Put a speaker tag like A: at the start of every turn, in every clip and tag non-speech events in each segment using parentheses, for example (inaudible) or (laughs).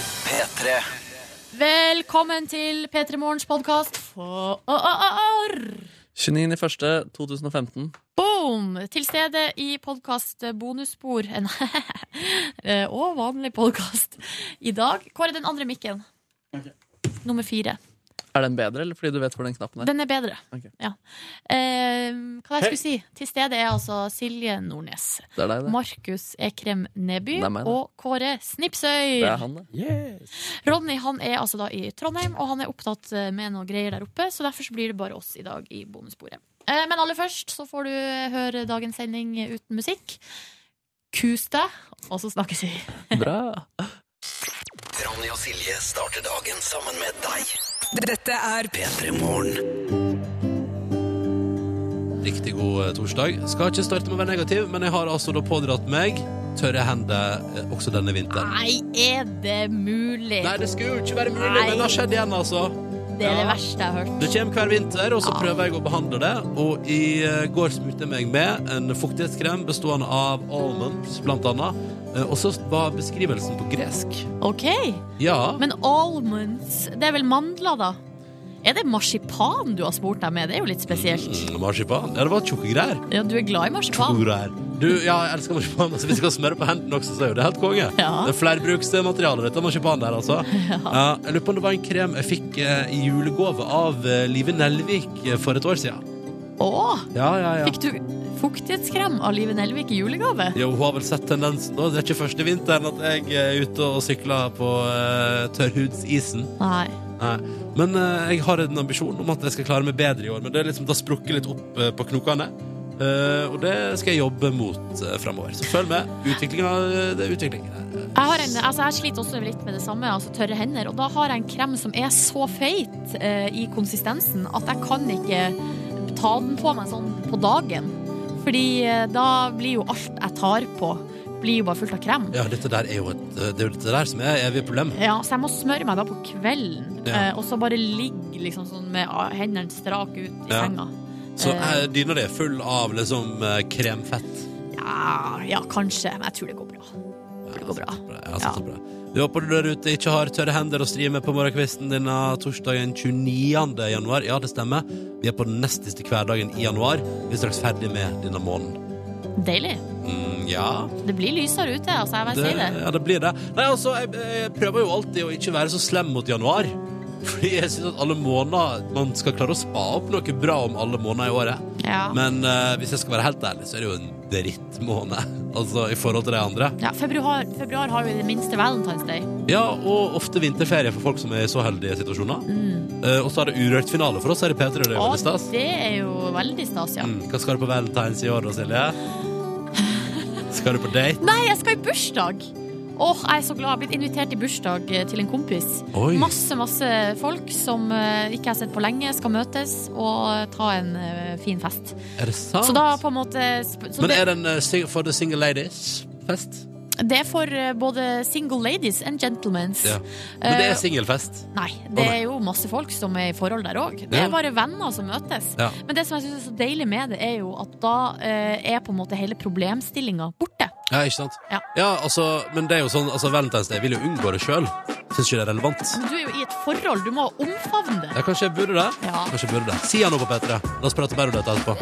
A: P3.
B: Velkommen til P3 Morgens podkast. Boom!
C: 29.01.2015.
B: Til stede i podkast bonusspor (laughs) En- eh, og vanlig podkast i dag. Kåre, den andre mikken. Nummer fire.
C: Er den bedre, eller fordi du vet hvor den knappen er?
B: Den er bedre.
C: Ok.
B: Ja. Eh, hva jeg skulle si? Til stede er altså Silje Nordnes,
C: Det er deg, det.
B: Markus Ekrem Neby
C: Det er meg, det.
B: og Kåre Snipsøy.
C: Det er han, det.
B: Ronny han er altså da i Trondheim, og han er opptatt eh, med noe greier der oppe. Så derfor så blir det bare oss i dag i bonussporet. Eh, Men aller først så får du eh, høre dagens sending eh, uten musikk. Kus deg, og så snakkes vi.
C: Bra.
A: Ronny og Silje starter dagen sammen med deg.
D: Dette er
A: P3 Morgen.
E: Riktig god eh, torsdag. Skal ikke starte med å være negativ, men jeg har altså da pådratt meg tørre hender eh, også denne vinteren.
B: Nei, er det mulig?
E: Nei, det skulle jo ikke være mulig,
B: Nei.
E: men det har skjedd igjen, altså.
B: Det er det verste jeg har hørt.
E: Det kommer hver vinter, og så prøver jeg å behandle det. Og i eh, går smurte jeg meg med en fuktighetskrem bestående av almonds, blant annet. Eh, Og så var beskrivelsen på gresk.
B: Ok,
E: Ja.
B: Men almonds, det er vel mandler, da? Er det marsipan du har spurt deg med? Det er jo litt spesielt.
E: Mm, marsipan. Ja, det var tjukke greier.
B: Ja, du er glad i marsipan?
E: Tjukke greier. Du, ja, jeg elsker marsipan. Altså, hvis jeg kan smøre på hendene også, så er jo det helt konge.
B: Ja.
E: Det er flerbruksmateriale, dette marsipan
B: (laughs)
E: der, altså. Ja, jeg lurer på om det var en krem jeg fikk eh, i julegave av eh, Live Nelvik eh, for et år siden.
B: Å!
E: Ja, ja, ja.
B: Fikk du fuktighetskrem av Live Nelvik i julegave?
E: Jo, hun har vel sett tendensen da. Det er ikke første vinteren at jeg eh, er ute og sykler på eh, tørrhudsisen.
B: Nei.
E: Nei. Men eh, jeg har en ambisjon om at jeg skal klare meg bedre i år. Men det er liksom, det har sprukket litt opp eh, på knokene. Eh, og det skal jeg jobbe mot uh, framover. Så følg med. Utviklingen av eh, det er utviklingen her.
B: Jeg, har en, altså jeg sliter også litt med det samme, altså tørre hender. Og da har jeg en krem som er så feit eh, i konsistensen at jeg kan ikke ta den på meg sånn på dagen. Fordi eh, da blir jo alt jeg tar på, blir jo bare fullt av krem.
E: Ja, dette der er jo et, eh, det er jo dette der som er evig problem.
B: Ja, så jeg må smøre meg da på kvelden,
E: Ja.
B: eh, og så bare ligge liksom sånn med ah, hendene strak ut i
E: Ja.
B: senga.
E: Så
B: Eh.
E: eh, dyna di er full av liksom eh, kremfett.
B: Ja, ja, kanskje, men jeg tror det går bra. Det går bra.
E: Ja, så, så bra. Vi håper du der ute ikke har tørre hender å stri med på morgenkvisten denne torsdagen 29. januar. Ja, det stemmer. Vi er på den nest siste hverdagen i januar. Vi er straks ferdig med denne måneden.
B: Deilig.
E: Mm, ja.
B: Det blir lysere ute, altså. Jeg bare
E: Det,
B: sier det.
E: eh, ja, det blir det. Nei, altså, jeg, jeg prøver jo alltid å ikke være så slem mot januar. (laughs) Fordi jeg syns at alle måneder Man skal klare å spa opp noe bra om alle måneder i året.
B: Ja.
E: Men eh, hvis jeg skal være helt ærlig, så er det jo en drittmåned. (laughs) Altså i forhold til de andre.
B: Ja, februar, februar har jo i det minste Valentine's Day.
E: Ja, og ofte vinterferie for folk som er i så heldige situasjoner. Eh, og så er det urørt finale for oss her i P3. og Det er
B: Og
E: veldig stas.
B: Mm. det er jo veldig stas, ja.
E: Mm. Hva skal du på Valentine's i år da, Silje? Skal du på date?
B: Nei, jeg skal i bursdag! Åh, jeg er så glad. Jeg har blitt invitert i bursdag eh, til en kompis.
E: Oi.
B: Masse, masse folk som eh, ikke har sett på lenge, skal møtes og eh, ta en eh, fin fest.
E: Er det sant?
B: Så da på en måte sp- så
E: Ah. Men
B: det,
E: er den eh, sing for the single ladies-fest?
B: det er for eh, både single ladies and gentlemens.
E: Ja. Men det
B: Eh,
E: er singelfest.
B: Nei,
E: Å,
B: det
E: nei.
B: er jo masse folk som er i forhold der òg. Det
E: Ja.
B: er bare venner som møtes.
E: Ja.
B: Men det som jeg syns er så deilig med det, er jo at da eh, er på en måte hele problemstillinga borte.
E: Ja, ikke sant?
B: Ja.
E: altså, men det er jo sånn, altså, Valentine's Day vil jo unngå det sjøl. Syns ikke det er relevant.
B: Men du er jo i et forhold, du må omfavne det.
E: Ja, kanskje jeg burde det?
B: Ja.
E: Kanskje jeg burde det. Si han nå på P3. La oss prate mer om dette etterpå.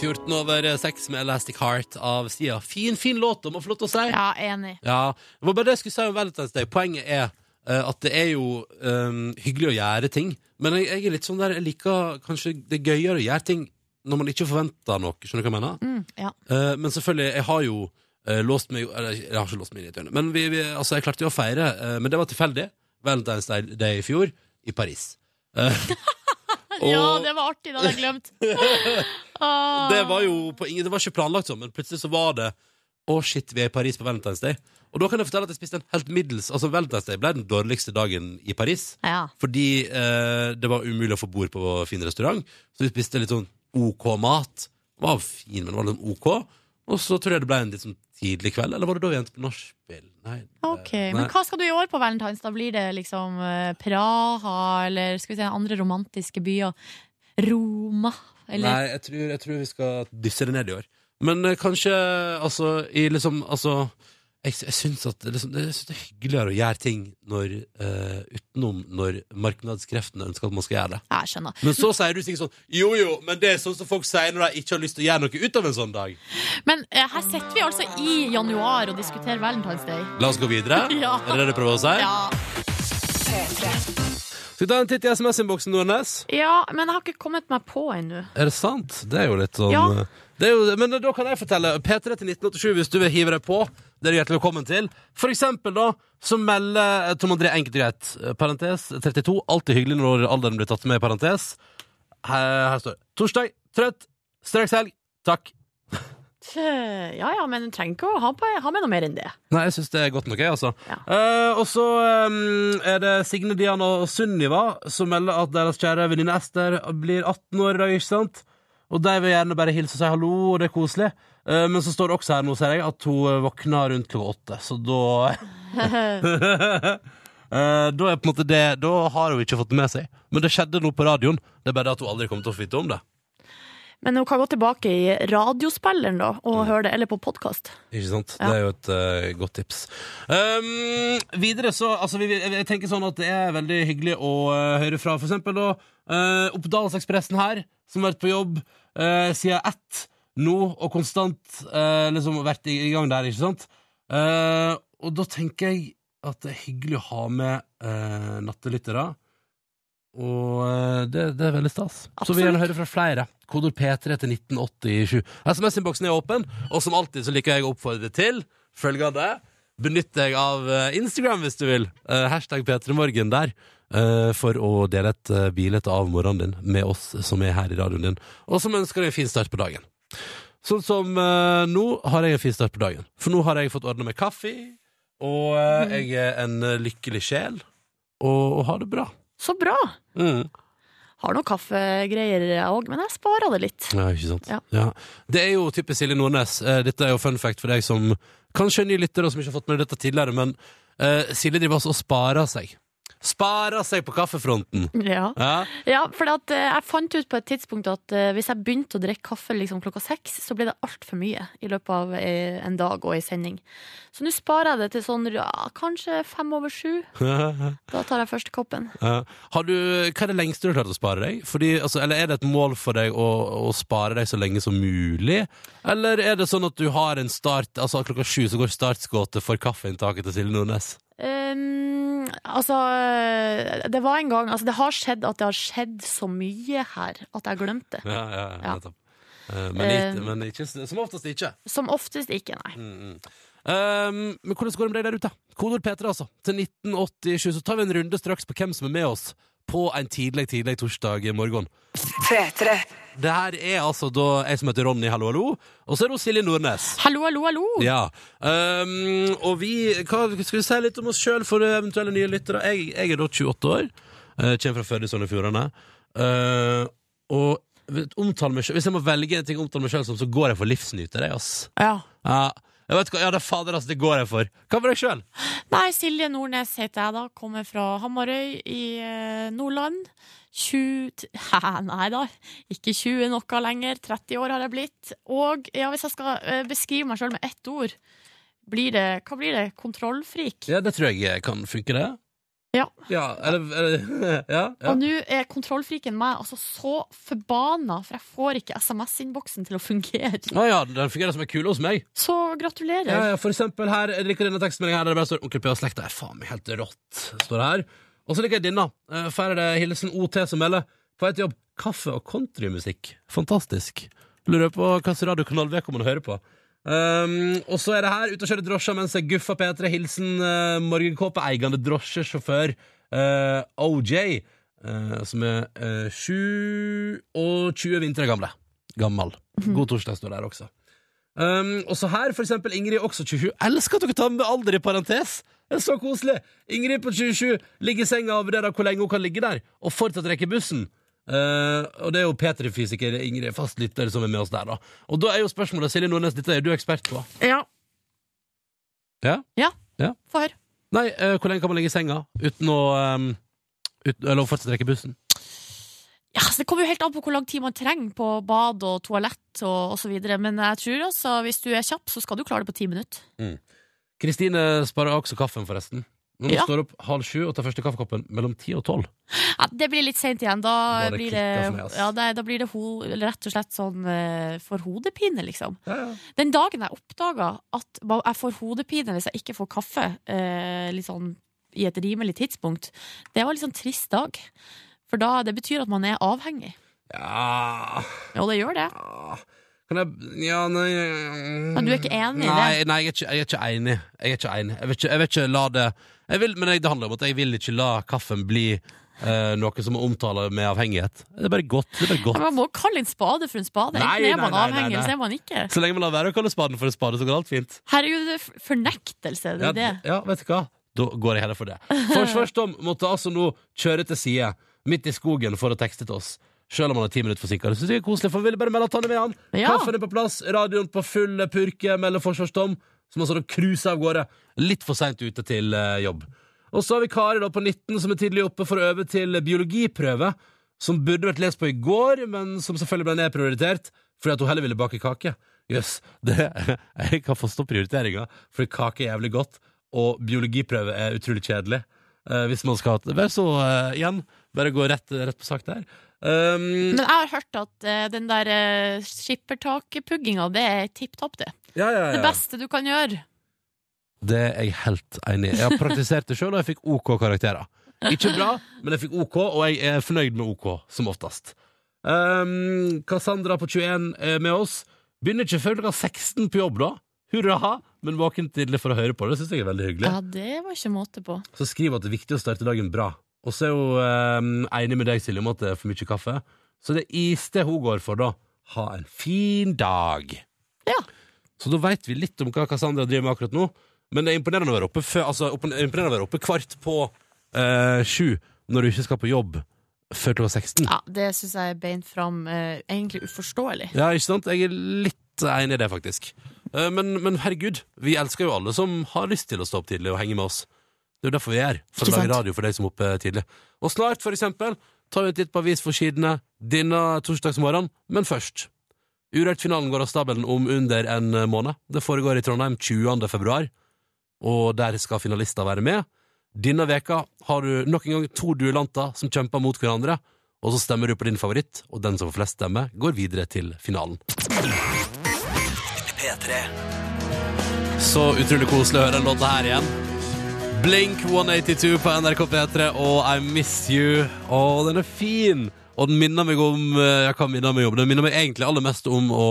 E: 14 over 6 med Elastic Heart av Sia. Fin, fin låt, om å få lov til å si.
B: Ja, enig.
E: Ja, det var bare det jeg skulle si om Valentine's Day. Poenget er eh, at det er jo eh, hyggelig å gjøre ting, men jeg, jeg er litt sånn der, jeg liker kanskje det er gøyere å gjøre ting når man ikke forventer noe, skjønner du hva jeg mener?
B: Mm, ja.
E: Eh, men selvfølgelig, jeg har jo eh, låst meg, eller jeg har ikke låst meg inn i et hjørne, men vi, vi, altså, jeg klarte jo å feire, eh, men det var tilfeldig, Valentine's Day- Day i fjor, i Paris.
B: (laughs)
E: Eh, og-
B: ja, det var artig, det hadde jeg
E: (laughs)
B: glemt. Ah.
E: Det var jo på ingen, det var ikke planlagt sånn, men plutselig så var det Å, shit, vi er i Paris på Valentine's Day. Og da kan jeg fortelle at jeg spiste en helt middels Altså, Valentine's Day ble den dårligste dagen i Paris.
B: ja.
E: Fordi eh, det var umulig å få bord på fin restaurant. Så vi spiste litt sånn OK mat. Det var fin, men det var litt sånn OK. Og så tror jeg det ble en litt sånn tidlig kveld. Eller var det da vi endte på nachspiel? Nei. det-
B: Ok,
E: nei.
B: Men hva skal du i år på Valentine's? Da blir det liksom eh, Praha, eller skal vi se, andre romantiske byer. Roma, eller
E: Nei, jeg tror, jeg tror vi skal dysse det ned i år. Men eh, kanskje altså, i liksom, altså jeg, jeg syns at det liksom, jeg synes det er hyggeligere å gjøre ting når, eh, utenom når markedskreftene ønsker at man skal gjøre det.
F: Jeg skjønner.
E: Men så sier du sikkert sånn Jo jo, men det er sånn som folk sier når de ikke har lyst til å gjøre noe ut av en sånn dag.
F: Men eh, her sitter vi altså i januar og diskuterer Valentine's Day.
E: La oss gå videre.
F: (laughs) Ja.
E: Er det det du prøver å si?
F: Ja.
E: Skal vi ta en titt i SMS-innboksen, Nordnes?
F: ja, men jeg har ikke kommet meg på ennå.
E: Er det sant? Det er jo litt sånn
F: Ja.
E: det er jo, Men da kan jeg fortelle. P3 til 1987 hvis du vil hive deg på. Det er du hjertelig velkommen til. For eksempel, da, så melder eh, Tom André enkelt og greit, eh, parentes 32. Alltid hyggelig når alderen blir tatt med i parentes. Her, her står det. Torsdag, trøtt, straks helg. Takk.
F: Ja ja, men du trenger ikke å ha, på, ha med noe mer enn det.
E: Nei, jeg syns det er godt nok, jeg, altså.
F: Ja.
E: Eh, og så eh, er det Signe Diana og Sunniva som melder at deres kjære venninne Ester blir 18 år i dag, ikke sant? Og de vil gjerne bare hilse og si hallo, og det er koselig. Eh, men så står det også her nå, ser jeg, at hun våkna rundt klokka åtte, så da (laughs) Eh, Da er på en måte det Da har hun ikke fått det med seg. Men det skjedde nå på radioen. Det er bare det at hun aldri kommer til å få vite om det.
F: Men hun kan gå tilbake i radiospilleren da, og høre det, eller på podkast.
E: Ikke sant?
F: Ja.
E: Det er jo et eh, godt tips. Um, videre så altså, vi, jeg, jeg tenker sånn at det er veldig hyggelig å eh, høre fra for eksempel da, eh, Oppdalsekspressen her, som har vært på jobb eh, siden ett nå, og konstant eh, liksom vært i, i gang der, ikke sant? Eh, og da tenker jeg at det er hyggelig å ha med uh, nattelyttere. Og eh, det, det er veldig stas. Så vi vil gjerne høre fra flere. Kodord P3 til 1987. SMS-innboksen er åpen, og som alltid så liker jeg å oppfordre til følgende. Benytt deg av eh, Instagram hvis du vil. Eh, hashtag P3morgen der. eh, for å dele et uh, bilde av morgenen din med oss som er her i radioen din, og som ønsker deg en fin start på dagen. Sånn som eh, nå har jeg en fin start på dagen. For nå har jeg fått ordna meg kaffe, og eh, jeg er en eh, lykkelig sjel, og, og har det bra.
F: Så bra!
E: Mm.
F: Har noen kaffegreier jeg òg, men jeg sparer det litt.
E: Ja, ikke sant?
F: Ja.
E: Ja. Det er jo typisk Silje Nordnes. Eh, Dette er jo fun fact for deg som kanskje er ny lytter og som ikke har fått med deg dette tidligere, men eh, Silje driver altså og sparer seg. Sparer seg på kaffefronten!
F: Ja,
E: Ja. (laughs)
F: ja for at, eh, jeg fant ut på et tidspunkt at eh, hvis jeg begynte å drikke kaffe liksom klokka seks, så ble det altfor mye i løpet av eh, en dag og ei sending. Så nå sparer jeg det til sånn ja, kanskje fem over sju. Da tar jeg første koppen.
E: Ja. har du, hva er det lengste du har klart å spare deg? Fordi, altså, eller er det et mål for deg å, å spare deg så lenge som mulig? Eller er det sånn at du har en start Altså klokka sju så går startskuddet for kaffeinntaket til Silje Nordnes?
F: Um, altså, eh, det var en gang altså, Det har skjedd at det har skjedd så mye her at jeg har glemt det.
E: Ja, ja,
F: Ja.
E: nettopp. Eh, Men,
F: Eh.
E: ikke, men ikke, som oftest ikke.
F: Som oftest ikke, nei.
E: Mm, Um, men hvordan går det med deg der ute? Kodord P3, altså. Til 1987. Så tar vi en runde straks på hvem som er med oss på en tidlig, tidlig torsdag morgen. Det her er altså da jeg som heter Ronny, hallo, hallo. Og så er det hun Silje Nordnes.
F: Hallo, hallo, hallo!
E: Ja. Um, og vi hva, Skal vi si litt om oss sjøl for eventuelle nye lyttere? Jeg, jeg er da 28 år. eh, kommer fra Førde i Sogn og Fjordane. Eh, og vet- omtale meg selv, hvis jeg må velge en ting å omtale meg sjøl som, så går jeg for livsnyter, jeg, ass.
F: Ja.
E: Ja, jeg vet hva, ja, det er fader, altså, det går jeg for. Hva med deg sjøl?
F: Nei, Silje Nordnes heter jeg da. Kommer fra Hamarøy i eh, Nordland. 20 t- (laughs) Hæ, Nei da, ikke 20 noe lenger. 30 år har jeg blitt. Og ja, hvis jeg skal eh, beskrive meg sjøl med ett ord, blir det Hva blir det? Kontrollfrik?
E: Ja, det tror jeg kan funke, det.
F: Ja.
E: Ja, eller, (laughs) eller ja, ja.
F: Og nå er kontrollfriken meg altså så forbanna, for jeg får ikke SMS-innboksen til å fungere.
E: Å ja, den fungerer som en kule hos meg.
F: Så
E: Ja,
F: gratulerer.
E: ja, for eksempel her, jeg liker denne tekstmeldingen her, der det bare sånn, står 'Onkel P og slekta er faen meg helt rått', står det her. Og så liker jeg denne. Eh, For her er det hilsen OT som melder. På vei til jobb. Kaffe og countrymusikk. Fantastisk. Lurer på hvilken radiokanal vedkommende hører på. Um, og så er det her, ute og kjører drosja mens jeg guffa P3. Hilsen uh, morgenkåpeeigende drosjesjåfør eh, OJ, eh, som er eh, 7 og 20 vintre gamle. Gammel. God torsdag står der også. Um, også her, for eksempel, Ingrid, også 27. Elsker at dere tar med alder i parentes! Det er så koselig! Ingrid på 27 ligger i senga og vurderer hvor lenge hun kan ligge der, og fortsatt rekker bussen. Eh, og det er jo P3-fysiker Ingrid, fast lytter, som er med oss der, da. Og da er jo spørsmålet, Silje Nordnes, dette er du ekspert på.
F: Ja.
E: Ja?
F: Ja.
E: Ja.
F: Få høre.
E: Nei, eh, hvor lenge kan man ligge i senga uten å um, uten, Eller å fortsatt rekke bussen?
F: Ja, så Det kommer jo helt an på hvor lang tid man trenger på bad og toalett og osv. Men jeg tror altså, hvis du er kjapp, så skal du klare det på ti minutter.
E: Kristine sparer også kaffen, forresten. Hun
B: Ja.
E: står opp halv sju og tar første kaffekoppen mellom ti og tolv.
B: Ja, det blir litt seint igjen. Da
E: Bare
B: blir
E: klikket for meg,
B: det,
E: ass.
B: ja, det, da blir det ho, rett og slett sånn eh, for hodepine, liksom. Den dagen jeg oppdaga at ba- jeg får hodepine hvis jeg ikke får kaffe eh, litt sånn, i et rimelig tidspunkt, det var en litt sånn trist dag. For da, det betyr at man er avhengig.
E: Ja
B: Jo, det gjør det.
E: Kan jeg Ja, nei
B: Men du er ikke enig i
E: Nei, nei jeg, er ikke, jeg er ikke enig. Jeg er ikke enig. Jeg vil ikke, jeg vil ikke la det jeg vil, Men det handler om at jeg vil ikke la kaffen bli eh, noe som omtaler med avhengighet. Det er bare godt. Det er bare
B: Men
E: godt.
B: man må kalle en spade for en spade.
E: Nei,
B: Enten er man
E: nei, nei, nei,
B: avhengig,
E: nei.
B: eller så er man ikke.
E: Så lenge man lar være å kalle spaden for en spade, så går alt fint.
B: Herregud, det er f- fornektelse, det
E: Ja,
B: er det.
E: d- ja, vet du hva? Da går jeg heller for det. Forsvarsdom måtte altså nå kjøre til side, midt i skogen, for å tekste til oss. Selv om han er ti minutter forsinka. Det synes jeg er koselig, for vi ville bare melde at han er med, han.
B: Ja.
E: Kaffen er på plass, radioen på full purke, melder Forsvarsdom, som altså da cruiser av gårde. Litt for seint ute til eh, jobb. Og så har vi Kari da på 19 som er tidlig oppe for å øve til biologiprøve, som burde vært lest på i går, men som selvfølgelig ble nedprioritert fordi at hun heller ville bake kake. Jøss, det- (laughs) jeg kan forstå prioriteringa, for kake er jævlig godt, og biologiprøve er utrolig kjedelig. Eh, hvis man skal ha det. Vær så eh, igjen, bare gå rett, rett på sak der. Um,
B: Men jeg har hørt at eh, den der uh, skippertakpugginga, det er tipp topp, det.
E: ja, ja, ja.
B: Det beste du kan gjøre.
E: Det er jeg helt enig i. Jeg har praktisert det sjøl, og jeg fikk OK karakterer. Ikke bra, men jeg fikk OK, og jeg er fornøyd med OK, som oftest. Um, Cassandra på 21 er med oss. Begynner ikke før klokka 16 på jobb, da. Hurra! Men våken tidlig for å høre på det. Det syns jeg er veldig hyggelig.
B: Ja, det var ikke måte på.
E: Så skriver hun at det er viktig å starte dagen bra. Og så er hun um, enig med deg, Silje, om at det er for mye kaffe. Så det iste hun går for, da. Ha en fin dag.
B: Ja.
E: Så da veit vi litt om hva Cassandra driver med akkurat nå. Men det er imponerende å være oppe, før, altså, opp- imponerende å være oppe kvart på eh, sju når du ikke skal på jobb før klokka 16. Ja.
B: Ja, det syns jeg er beint fram. eh, egentlig uforståelig.
E: ikke sant? Jeg er litt enig i det, faktisk. Eh, men, men herregud, vi elsker jo alle som har lyst til å stå opp tidlig og henge med oss. Det er jo derfor vi er her, for å
B: Ikke
E: lage
B: sant?
E: radio for deg som er oppe tidlig. Og snart, for eksempel, tar vi et litt på avisforsidene denne torsdagsmorgenen, men først. Urørt-finalen går av stabelen om under en måned. Det foregår i Trondheim 20. februar, og der skal finalister være med. Denne veka har du nok en gang to duellanter som kjemper mot hverandre, og så stemmer du på din favoritt, og den som får flest stemmer, går videre til finalen.
A: P3.
E: Så utrolig koselig å høre den låta her igjen. Blink 182 på NRK P3 og I Miss You. Å, den er fin! Og den minner meg om eh, Ja, hva minner meg om? Den minner meg egentlig aller mest om å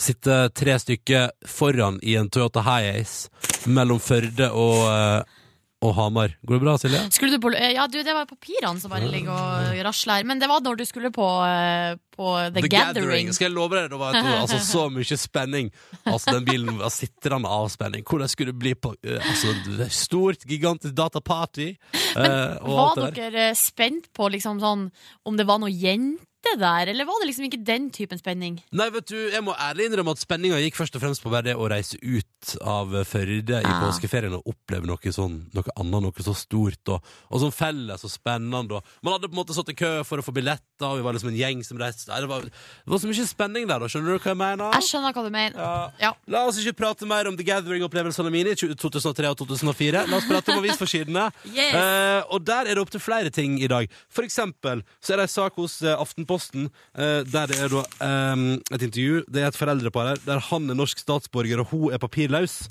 E: sitte tre stykker foran i en Toyota Hiace mellom Førde og, eh, og Hamar. Går det bra, Silje?
B: Skulle du på, eh, ja, du, det var papirene som bare ligger og rasler her. Men det var når du skulle på, eh, på The, Gathering.
E: Skal jeg love deg, det var et ord. Altså, så mye spenning. Altså, den bilen var sitrende av spenning. Hvordan skulle det bli på eh, altså, stort, gigantisk dataparty? eh, og alt det
B: Var
E: der.
B: dere eh, spent på liksom sånn, om det var noe jente der, eller var det liksom ikke den typen spenning?
E: Nei, vet du, jeg må ærlig innrømme at spenninga gikk først og fremst på bare det å reise ut av Førde i
B: Ah.
E: påskeferien og oppleve noe sånn, noe annet, noe så stort og, og sånn felles og spennende. Og man hadde på en måte stått i kø for å få billetter, og vi var liksom en gjeng som reiste Nei, det var, det var så mye spenning der, da. Skjønner du hva jeg mener?
B: Jeg skjønner hva du mener. Ja.
E: Ja. La oss ikke prate mer om The Gathering-opplevelsene mine i 2003 og 2004. La oss prate om avisforsidene.
B: Yes.
E: Eh, og der er det opp til flere ting i dag. For eksempel så er det en sak hos eh, Aftenposten eh, der det er da ehm, et intervju. Det er et foreldrepar her der han er norsk statsborger og hun er papirløs.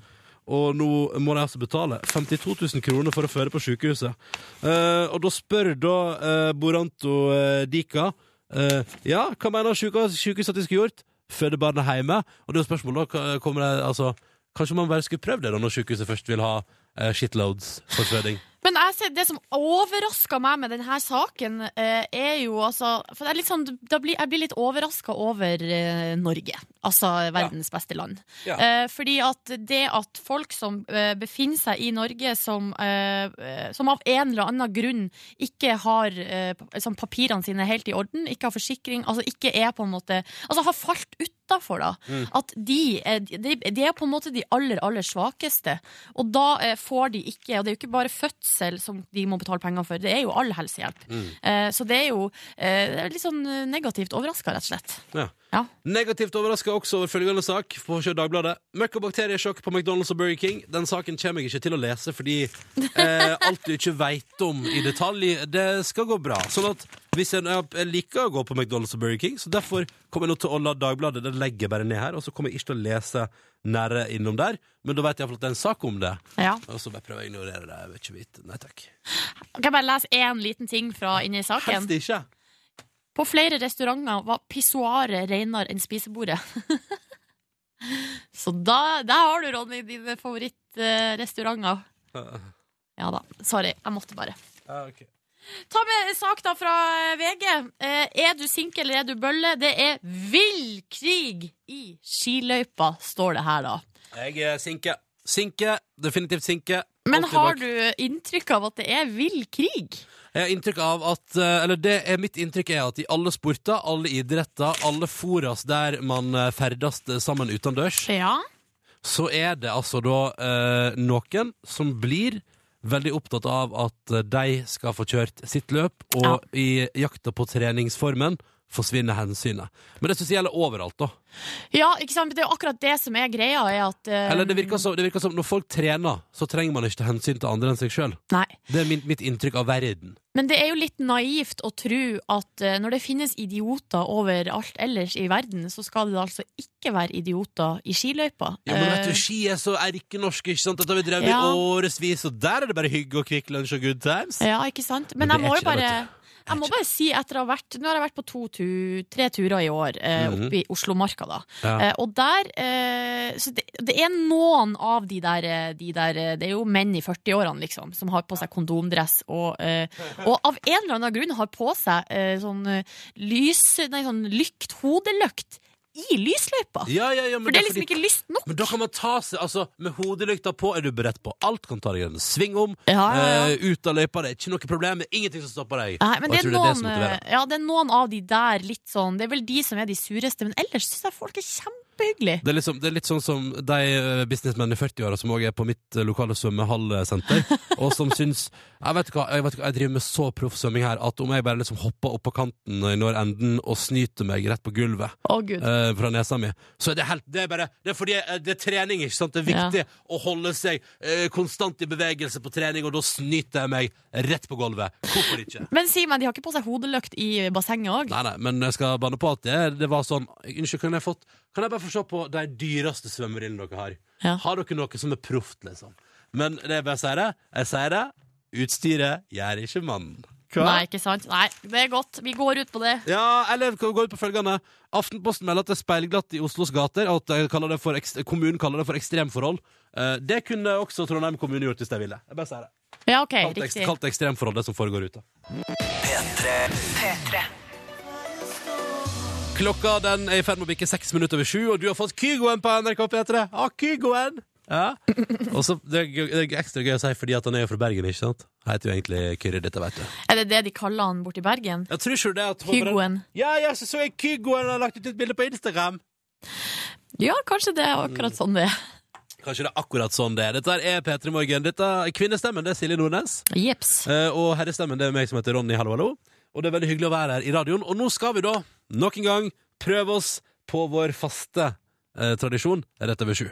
E: Og nå må de altså betale 52 000 kroner for å føre på sykehuset. Eh, og da spør da eh, Boranto eh, Dika eh, Ja, hva mener sykehus- sykehuset at de skulle gjort? Føde barnet hjemme? Og det er jo spørsmålet da, hva- kommer det, altså, kanskje man bare skulle prøvd det da når sykehuset først vil ha eh, shitloads for føding?
B: Men jeg ser, det som overraska meg med denne saken, eh, er jo altså For jeg, liksom, da blir, jeg blir litt overraska over eh, Norge. Altså verdens beste land.
E: Ja.
B: Eh, fordi at det at folk som eh, befinner seg i Norge som, eh, eh, som av en eller annen grunn ikke har eh, pa- sånn papirene sine helt i orden, ikke har forsikring, altså ikke er på en måte Altså har falt utafor, da. At de, eh, de, de er på en måte de aller, aller svakeste. Og da eh, får de ikke Og det er jo ikke bare fødsel som de må betale penger for, det er jo all helsehjelp. Eh, så det er jo eh, det er litt sånn eh, negativt overraska, rett og slett.
E: Ja.
F: Ja.
E: Negativt overraska også over følgende sak på Sjø Dagbladet. Møkk og bakteriesjokk på McDonald's og Burger King. Den saken kommer jeg ikke til å lese, fordi
F: (laughs)
E: eh, alt du ikke veit om i detalj, det skal gå bra. Sånn at hvis jeg, jeg liker å gå på McDonald's og Burger King, så derfor kommer jeg nå til å la Dagbladet Det legger jeg bare ned her, og så kommer jeg ikke til å lese nære innom der. Men da veit jeg iallfall at det er en sak om det.
F: Ja.
E: Og så bare prøver jeg å ignorere det. Jeg vil ikke vite. Nei takk.
F: Kan jeg bare lese én liten ting fra inni saken?
E: Helst ikke.
F: På flere restauranter var pissoaret renere enn spisebordet. (laughs) Så da, der har du, Ronny, dine
E: (laughs)
F: favorittrestauranter. Ja da. Sorry, jeg måtte bare.
E: Ja, ok.
F: Ta med en sak da fra VG. Eh, er du sinke eller er du bølle? Det er vill krig i skiløypa, står det her da.
E: Jeg er sinke. Sinke. Definitivt sinke.
F: Men
E: Alltid bak.
F: har du inntrykk av at det er vill krig?
E: Jeg har inntrykk av at eh, Eller det er mitt inntrykk er at i alle sporter, alle idretter, alle foras der man eh, ferdes eh, sammen utendørs,
F: Ja.
E: så er det altså da eh, noen som blir veldig opptatt av at eh, de skal få kjørt sitt løp, og i jakta på treningsformen forsvinner hensynet. Men det syns jeg gjelder overalt, da.
F: Ja, ikke sant? Det er jo akkurat det som er greia, er at eh,
E: Eller det virker, som, det virker som når folk trener, så trenger man ikke ta hensyn til andre enn seg sjøl.
F: Nei.
E: Det er min, mitt inntrykk av verden.
F: Men det er jo litt naivt å tro at eh, når det finnes idioter overalt ellers i verden, så skal det altså ikke være idioter i skiløypa.
E: Ja, men vet
F: Eh,
E: du, Ski er så erkenorske, ikke sant? Dette har vi drevet
F: Ja.
E: i årevis, og der er det bare hygge og Kvikk Lunsj og good times.
F: ja, ikke sant? Men
E: Men
F: jeg
E: det er
F: må
E: ikke
F: jo bare
E: det, vet
F: jeg må bare si etter å ha vært Nå har jeg vært på to tu, tre turer i år eh,
E: Mhm.
F: oppe i Oslomarka, da.
E: Ja.
F: Eh, og der eh, Så det, det er noen av de der, eh, de der eh, Det er jo menn i 40-årene, liksom, som har på seg kondomdress og, eh, og av en eller annen grunn har på seg eh, sånn eh, lys Nei, sånn lykt, hodeløkt, i lysløypa!
E: Ja, ja, ja, men
F: For det er
E: er
F: liksom
E: fordi-
F: ikke lyst nok.
E: Men da kan man ta seg, altså, med hodelykta på er du beredt på alt. Kan ta deg en sving om,
F: Ja, ja, ja.
E: eh, ut av løypa, det er ikke noe problem, det er ingenting som stopper deg.
F: Nei,
E: Og
F: men det
E: jeg tror
F: er,
E: det er det
F: noen, eh,
E: som motiverer.
F: ja, det er noen av de der litt sånn Det er vel de som er de sureste, men ellers syns jeg folk er kjempehyggelige.
E: Det er, liksom, det er litt sånn som de eh, businessmennene i 40-åra som også er på mitt eh, lokale
F: (laughs)
E: svømmehallsenter, og som syns jeg vet, ikke hva, jeg vet ikke hva, jeg driver med så proff svømming her at om jeg bare liksom hopper opp på kanten når jeg når enden og snyter meg rett på gulvet
F: Å, gud.
E: eh, fra nesa mi. Så det er, helt, det er bare Det er fordi eh, det er trening, ikke sant? Det er viktig å holde seg eh, konstant i bevegelse på trening, og da snyter jeg meg rett på gulvet. Hvorfor ikke?
F: Men si meg, de har ikke på seg hodeløkt i bassenget òg?
E: Nei, nei, men jeg skal banne på at det, det var sånn Unnskyld, kan jeg, fått, kan jeg bare få se på de dyreste svømmerillene dere har?
F: Ja.
E: Har dere noe som er proft, liksom? Men det er bare å si det. Jeg sier det. Utstyret gjør ikke mannen. Hva?
F: Nei, ikke sant? Nei, det er godt. Vi går ut på det.
E: Ja, eller kan vi gå ut på følgende Aftenposten melder at det er speilglatt i Oslos gater Og at de kaller det for, ekst- kommunen kaller det for ekstremforhold Eh, Det kunne også Trondheim kommune gjort hvis de ville Jeg bare sier det
F: Ja, ok,
E: Kalt, ekst,
F: riktig.
E: kalt ekstremforhold det som foregår ute Klokka den er i ferd med å bikke seks minutter over sju Og du har fått Kygoen på NRK P3 Ja, Kygoen ja. Og så det er, gøy- det er ekstra gøy å si fordi at han er jo fra Bergen, ikke sant? Han heter jo egentlig Kyrre, dette vet du
F: Er det det de kaller han borti Bergen?
E: Jeg tror ikke det at
F: Kygoen.
E: Ja, ja, så så jeg Kygoen har lagt ut et bilde på Instagram
F: Ja, kanskje det er akkurat sånn det er.
E: Kanskje det er akkurat sånn det er. Dette her er P3 Morgen. Dette er kvinnestemmen, det er Silje Nordnes.
F: Jeps.
E: Eh, Og herrestemmen, det er meg som heter Ronny. Hallo, hallo. Og det er veldig hyggelig å være her i radioen. Og nå skal vi da, nok en gang, prøve oss på vår faste eh, tradisjon rett over sju.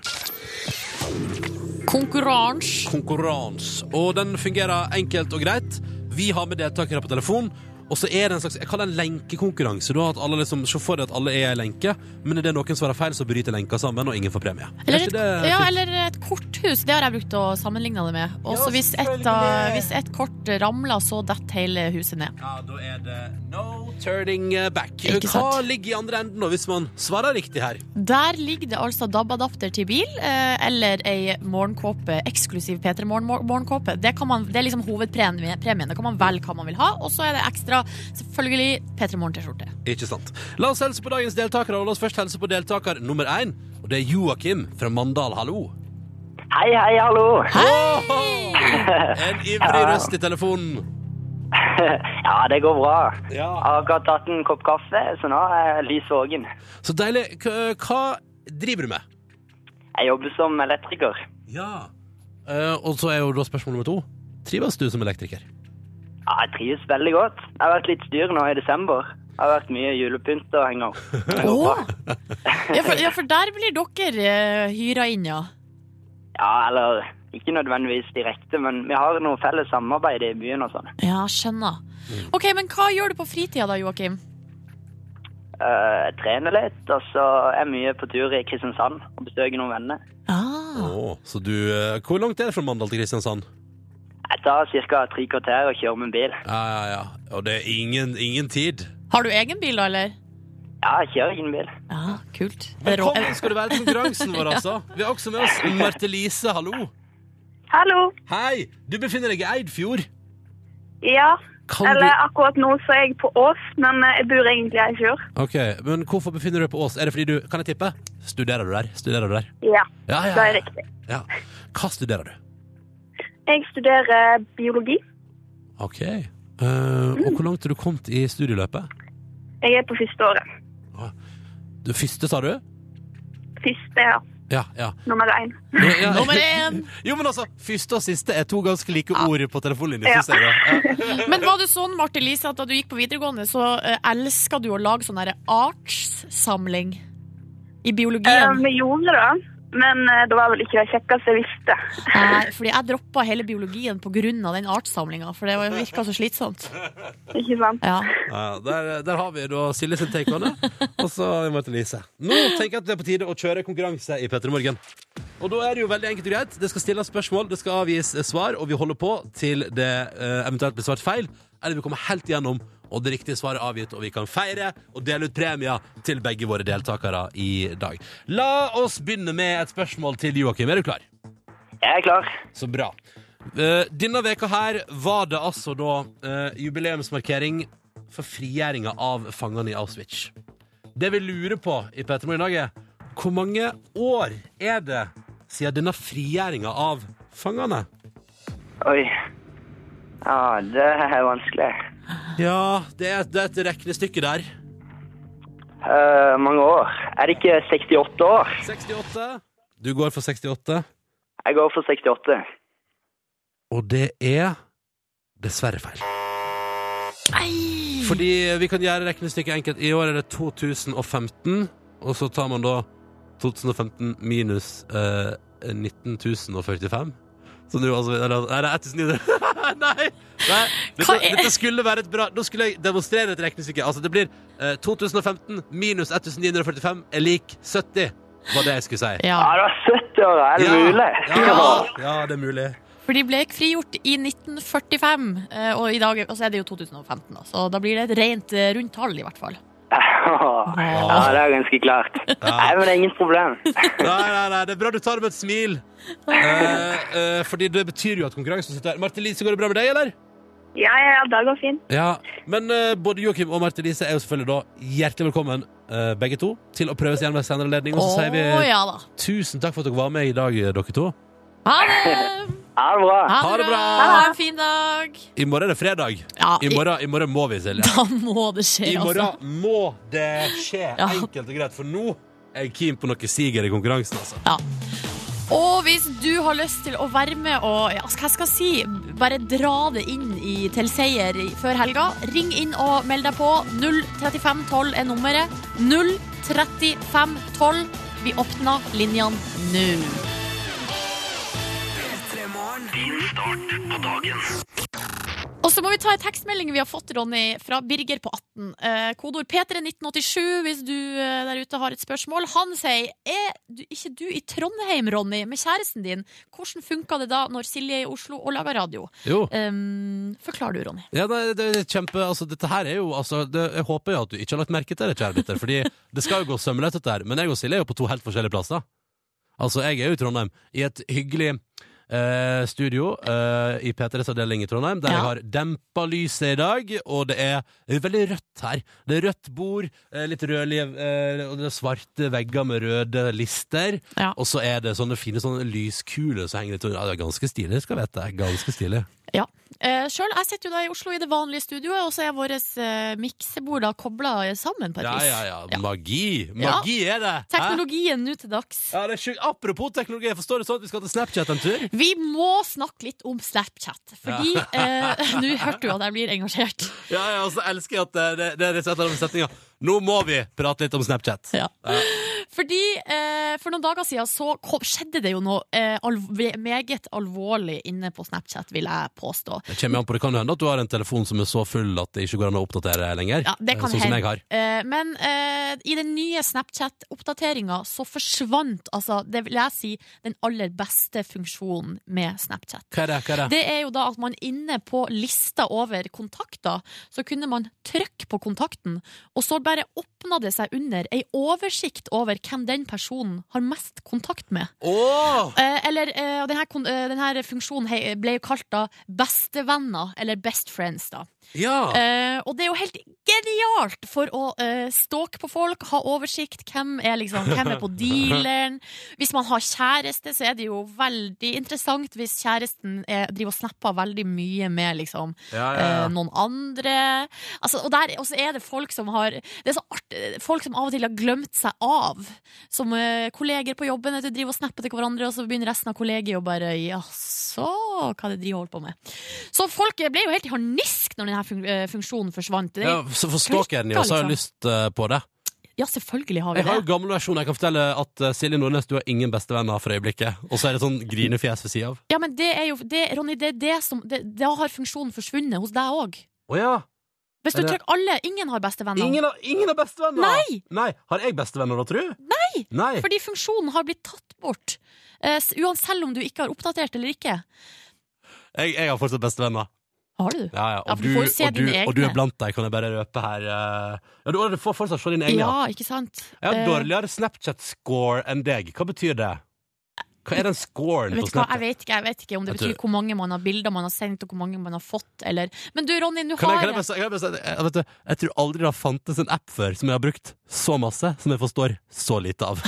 F: Konkurranse.
E: Konkurranse. Og den fungerer enkelt og greit. Vi har med deltakere på telefon. Og så er det en slags, Jeg kaller det en lenkekonkurranse. da, at alle liksom, Se for deg at alle er i lenke, men er det noen svarer feil, så bryter lenka sammen, og ingen får premie. Er
F: Eller
E: ikke
F: et,
E: det-
F: ja, eller et korthus. Det har jeg brukt å sammenligne det med. Og så hvis, et av- Eh, hvis et kort ramler, så detter hele huset ned.
E: Ja, da er det no turning back.
F: Ikke sant.
E: Hva ligger i andre enden da, hvis man svarer riktig her?
F: Der ligger det altså DAB-adapter til bil, eh, eller ei morgenkåpe, eksklusiv P3 Morgen-morgenkåpe. Det, kan man- det er liksom hovedpremien. Det kan man velge hva man vil ha. Og så er det ekstra, selvfølgelig, P3 Morgen-T-skjorte.
E: Ikke sant. La oss helse på dagens deltakere, og la oss først helse på deltaker nummer én. Og det er Joakim fra Mandal, hallo.
D: Hei, hei, hallo.
E: En ivrig røst i telefonen.
D: (laughs) Ja, det går bra. Jeg
E: Ja.
D: har akkurat tatt en kopp kaffe, så nå er jeg lys våken.
E: Så deilig. K hva driver du med?
D: Jeg jobber som elektriker.
E: Ja. Eh, og så er jo da spørsmål nummer to. Trives du som elektriker?
D: Ja, jeg trives veldig godt. Jeg har vært litt styr nå i desember. Det har vært mye julepynt å henge opp.
B: Ja, for, ja, for der blir dere
F: eh,
B: uh, hyra inn, ja.
D: Ja, eller ikke nødvendigvis direkte, men vi har noe felles samarbeid i byen og sånn.
B: Ja, skjønner. Ok, Men hva gjør du på fritida da, Joakim?
D: Eh, Jeg trener litt, og så er jeg mye på tur i Kristiansand og besøker noen venner.
B: Ah,
E: Å, så du, eh, hvor langt er det fra Mandal til Kristiansand?
D: Jeg tar ca. tre kvarter og kjører med bil.
E: Ja, ja, ja. Og det er ingen, ingen tid.
B: har du egen bil, da, eller?
D: Ja, jeg kjører ingen bil.
B: Ja, kult. Det er rå-
E: Velkommen skal du være til konkurransen
B: (laughs)
E: vår, altså. Vi har også med oss Marte Lise, hallo.
G: Hallo.
E: Hei, du befinner deg i Eidfjord.
G: Ja.
E: Kan
G: Eller akkurat nå så er jeg på Ås, men eh, jeg bor egentlig i Eifjord.
E: du Ok, men hvorfor befinner du deg på Ås? Er det fordi du Kan jeg tippe? Studerer du der? Studerer du der?
G: Ja,
E: Ja, ja,
G: det er
E: ja.
G: riktig.
E: ja. Hva studerer du?
G: Jeg studerer eh, biologi.
E: Ok. Eh, og hvor langt har du kommet i studieløpet?
G: Jeg er på første året.
E: Du første, sa du?
G: Første, ja.
E: Ja,
G: (laughs)
E: ja.
G: Nummer én.
E: ja, ja.
B: Nummer én!
E: Jo, men altså, første og siste er to ganske like ord på telefonlinjen.
G: Ja.
E: synes jeg da. Ja.
B: Men var det sånn, Marte Lise, at da du gikk på videregående, så uh, elska du å lage sånn derre artssamling i
G: Eh,
B: biologien?
G: Vi gjorde det, men eh, det var vel ikke det kjekkeste jeg visste. (laughs)
B: Nei, Eh, fordi jeg droppa hele biologien pga. den artssamlinga, for det virka så slitsomt.
G: Ikke sant?
B: Ja.
E: Ja, der, der har vi da Silje sin take on det. Og så Marte Lise. Nå tenker jeg at det er på tide å kjøre konkurranse i P3 Morgen. Og da er det jo veldig enkelt og greit. Det skal stilles spørsmål, det skal avgis eh, svar, og vi holder på til det eh, eventuelt blir svart feil, eller vi kommer helt igjennom, og det riktige svaret er avgitt, og vi kan feire og dele ut premier til begge våre deltakere i dag. La oss begynne med et spørsmål til Joakim. Er du klar?
D: Jeg er klar.
E: Så bra. Eh, Denne veka her var det altså da eh, jubileumsmarkering for frigjøringa av fangene i Auschwitz. Det vi lurer på i Petter Morgen i dag, er hvor mange år er det siden denne frigjøringa av fangene?
D: Oi. Ja, det er vanskelig.
E: Ja, det er, det er et regnestykke der.
D: Eh, mange år. Er det ikke 68 år?
E: 68. Du går for 68,
D: Jeg går for 68.
E: og det er dessverre feil.
B: Nei!
E: Fordi vi kan gjøre regnestykket enkelt. I år er det 2015, og så tar man da 2015 minus eh, 19.045. Så nå altså Eller nei, det er 1900 (laughs) Nei! nei dette,
B: Hva er-
E: dette skulle være et bra Nå skulle jeg demonstrere et regnestykke. Altså, det blir eh, 2015 minus 1945 er lik 70, var det jeg skulle si.
D: Ja,
B: Ja.
D: det var 70 år. Er det mulig?
E: Ja, ja, ja, det er mulig.
B: For de ble frigjort i 1945, eh, og i dag og så er det jo 2015, da, så da blir det et rent eh, rundt tall, i hvert fall.
D: (laughs) ja, det er ganske klart. Nei, men det er ingen problem.
E: Nei, nei, nei, det er bra du tar det med et smil. Eh, eh, fordi det betyr jo at konkurransen sitter her. Marte Lise, går det bra med deg, eller?
G: Ja, ja, ja, det går fint.
E: Ja, Men eh, både Joakim og Marte Lise er jo selvfølgelig da hjertelig velkommen eh, begge to til å prøves igjen ved senere anledning.
B: Å
E: Og så sier vi
B: ja da.
E: tusen takk for at dere var med i dag, eh, dere to.
B: Ha det!
D: Ja, det er bra.
B: Ha
E: det bra.
B: Ha en fin dag!
E: I morgen er det fredag.
B: Ja,
E: I morgen, i morgen må vi, Silje.
B: (laughs) da må det skje,
E: I
B: altså.
E: morgen må det skje.
B: Ja.
E: Enkelt og greit. For nå er jeg keen på noe siger i konkurransen, altså.
B: Ja. Og hvis du har lyst til å være med og ja, hva skal jeg si, bare dra det inn i, til seier i- før helga, ring inn og meld deg på. 03512 er nummeret. 03512. Vi åpner linjene nå. Og så må vi ta en tekstmelding vi har fått, Ronny, fra Birger på 18. Eh, kodord P3 1987 hvis du eh, der ute har et spørsmål. Han sier er du, ikke du i Trondheim, Ronny, med kjæresten din. Hvordan funka det da når Silje er i Oslo og lager radio?
E: Jo.
B: Um, forklar du, Ronny.
E: Ja, nei, det er kjempe, altså dette her er jo, altså, det, jeg håper jo at du ikke har lagt merke til det, kjære lytter, fordi det skal jo gå sømmeløst dette her, men jeg og Silje er jo på to helt forskjellige plasser. Altså, jeg er jo i Trondheim, i et hyggelig eh, studio eh, i P3s avdeling i Trondheim, der
B: Ja.
E: jeg har dempa lyset i dag, og det er veldig rødt her. Det er rødt bord, eh, litt rødliv, eh, og det er svarte vegger med røde lister,
B: Ja.
E: og så er det sånne fine sånne lyskuler som henger litt under. Ja, det er ganske stilig, skal jeg vite. Ganske stilig.
B: Eh, Sjøl jeg sitter jo da i Oslo i det vanlige studioet, og så er våre eh, miksebord da kobla sammen på et
E: Ja,
B: vis.
E: ja, ja.
B: Ja.
E: Magi! Magi er det! Hæ?
B: Teknologien nå til dags.
E: Ja, det er sjukt. Apropos teknologi, jeg forstår det sånn at vi skal til Snapchat en tur.
B: Vi må snakke litt om Snapchat, fordi (laughs) eh, Nå hørte du at jeg blir engasjert.
E: Ja, ja, og så elsker jeg at det, det, det er rett og slett en av setningene. Nå må vi prate litt om Snapchat.
B: Ja. Fordi eh, For noen dager siden så kom, skjedde det jo noe eh, alv meget alvorlig inne på Snapchat, vil jeg påstå.
E: Det kommer an på, det kan jo hende at du har en telefon som er så full at det ikke går an å oppdatere lenger.
B: Ja, det kan
E: sånn som
B: hende.
E: jeg har.
B: Eh, men eh, i den nye Snapchat-oppdateringa så forsvant altså, det vil jeg si, den aller beste funksjonen med Snapchat.
E: Hva er det? Hva er det?
B: Det er jo da at man inne på lista over kontakter, så kunne man trykke på kontakten, og så bare åpna det seg under ei oversikt over hvem den personen har mest kontakt med.
E: Åh!
B: Eh, eller, eh, og denne, denne funksjonen he- ble jo kalt da bestevenner, eller best friends, da.
E: Ja!
B: Eh, og det er jo helt genialt for å eh, stalke på folk, ha oversikt. Hvem er, liksom, hvem er på dealeren? Hvis man har kjæreste, så er det jo veldig interessant hvis kjæresten er, driver og snapper veldig mye med liksom,
E: ja, ja,
B: eh,
E: ja.
B: noen andre. Altså, og, der, og så er det folk som har Det er så artig, folk som av og til har glemt seg av. Som eh, kolleger på jobben vet du, driver og snapper til hverandre, og så begynner resten av kollegiet å bare Jaså, hva det de holder på med? Så folk ble jo helt i harnisk når denne fun eh, funksjonen forsvant. Det,
E: Ja, så forstår jeg den jo, så har jeg lyst eh, på det.
B: sånn- ja, selvfølgelig har vi
E: Jeg har
B: det.
E: jo gammel versjon. Jeg kan fortelle at eh, Silje Nordnes, du har ingen bestevenner for øyeblikket. Og så er det sånn grinefjes ved sida av.
B: Ja, men det er jo det, Ronny, det er det som det, Da har funksjonen forsvunnet hos deg òg.
E: Å ja!
B: Hvis du
E: Er det-
B: trykker alle Ingen har bestevenner.
E: Ingen har, ingen har bestevenner!
B: Nei!
E: Har jeg bestevenner da, tru? Nei! Nei.
B: Fordi funksjonen har blitt tatt bort. Eh, s- uansett selv om du ikke har oppdatert eller ikke.
E: Jeg, jeg har fortsatt bestevenner.
B: Har du?
E: Ja,
B: Ja,
E: ja. Og,
B: for
E: du,
B: du får jo se
E: og, du,
B: dine
E: og du er
B: egne.
E: blant deg, kan jeg bare røpe her. eh. Ja, du, du får fortsatt se dine egne. ja.
B: Ja, ikke sant?
E: Jeg har
B: Eh,
E: dårligere Snapchat-score enn deg. Hva betyr det? Hva er den scoren
B: vet
E: på
B: du hva, jeg
E: Snapchat?
B: vet ikke, jeg vet ikke om det
E: Jeg tror-
B: betyr hvor mange man har bilder man har sendt, og hvor mange man har fått, eller Men du, Ronny, du
E: Kan
B: har
E: jeg, kan jeg, bare, si- kan jeg, bare, si- jeg, vet du, jeg tror aldri det har fantes en app før som jeg har brukt så masse, som jeg forstår så lite
B: (laughs)
E: av.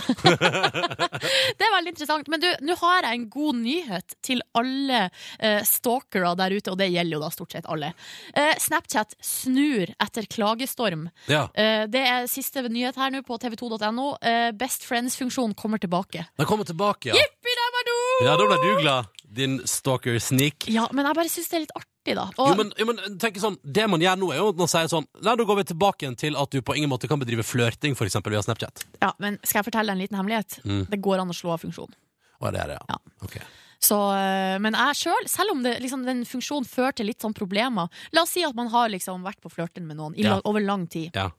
B: Det er veldig interessant. Men du, nå har jeg en god nyhet til alle eh, stalkere der ute, og det gjelder jo da stort sett alle. Eh, Snapchat snur etter klagestorm.
E: Ja.
B: Eh, det er siste nyhet her nå på tv2.no. Eh, Best friends-funksjonen kommer tilbake.
E: Den kommer tilbake, ja.
B: Jippi dammado!
E: Ja, Da ble du glad, din stalker-sneak.
B: Ja, men jeg bare syns det er litt artig, da. Og,
E: Jo, men, jo, men tenk sånn, Det man gjør nå, er jo at man sier sånn Nei, da går vi tilbake igjen til at du på ingen måte kan bedrive flørting, for eksempel via Snapchat.
B: ja, men skal jeg fortelle en liten hemmelighet?
E: Mm.
B: Det går an å slå av funksjonen.
E: Å, det er det, ja.
B: Ja.
E: Ok.
B: Så, eh, men jeg selv, selv om det, liksom, den funksjonen fører til litt sånn problemer La oss si at man har liksom vært på flørten med noen i,
E: Ja.
B: la- over lang tid.
E: Ja.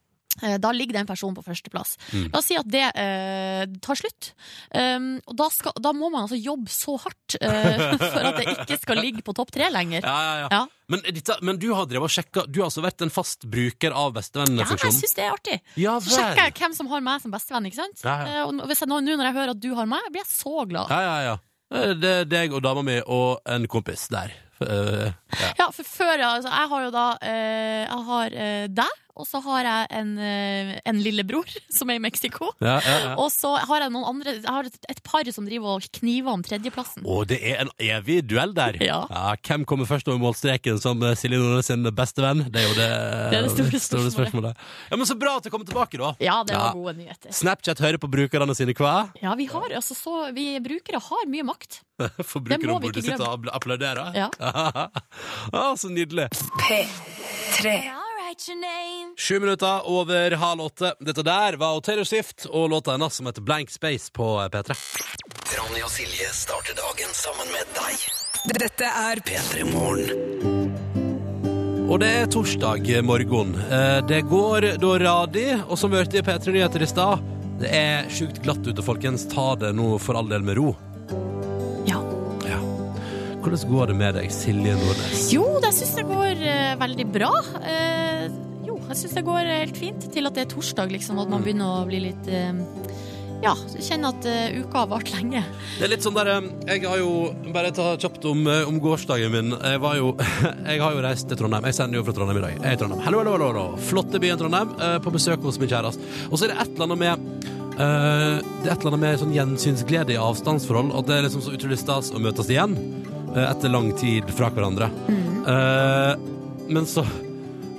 B: Eh, Da ligger det en person på førsteplass.
E: Mm.
B: La oss si at det eh, tar slutt. Um, og da, skal, da må man altså jobbe så hardt eh, (laughs) for at det ikke skal ligge på topp tre lenger.
E: Ja, ja, ja.
B: Ja.
E: Men, dette, men du har drevet og sjekka Du har altså vært en fast bruker av
B: Ja, jeg
E: bestevennfunksjonen?
B: syns det er artig.
E: Ja,
B: Så sjekker jeg hvem som har meg som bestevenn. ikke sant?
E: Ja, ja.
B: Eh, Og hvis jeg nå, nå når jeg hører at du har meg, blir jeg så glad.
E: Ja, ja, ja. Eh, Det er deg og dama mi og en kompis der. Eh, ja.
B: Ja, for før ja, altså, Jeg har jo da eh, Jeg har eh, deg, og så har jeg en, eh, en lillebror (laughs) som er i Mexico.
E: Ja, ja, ja.
B: Og så har jeg noen andre Jeg har et, et par som driver og kniver om tredjeplassen.
E: Og det er en evig duell der.
B: Ja.
E: hvem kommer først over målstreken som eh, Silje Nordnes sin beste venn? Det er jo det,
B: Det er det store
E: spørsmålet. Ja, Men så bra at det kommer tilbake, da.
B: Ja, det
E: Ja.
B: var gode nyheter.
E: Snapchat hører på brukerne sine hva? (laughs)
B: Ja, vi har, altså, så, vi brukere har mye makt. Det må vi
E: Forbrukerombudet
B: ikke
E: sitter og applauderer. (laughs)
B: Ja.
E: ah, så nydelig. Sju minutter over halv åtte. Dette der var Taylor Swift og låta hennes som heter Blank Space på P3.
A: Ronny og Silje starter dagen sammen med deg.
F: Dette er
A: P3 Morgen.
E: Og det er torsdag morgen. Eh, Det går da radi, og som vi hørte i P3 Nyheter i stad, det er sjukt glatt ute, folkens. Ta det nå for all del med ro.
B: Ja.
E: Ja. Hvordan går det med deg, Silje Nordnes?
B: Jo, det syns jeg går eh, veldig bra. Eh, jo, jeg syns det går helt fint til at det er torsdag, liksom. At man begynner å bli litt eh, Ja, kjenne at eh, uka har vart lenge.
E: Det er litt sånn der eh, Jeg har jo Bare ta kjapt om, eh, om gårsdagen min. Jeg var jo (laughs) Jeg har jo reist til Trondheim. Jeg sender jo fra Trondheim i dag. Jeg er i Trondheim. Hallo, hallo, hallo, hallo. Flotte byen Trondheim. eh, På besøk hos min kjæreste. Og så er det et eller annet med Eh, det er et eller annet med sånn gjensynsglede i avstandsforhold, og det er liksom så utrolig stas å møtes igjen eh, etter lang tid fra hverandre. Eh, men så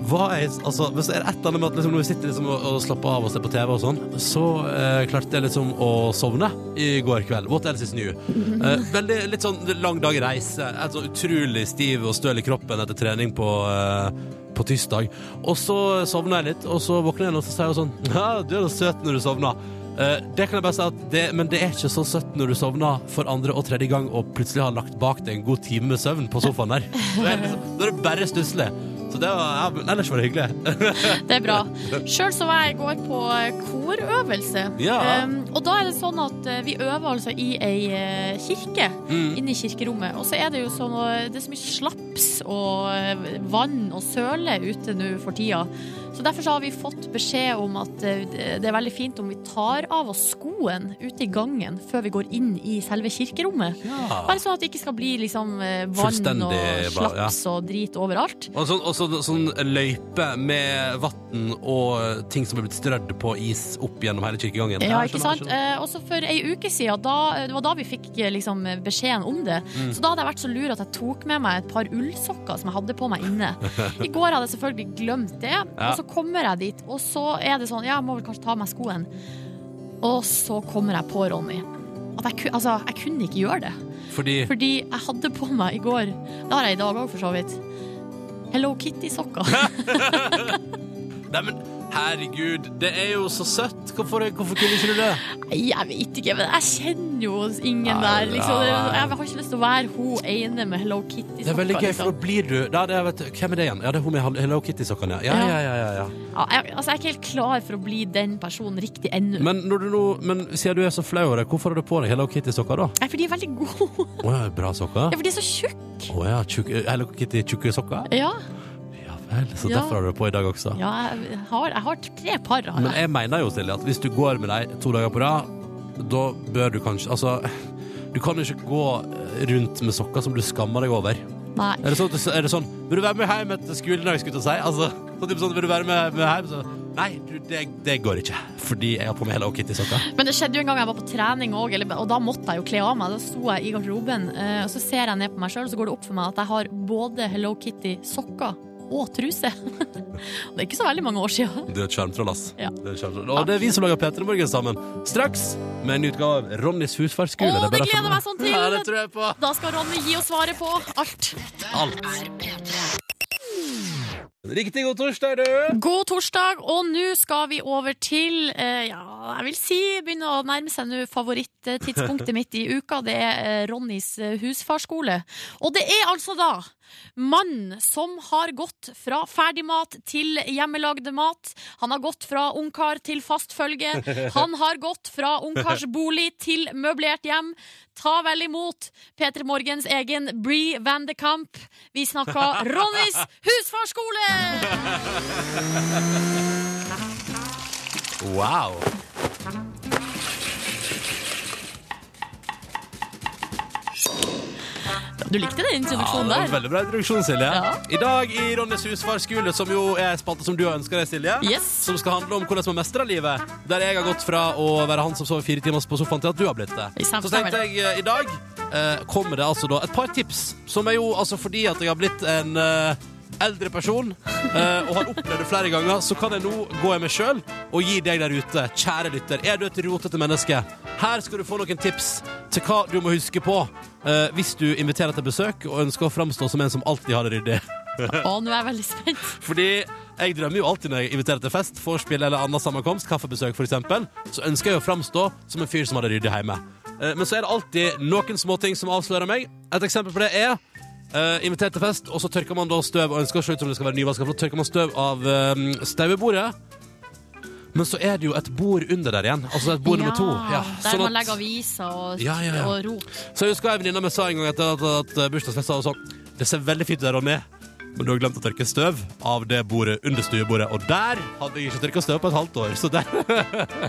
E: var jeg, altså, men så er det et eller annet med at liksom, når vi sitter liksom, og, og slapper av og ser på TV og sånn, så eh, klarte jeg liksom å sovne i går kveld. What else is new? Eh, veldig, litt sånn lang dag i reise. Et sånn utrolig stiv og støl i kroppen etter trening på eh, på tirsdag. Og så sovna jeg litt, og så våkna jeg igjen, og så sier hun sånn (laughs) Ja, du er da søt når du sovna. Eh, det kan jeg bare si at det, Men det er ikke så søtt når du sovner for andre og tredje gang og plutselig har lagt bak deg en god time med søvn på sofaen der. Da er det liksom- da er det bare stusslig. Så det var ja, men Ellers var det hyggelig.
B: Det er bra. Sjøl så var jeg i går på eh, korøvelse.
E: (laughs) Ja.
B: Um, og da er det sånn at eh, vi øver altså i ei eh, kirke,
E: Mm.
B: inne i kirkerommet. Og så er det jo sånn eh, Det er så mye slaps og eh, vann og søle ute nå for tida. Så derfor så har vi fått beskjed om at eh, det er veldig fint om vi tar av oss skoen ute i gangen før vi går inn i selve kirkerommet.
E: Ja.
B: Bare sånn at det ikke skal bli liksom eh, vann og
E: Fullstendig bare, ja.
B: slaps og drit overalt.
E: Og sånn, og så, sånn løype med vann og ting som er blitt strødd på is opp gjennom hele kirkegangen.
B: Ja,
E: jeg
B: ikke
E: skjønner,
B: sant?
E: jeg skjønner.
B: Eh, også for ei uke siden, da, det var da vi fikk eh, liksom, beskjeden om det. Så da hadde jeg vært så lur at jeg tok med meg et par ullsokker som jeg hadde på meg inne. (laughs) I går hadde jeg selvfølgelig glemt det, og så kommer jeg dit, og så er det sånn, ja, jeg må vel kanskje ta av meg skoen. Og så kommer jeg på, Ronny, at jeg, ku- altså, jeg kunne ikke gjøre det.
E: Fordi
B: Fordi jeg hadde på meg i går, det har jeg i dag òg for så vidt, Hello Kitty-sokker.
E: Nei, men herregud, det er jo så søtt. Hvorfor, hvorfor kunne ikke du det?
B: Nei, Jeg vet ikke, men jeg kjenner jo ingen
E: Nei,
B: der. Liksom.
E: nei.
B: Jeg har ikke lyst til å være hun ene med Hello Kitty.
E: Det er veldig gøy, for da blir du da, det, er- vet, du, Hvem er det igjen? Ja, det er hun med Hall- Hello Kitty-sokkene. Ja, ja, ja, ja, ja.
B: Ja, jeg, altså, jeg er ikke helt klar for å bli den personen riktig ennå.
E: Men, når du nå, men siden du er så flau over det, hvorfor har du på deg Hello Kitty-sokker da?
B: Nei, for de er veldig gode.
E: Å ja, bra sokker.
B: (laughs) Ja, for de er så tjukke.
E: Å ja, tjukk- Hello Kitty-tjukke sokker?
B: Ja,
E: Ja vel, så
B: Ja.
E: derfor har du det på i dag også.
B: ja jeg, har, jeg har tre par. Har
E: Men
B: jeg.
E: jeg mener jo, Silje, at hvis du går med deg to dager på rad, da bør du kanskje Altså, du kan jo ikke gå eh, rundt med sokker som du skammer deg over.
B: Nei.
E: Er det sånn, er det sånn Vil du være med hjem etter skolen i dag, skulle jeg til å si? Altså, sånn, typ sånn, vil du være med, med hjem? Så, nei, du, det, det går ikke. Fordi jeg har på meg Hello Kitty-sokker.
B: Men det skjedde jo en gang jeg var på trening òg, og da måtte jeg jo kle av meg. Da sto jeg i garderoben, eh, og så ser jeg ned på meg sjøl, og så går det opp for meg at jeg har både Hello Kitty-sokker og truse. det er ikke så veldig mange år sia.
E: Du er et sjarmtroll, ass.
B: Ja.
E: Du er et sjarmtroll. Og det er vi som lager P3 Morgen sammen. Straks med en utgave av Ronnys husfarskule.
B: Å,
E: er bare
B: det gleder (laughs)
E: derfor-
B: meg sånn til!
E: Ja, det tror jeg på.
B: Da skal Ronny gi oss svaret på alt.
E: Alt. Riktig god torsdag, du!
B: God torsdag, og nå skal vi over til eh, Ja, jeg vil si begynner å nærme seg nå favorittidspunktet mitt i uka. Det er eh, Ronnys eh, husfarskole. Og det er altså da mannen som har gått fra ferdigmat til hjemmelagd mat. Han har gått fra ungkar til fast følge. Han har gått fra ungkarsbolig til møblert hjem. Ta vel imot P3 Morgens egen Bree Van de Kamp. Vi snakker Ronnys husfarskole!
E: Wow.
B: Du likte den
E: Ja,
B: introduksjonen
E: det var en
B: der?
E: veldig bra introduksjon, Silje.
B: Ja.
E: I dag i Ronnys husfarskule, som jo er en spalte som du har ønska deg, Silje.
B: Yes.
E: Som skal handle om hvordan man mestrer livet. Der jeg har gått fra å være han som sover fire timer på sofaen, til at du har blitt det.
B: I
E: Så
B: samstemmer.
E: tenkte jeg eh, i dag eh, kommer det altså da et par tips, som er jo altså fordi at jeg har blitt en eh, Eldre person, eh, og har opplevd det flere ganger, så kan jeg nå gå i meg sjøl og gi deg der ute, kjære lytter, er du et rotete menneske? Her skal du få noen tips til hva du må huske på eh, hvis du inviterer til besøk og ønsker å framstå som en som alltid har det ryddig.
B: Å, nå er jeg veldig spent.
E: Fordi jeg drømmer jo alltid når jeg inviterer til fest, vorspiel eller annen sammenkomst, kaffebesøk f.eks., så ønsker jeg å framstå som en fyr som hadde ryddig hjemme. Eh, Men så er det alltid noen småting som avslører meg. Et eksempel på det er eh, invitert til fest, og så tørker man da støv og ønsker å se ut som det skal være nyvaska, for da tørker man støv av um, stauebordet. Men så er det jo et bord under der igjen. Altså et bord nummer to. Ja,
B: der
E: sånn
B: man
E: at-
B: legger aviser og,
E: Ja, ja, ja.
B: og rop.
E: så jeg husker en venninne meg sa en gang etter at, at, at bursdagsfest sa hun sånn Det ser veldig fint ut der, Ronny, men du har glemt å tørke støv av det bordet under stuebordet. Og der hadde jeg ikke tørka støv på et halvt år, så der (laughs)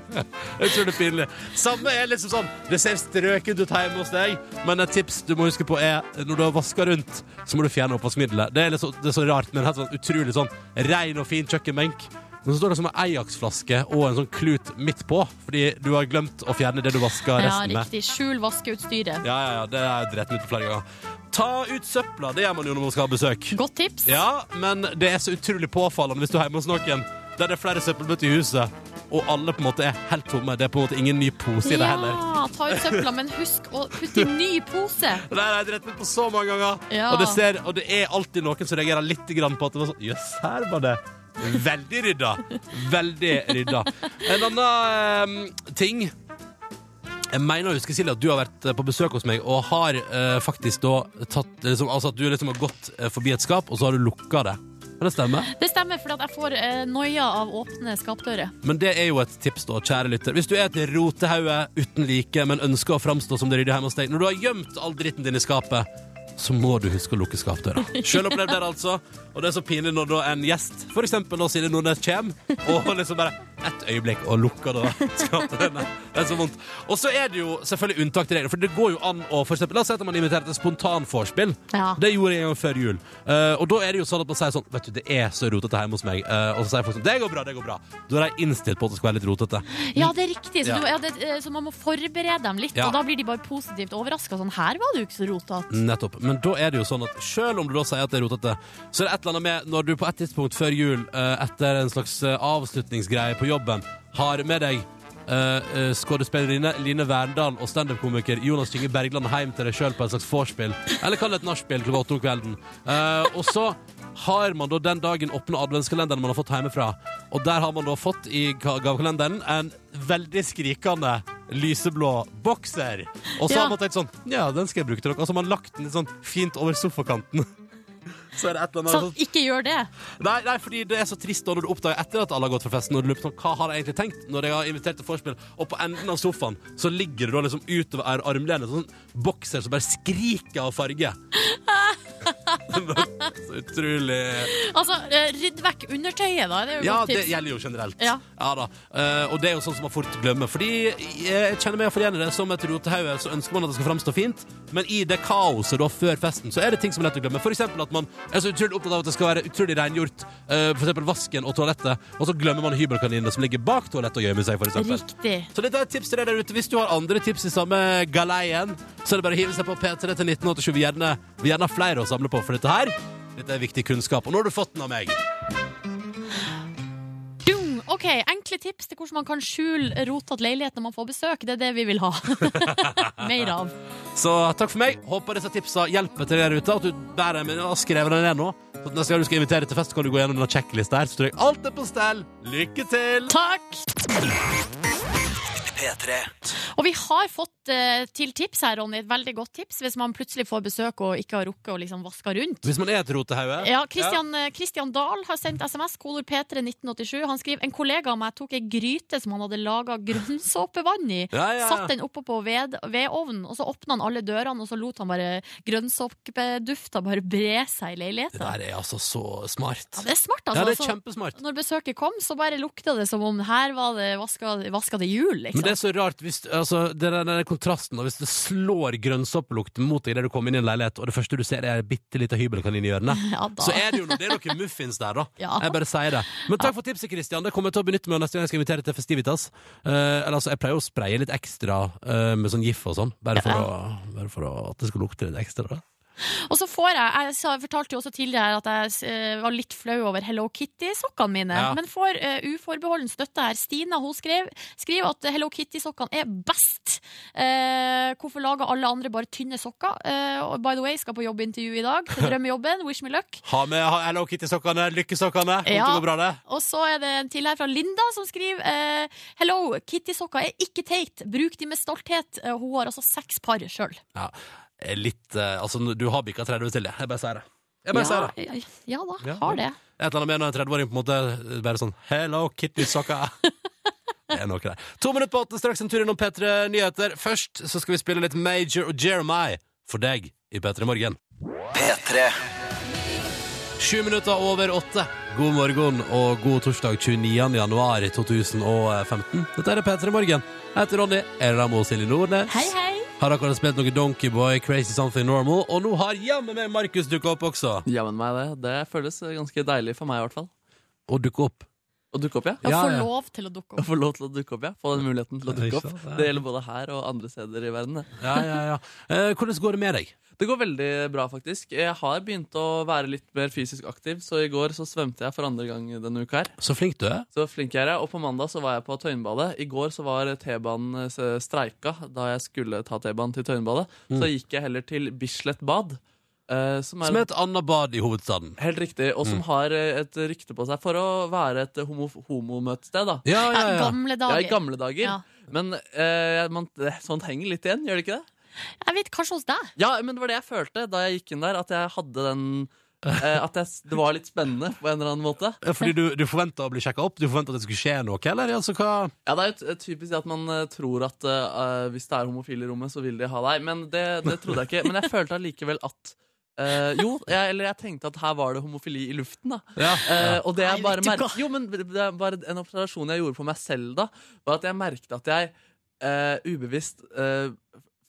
E: Utrolig pinlig. Samme er liksom sånn Det ser strøket ut hjemme hos deg, men et tips du må huske på, er når du har vaska rundt, så må du fjerne oppvaskmiddelet. Det er, liksom, det er så rart, men helt sånn utrolig sånn rein og fin kjøkkenbenk. Men så står det som en Ajax-flaske og en sånn klut midt på, fordi du har glemt å fjerne det du vaska
B: Ja,
E: resten med.
B: riktig. Skjul vaskeutstyret.
E: Ja, ja, ja, det er drept ut flere ganger. Ta ut søpla, det gjør man jo når man skal ha besøk.
B: Godt tips.
E: Ja, men det er så utrolig påfallende hvis du er hjemme hos noen der det er flere søppelbøtter i huset, og alle på en måte er helt tomme. Det er på en måte ingen ny pose i det heller.
B: Ja, ta ut søpla, men husk å putte i ny pose.
E: Det der har jeg drept meg på så mange ganger.
B: Ja.
E: Og, det ser, og det er alltid noen som reagerer litt grann på at det var sånn Jøss, her var det veldig rydda. Veldig rydda. En annen eh, ting jeg mener å huske, Silje, at du har vært eh, på besøk hos meg og har eh, faktisk da tatt liksom, Altså at du liksom har gått eh, forbi et skap, og så har du lukka det. Kan det stemme?
B: Det stemmer, for at jeg får eh, noia av åpne skapdører.
E: Men det er jo et tips, da, kjære lytter. Hvis du er et rotehauge uten like, men ønsker å framstå som det ryddige hjemme hos deg, når du har gjemt all dritten din i skapet, så må du huske å lukke skapdøra. Sjøl opplevd det, altså. Og det er så pinlig når da en gjest, f.eks. når Silje Nordnes, kommer, og liksom bare ett øyeblikk og lukker da skapdørene. Det er så vondt. Og så er det jo selvfølgelig unntak til regler, for det går jo an å for eksempel, La oss si at man inviterer til spontanforspill.
B: Ja.
E: Det gjorde jeg en gang før jul. Eh, og da er det jo sånn at man sier sånn Vet du, det er så rotete hjemme hos meg. Eh, og så sier folk sånn Det går bra, det går bra. Da er de innstilt på at det skal være litt rotete.
B: Ja, det er riktig, så,
E: Ja.
B: du, ja, det, eh, så man må forberede dem litt,
E: Ja.
B: og da blir de bare positivt overraska. Sånn, her var det jo ikke så rotete.
E: Nettopp. Men da er det jo sånn at selv om du da sier at det er rotete, så er det et eller annet med når du på et tidspunkt før jul, eh, etter en slags eh, avslutningsgreie på jobben, har med deg Uh, Skuespillerinne Line Verndal og standup-komiker Jonas Kynge Bergland hjem til deg sjøl på et slags vorspiel, eller kall det et nachspiel klokka åtte om kvelden. Eh, og så har man da den dagen åpna adventskalenderen man har fått hjemmefra, og der har man da fått i ga- gavekalenderen en veldig skrikende lyseblå bokser. Og så
B: Ja.
E: har man tenkt sånn Ja, den skal jeg bruke til noe. Og så har man lagt den litt sånn fint over sofakanten. (laughs) Så er det et eller annet
B: Så ikke gjør det.
E: Nei, nei, fordi det er så trist da når du oppdager etter at alle har gått fra festen, og du lurer på sånn, hva har jeg egentlig tenkt når jeg har invitert til vorspiel, og på enden av sofaen så ligger det da liksom utover ar- armlenet sånn bokser som bare skriker
B: (laughs)
E: av farge. (laughs) så utrolig
B: Altså, eh, rydd vekk undertøyet, da. Det er jo
E: Ja,
B: godt
E: det
B: tips.
E: gjelder jo generelt.
B: Ja.
E: da. Eh, og det er jo sånn som man fort glemmer. Fordi jeg kjenner meg igjen i det. Som et rotehauge så ønsker man at det skal framstå fint, men i det kaoset da før festen, så er det ting som er lett å glemme. For eksempel at man er så utrolig opptatt av at det skal være utrolig rengjort. eh, for eksempel vasken og toalettet, og så glemmer man hybelkaninene som ligger bak toalettet og gjemmer seg, for eksempel.
B: Riktig.
E: Så dette er et tips til deg der ute. Hvis du har andre tips i samme galeien, så er det bare å hive seg på P3 til 1987. Vi gjerne, vi gjerne har flere å samle på for dette her. Dette er viktig kunnskap, og nå har du fått den av meg.
B: Dung! Ok, Enkle tips til hvordan man kan skjule rotete leilighet når man får besøk. Det er det vi vil ha. (laughs) Mer av.
E: Så takk for meg. Håper disse tipsa hjelper til dere ute. At du bærer dem med og har skrevet dem ned nå. Så at neste gang du skal invitere til fest, så kan du gå gjennom denne sjekklista her. Så tror jeg alt er på stell. Lykke til!
B: Takk!
A: P3.
B: Og vi har fått eh, til tips her, Ronny. Et veldig godt tips hvis man plutselig får besøk og ikke har rukket å liksom vaske rundt.
E: Hvis man er et rotehauge
B: Ja, Christian, eh, Christian Dahl har sendt SMS, kolor P3 1987. Han skriver en kollega av meg tok ei gryte som han hadde laga grønnsåpevann i.
E: Ja, ja, ja.
B: Satt den oppå på ved, vedovnen, og så åpna han alle dørene, og så lot han bare grønnsåpedufta bare bre seg i
E: Det
B: leiligheten.
E: der er altså så smart.
B: Ja, det er smart, altså.
E: Ja, det er
B: Så
E: kjempesmart.
B: Når besøket kom, så bare lukta det som om her var det vaska, vaska til jul, liksom.
E: Men det er så rart hvis altså, det er den der kontrasten, og hvis det slår grønnsåpelukt mot deg idet du kommer inn i en leilighet, og det første du ser, er en bitte lita hybelkanin i hjørnet,
B: Ja, da.
E: så er det jo no- det er noen muffins der, da.
B: (laughs) Ja.
E: Jeg bare sier det. Men takk for tipset, Christian. Det kommer jeg til å benytte meg av neste gang jeg skal invitere til Festivitas. Eh, eller altså, jeg pleier å spraye litt ekstra eh, med sånn gif og sånn, bare for, å, bare for å, at det skal lukte litt ekstra. Da.
B: Og så får jeg Jeg sa- fortalte jo også tidligere at jeg eh, var litt flau over Hello Kitty-sokkene mine,
E: Ja.
B: men får eh, uforbeholden støtte her. Stina hun skrev, skriver at eh, Hello Kitty-sokkene er best. Eh, hvorfor lager alle andre bare tynne sokker? Eh, og by the way, skal på jobbintervju i
E: (laughs)
B: dag. Til drømmejobben. Wish me luck.
E: Ha med ha- Hello Kitty-sokkene, lykkesokkene. Kommer
B: Ja.
E: til å gå bra, det.
B: Og så er det en til her fra Linda som skriver eh, Hello, Kitty-sokker er ikke teit. Bruk de med stolthet. Eh, Hun har altså seks par sjøl.
E: Ja. Eh, Litt eh, Altså, du har bikka 30 til det. Jeg bare sier det. Jeg bare sier det.
B: ja, ja da,
E: Ja.
B: har det.
E: Et eller annet med når en 30-åring på en måte bare sånn Hello, kitty (laughs) soccer. Det er noe der. To minutter på åtte, straks en tur innom P3 Nyheter. Først så skal vi spille litt Major og Jeremiah for deg i P3 Morgen.
A: P3.
E: Sju minutter over åtte. God morgen og god torsdag 29. januar 2015. Dette er P3 Morgen. Jeg heter Ronny. Er det da med Silje Nordnes?
B: Hei, hei.
E: Har akkurat spilt noe Donkey Boy, Crazy Something Normal, og nå har jammen meg Markus dukka opp også.
C: Jammen meg det. Det føles ganske deilig for meg, i hvert fall.
E: Å dukke opp.
C: Å dukke opp, ja?
B: Å
E: Ja,
B: få
E: ja.
B: lov til å dukke
C: Å
B: opp.
C: få lov til å dukke opp, ja. Få den muligheten til å
E: Ja, ikke
C: dukke opp.
E: sant? Ja.
C: Det gjelder både her og andre steder i verden. det.
E: Ja, ja, ja. Eh, hvordan går det med deg?
C: Det går veldig bra, faktisk. Jeg har begynt å være litt mer fysisk aktiv, så i går så svømte jeg for andre gang denne uka her.
E: Så flink du er.
C: Så flink jeg er, og på mandag så var jeg på Tøyenbadet. I går så var T-banen eh, streika da jeg skulle ta T-banen til Tøyenbadet. Så gikk jeg heller til Bislett bad, eh, Mm. som er
E: Som er et annet bad i hovedstaden.
C: Helt riktig, og som har eh, et rykte på seg for å være et homo homomøtested, da.
E: Ja, ja,
B: Ja,
E: ja.
B: gamle
C: Ja,
B: dager.
C: i gamle dager.
B: Ja.
C: Men eh, man, det- sånt henger litt igjen, gjør det ikke det?
B: Jeg vet kanskje hos deg.
C: Ja, men det var det jeg følte da jeg gikk inn der, at jeg hadde den eh, At jeg, s- det var litt spennende på en eller annen måte.
E: Ja, Fordi du, du forventa å bli sjekka opp? Du forventa at det skulle skje noe, eller? Altså, hva?
C: Ja, Det er jo t- typisk det at man eh, tror at eh, hvis det er homofile i rommet, så vil de ha deg. Men det, det trodde jeg ikke. Men jeg følte allikevel at eh, Jo, jeg, eller jeg tenkte at her var det homofili i luften, da.
E: Ja.
C: Eh, og det jeg
B: Nei,
C: bare
B: vet du
C: merket, jo, men det er bare En observasjon jeg gjorde på meg selv da, var at jeg merket at jeg eh, ubevisst eh,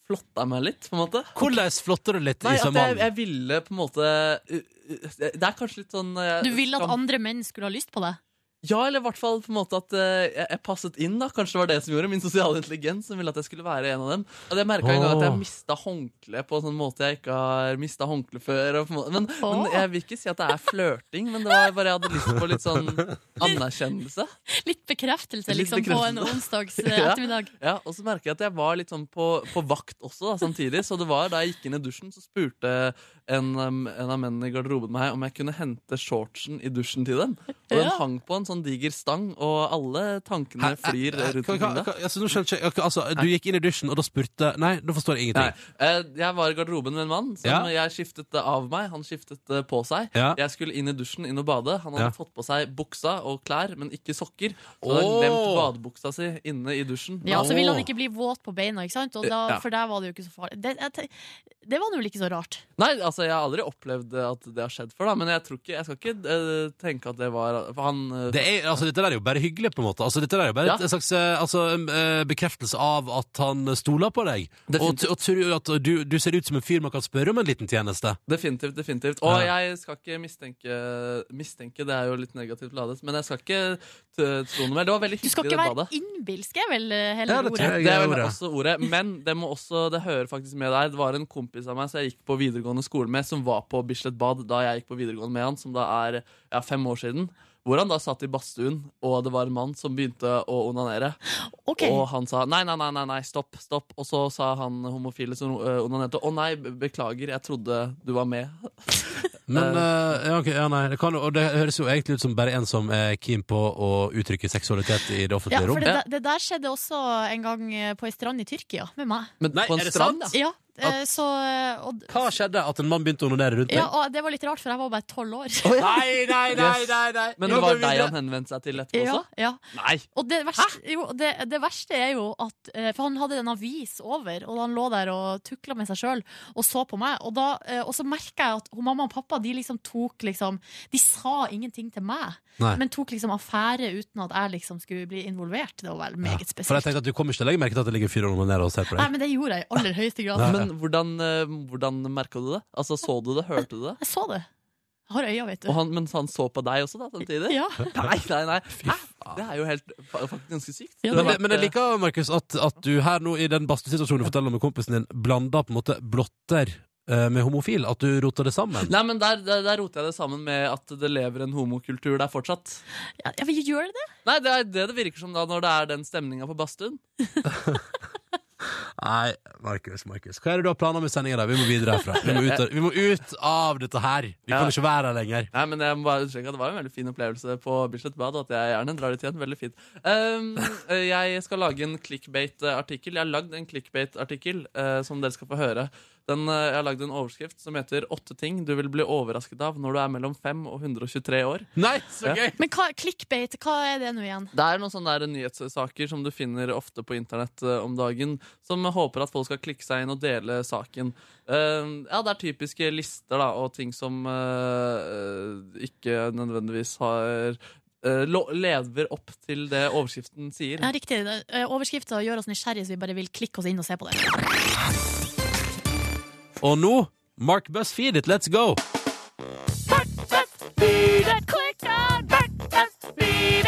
C: flotta meg litt, på en måte.
E: Hvordan flotter du litt
C: Nei, at
E: i
C: jeg,
E: svømmehallen?
C: jeg ville på en måte u- u- Det er kanskje litt sånn eh,
B: Du ville at
C: skam-
B: andre menn skulle ha lyst på deg.
C: Ja, eller i hvert fall på en måte at eh, jeg, jeg passet inn, da. Kanskje det var det som gjorde min sosiale intelligens, som ville at jeg skulle være en av dem. Og jeg merka en gang at jeg
E: Åh.
C: mista håndkle på en sånn måte jeg ikke har mista håndkle før. Og på en måte. Men,
B: Åh.
C: men jeg vil ikke si at det er flørting, men det var bare jeg hadde lyst på litt sånn anerkjennelse.
B: Litt bekreftelse,
C: Litt
B: liksom, på en
C: bekreftelse.
B: onsdags eh,
C: Ja.
B: ettermiddag.
C: Ja, Og så merker jeg at jeg var litt sånn på, på vakt også da, samtidig. Så det var da jeg gikk inn i dusjen, så spurte en, um, en av mennene i garderoben meg om jeg kunne hente shortsen i dusjen til dem. Og den
B: Ja.
C: hang på en sånn diger stang, og alle tankene
E: Hæ, hæ,
C: flyr
E: hæ,
C: rundt
E: hva-
C: omkring
E: hva-
C: det.
E: hva- altså, nå skjønte jeg ikke- altså, Du gikk inn i dusjen, og da spurte Nei, da forstår jeg
C: Nei,
E: ingenting.
C: eh, jeg var i garderoben med en mann som
E: Ja.
C: jeg skiftet eh, av meg. Han skiftet eh, på seg.
E: Ja.
C: Jeg skulle inn i dusjen, inn og bade. Han hadde
E: Ja.
C: fått på seg buksa og klær, men ikke sokker. Så han hadde
E: Åh.
C: glemt badebuksa si inne i dusjen.
B: Ja, så ville han
E: Åh.
B: ikke bli våt på beina, ikke sant? Og da,
C: Ja.
B: For der var det jo ikke så farlig. Det, jeg, te- det var nå vel ikke så rart.
C: Nei, altså jeg har aldri opplevd at det har skjedd før, da, men jeg, tror ikke, jeg skal ikke eh, tenke at det var For han eh,
E: Det er, altså, dette der er jo bare hyggelig, på en måte. Altså, dette der er jo bare
C: Ja.
E: et slags eh, altså, en, eh, bekreftelse av at han stoler på deg. Og,
C: Definitivt.
E: t- og tror at du, du ser ut som en fyr man kan spørre om en liten tjeneste.
C: Definitivt. definitivt Og
E: Ja.
C: jeg skal ikke mistenke Mistenke, det er jo litt negativt ladet, men jeg skal ikke t- tro noe mer. Det var veldig
B: Du skal
C: hyggelig,
B: ikke
C: det
B: være
C: badet.
B: innbilsk, er vel eh, hele
E: Ja, det tror
B: ordet.
E: jeg.
C: Det er vel
E: ordet.
C: også ordet, men det må også Det hører faktisk med der. Det var en kompis av meg som jeg gikk på videregående skole med, som var på Bislett Bad da jeg gikk på videregående med han, som da er ja, fem år siden. Hvor han da satt i badstuen, og det var en mann som begynte å onanere.
B: Ok.
C: Og han sa nei, nei, nei, nei, nei, stopp, stopp. Og så sa han homofile som ø, onanerte å nei, be- beklager, jeg trodde du var med.
E: Men eh, ja, ok, ja, nei, det kan, jo- Og det høres jo egentlig ut som bare en som er keen på å uttrykke seksualitet i det
B: Ja,
E: offentlige
B: for
E: rom.
B: det, der- det der skjedde også en gang eh, på ei strand i Tyrkia, med meg.
C: Men
E: Nei,
C: på en
E: er det
C: strand?
E: sant?
B: Ja, eh, så eh, og,
E: Hva skjedde? At en mann begynte å onanere rundt deg?
B: ja, og det var litt rart, for jeg var bare tolv år. (laughs)
E: Nei, nei,
C: nei,
E: nei.
C: Men det var deg han henvendte seg til etterpå
B: Ja,
C: også?
B: ja.
C: Nei!
B: Og det verste, jo, det, det verste er jo at eh, For han hadde en avis over, og han lå der og tukla med seg sjøl og så på meg. Og, da, eh, og så merka jeg at hun- mamma og pappa de liksom tok liksom De sa ingenting til meg,
E: Nei.
B: men tok liksom affære uten at jeg liksom skulle bli involvert. Det var vel meget
E: For jeg
B: spesielt.
E: tenkte at du kommer ikke til å legge merke til at det ligger en fyr og onanerer og ser på
B: Nei,
E: deg.
B: men det gjorde jeg i aller høyeste grad.
E: Nei.
C: Men hvordan, ø, hvordan merka du det? Altså, Så du det? Hørte du det?
B: Jeg så det. Jeg har øya, vet du.
C: Og han, mens han så på deg også, da, samtidig?
B: Ja.
C: (laughs) Nei, nei, nei. Hæ? Det er jo helt fa- faktisk ganske sykt.
B: Ja,
C: Du
E: Men,
C: har
E: det,
C: vært,
E: men
C: eh,
E: jeg liker Markus, at, at du her nå i den badstuesituasjonen du forteller om med kompisen din, blanda på en måte blotter eh, med homofil. At du roter det
C: eh,
E: sammen.
C: Nei, men der, der, der roter jeg det sammen med at det lever en homokultur der fortsatt.
B: Ja, ja, men gjør det det?
C: Nei, det er det det virker som da, når det er den stemninga på badstuen.
E: Nei, Markus, Markus. Hva er det du har planer med sendinga der? Vi må videre herfra. Vi må ut, av- vi må ut av dette her. Vi
C: Ja.
E: kan ikke være her lenger.
C: Nei, men jeg må bare understreke at Det var jo en veldig fin opplevelse på Bislett Bad. og At jeg gjerne drar dit igjen, veldig fint Ehm, eh, Jeg skal lage en clickbait-artikkel. Jeg har lagd en clickbait-artikkel eh, som dere skal få høre. Den, eh, jeg har lagd en overskrift som heter 'Åtte ting du vil bli overrasket av når du er mellom 5 og 123 år'.
E: Nei, så
C: Ja.
E: gøy!
B: Men hva, clickbait, hva er det nå igjen?
C: Det er noen sånne der nyhetssaker som du finner ofte på internett eh, om dagen, som håper at folk skal klikke seg inn og dele saken. Eh, ja, det er typiske lister da, og ting som eh, ikke nødvendigvis har eh, lo- lever opp til det overskriften sier.
B: Ja, riktig. det- eh, Overskrifta gjør oss nysgjerrige, så vi bare vil klikke oss inn og se på det.
E: Og nå, Mark BuzzFeed it, let's go!
B: Quick on, back, back, speed,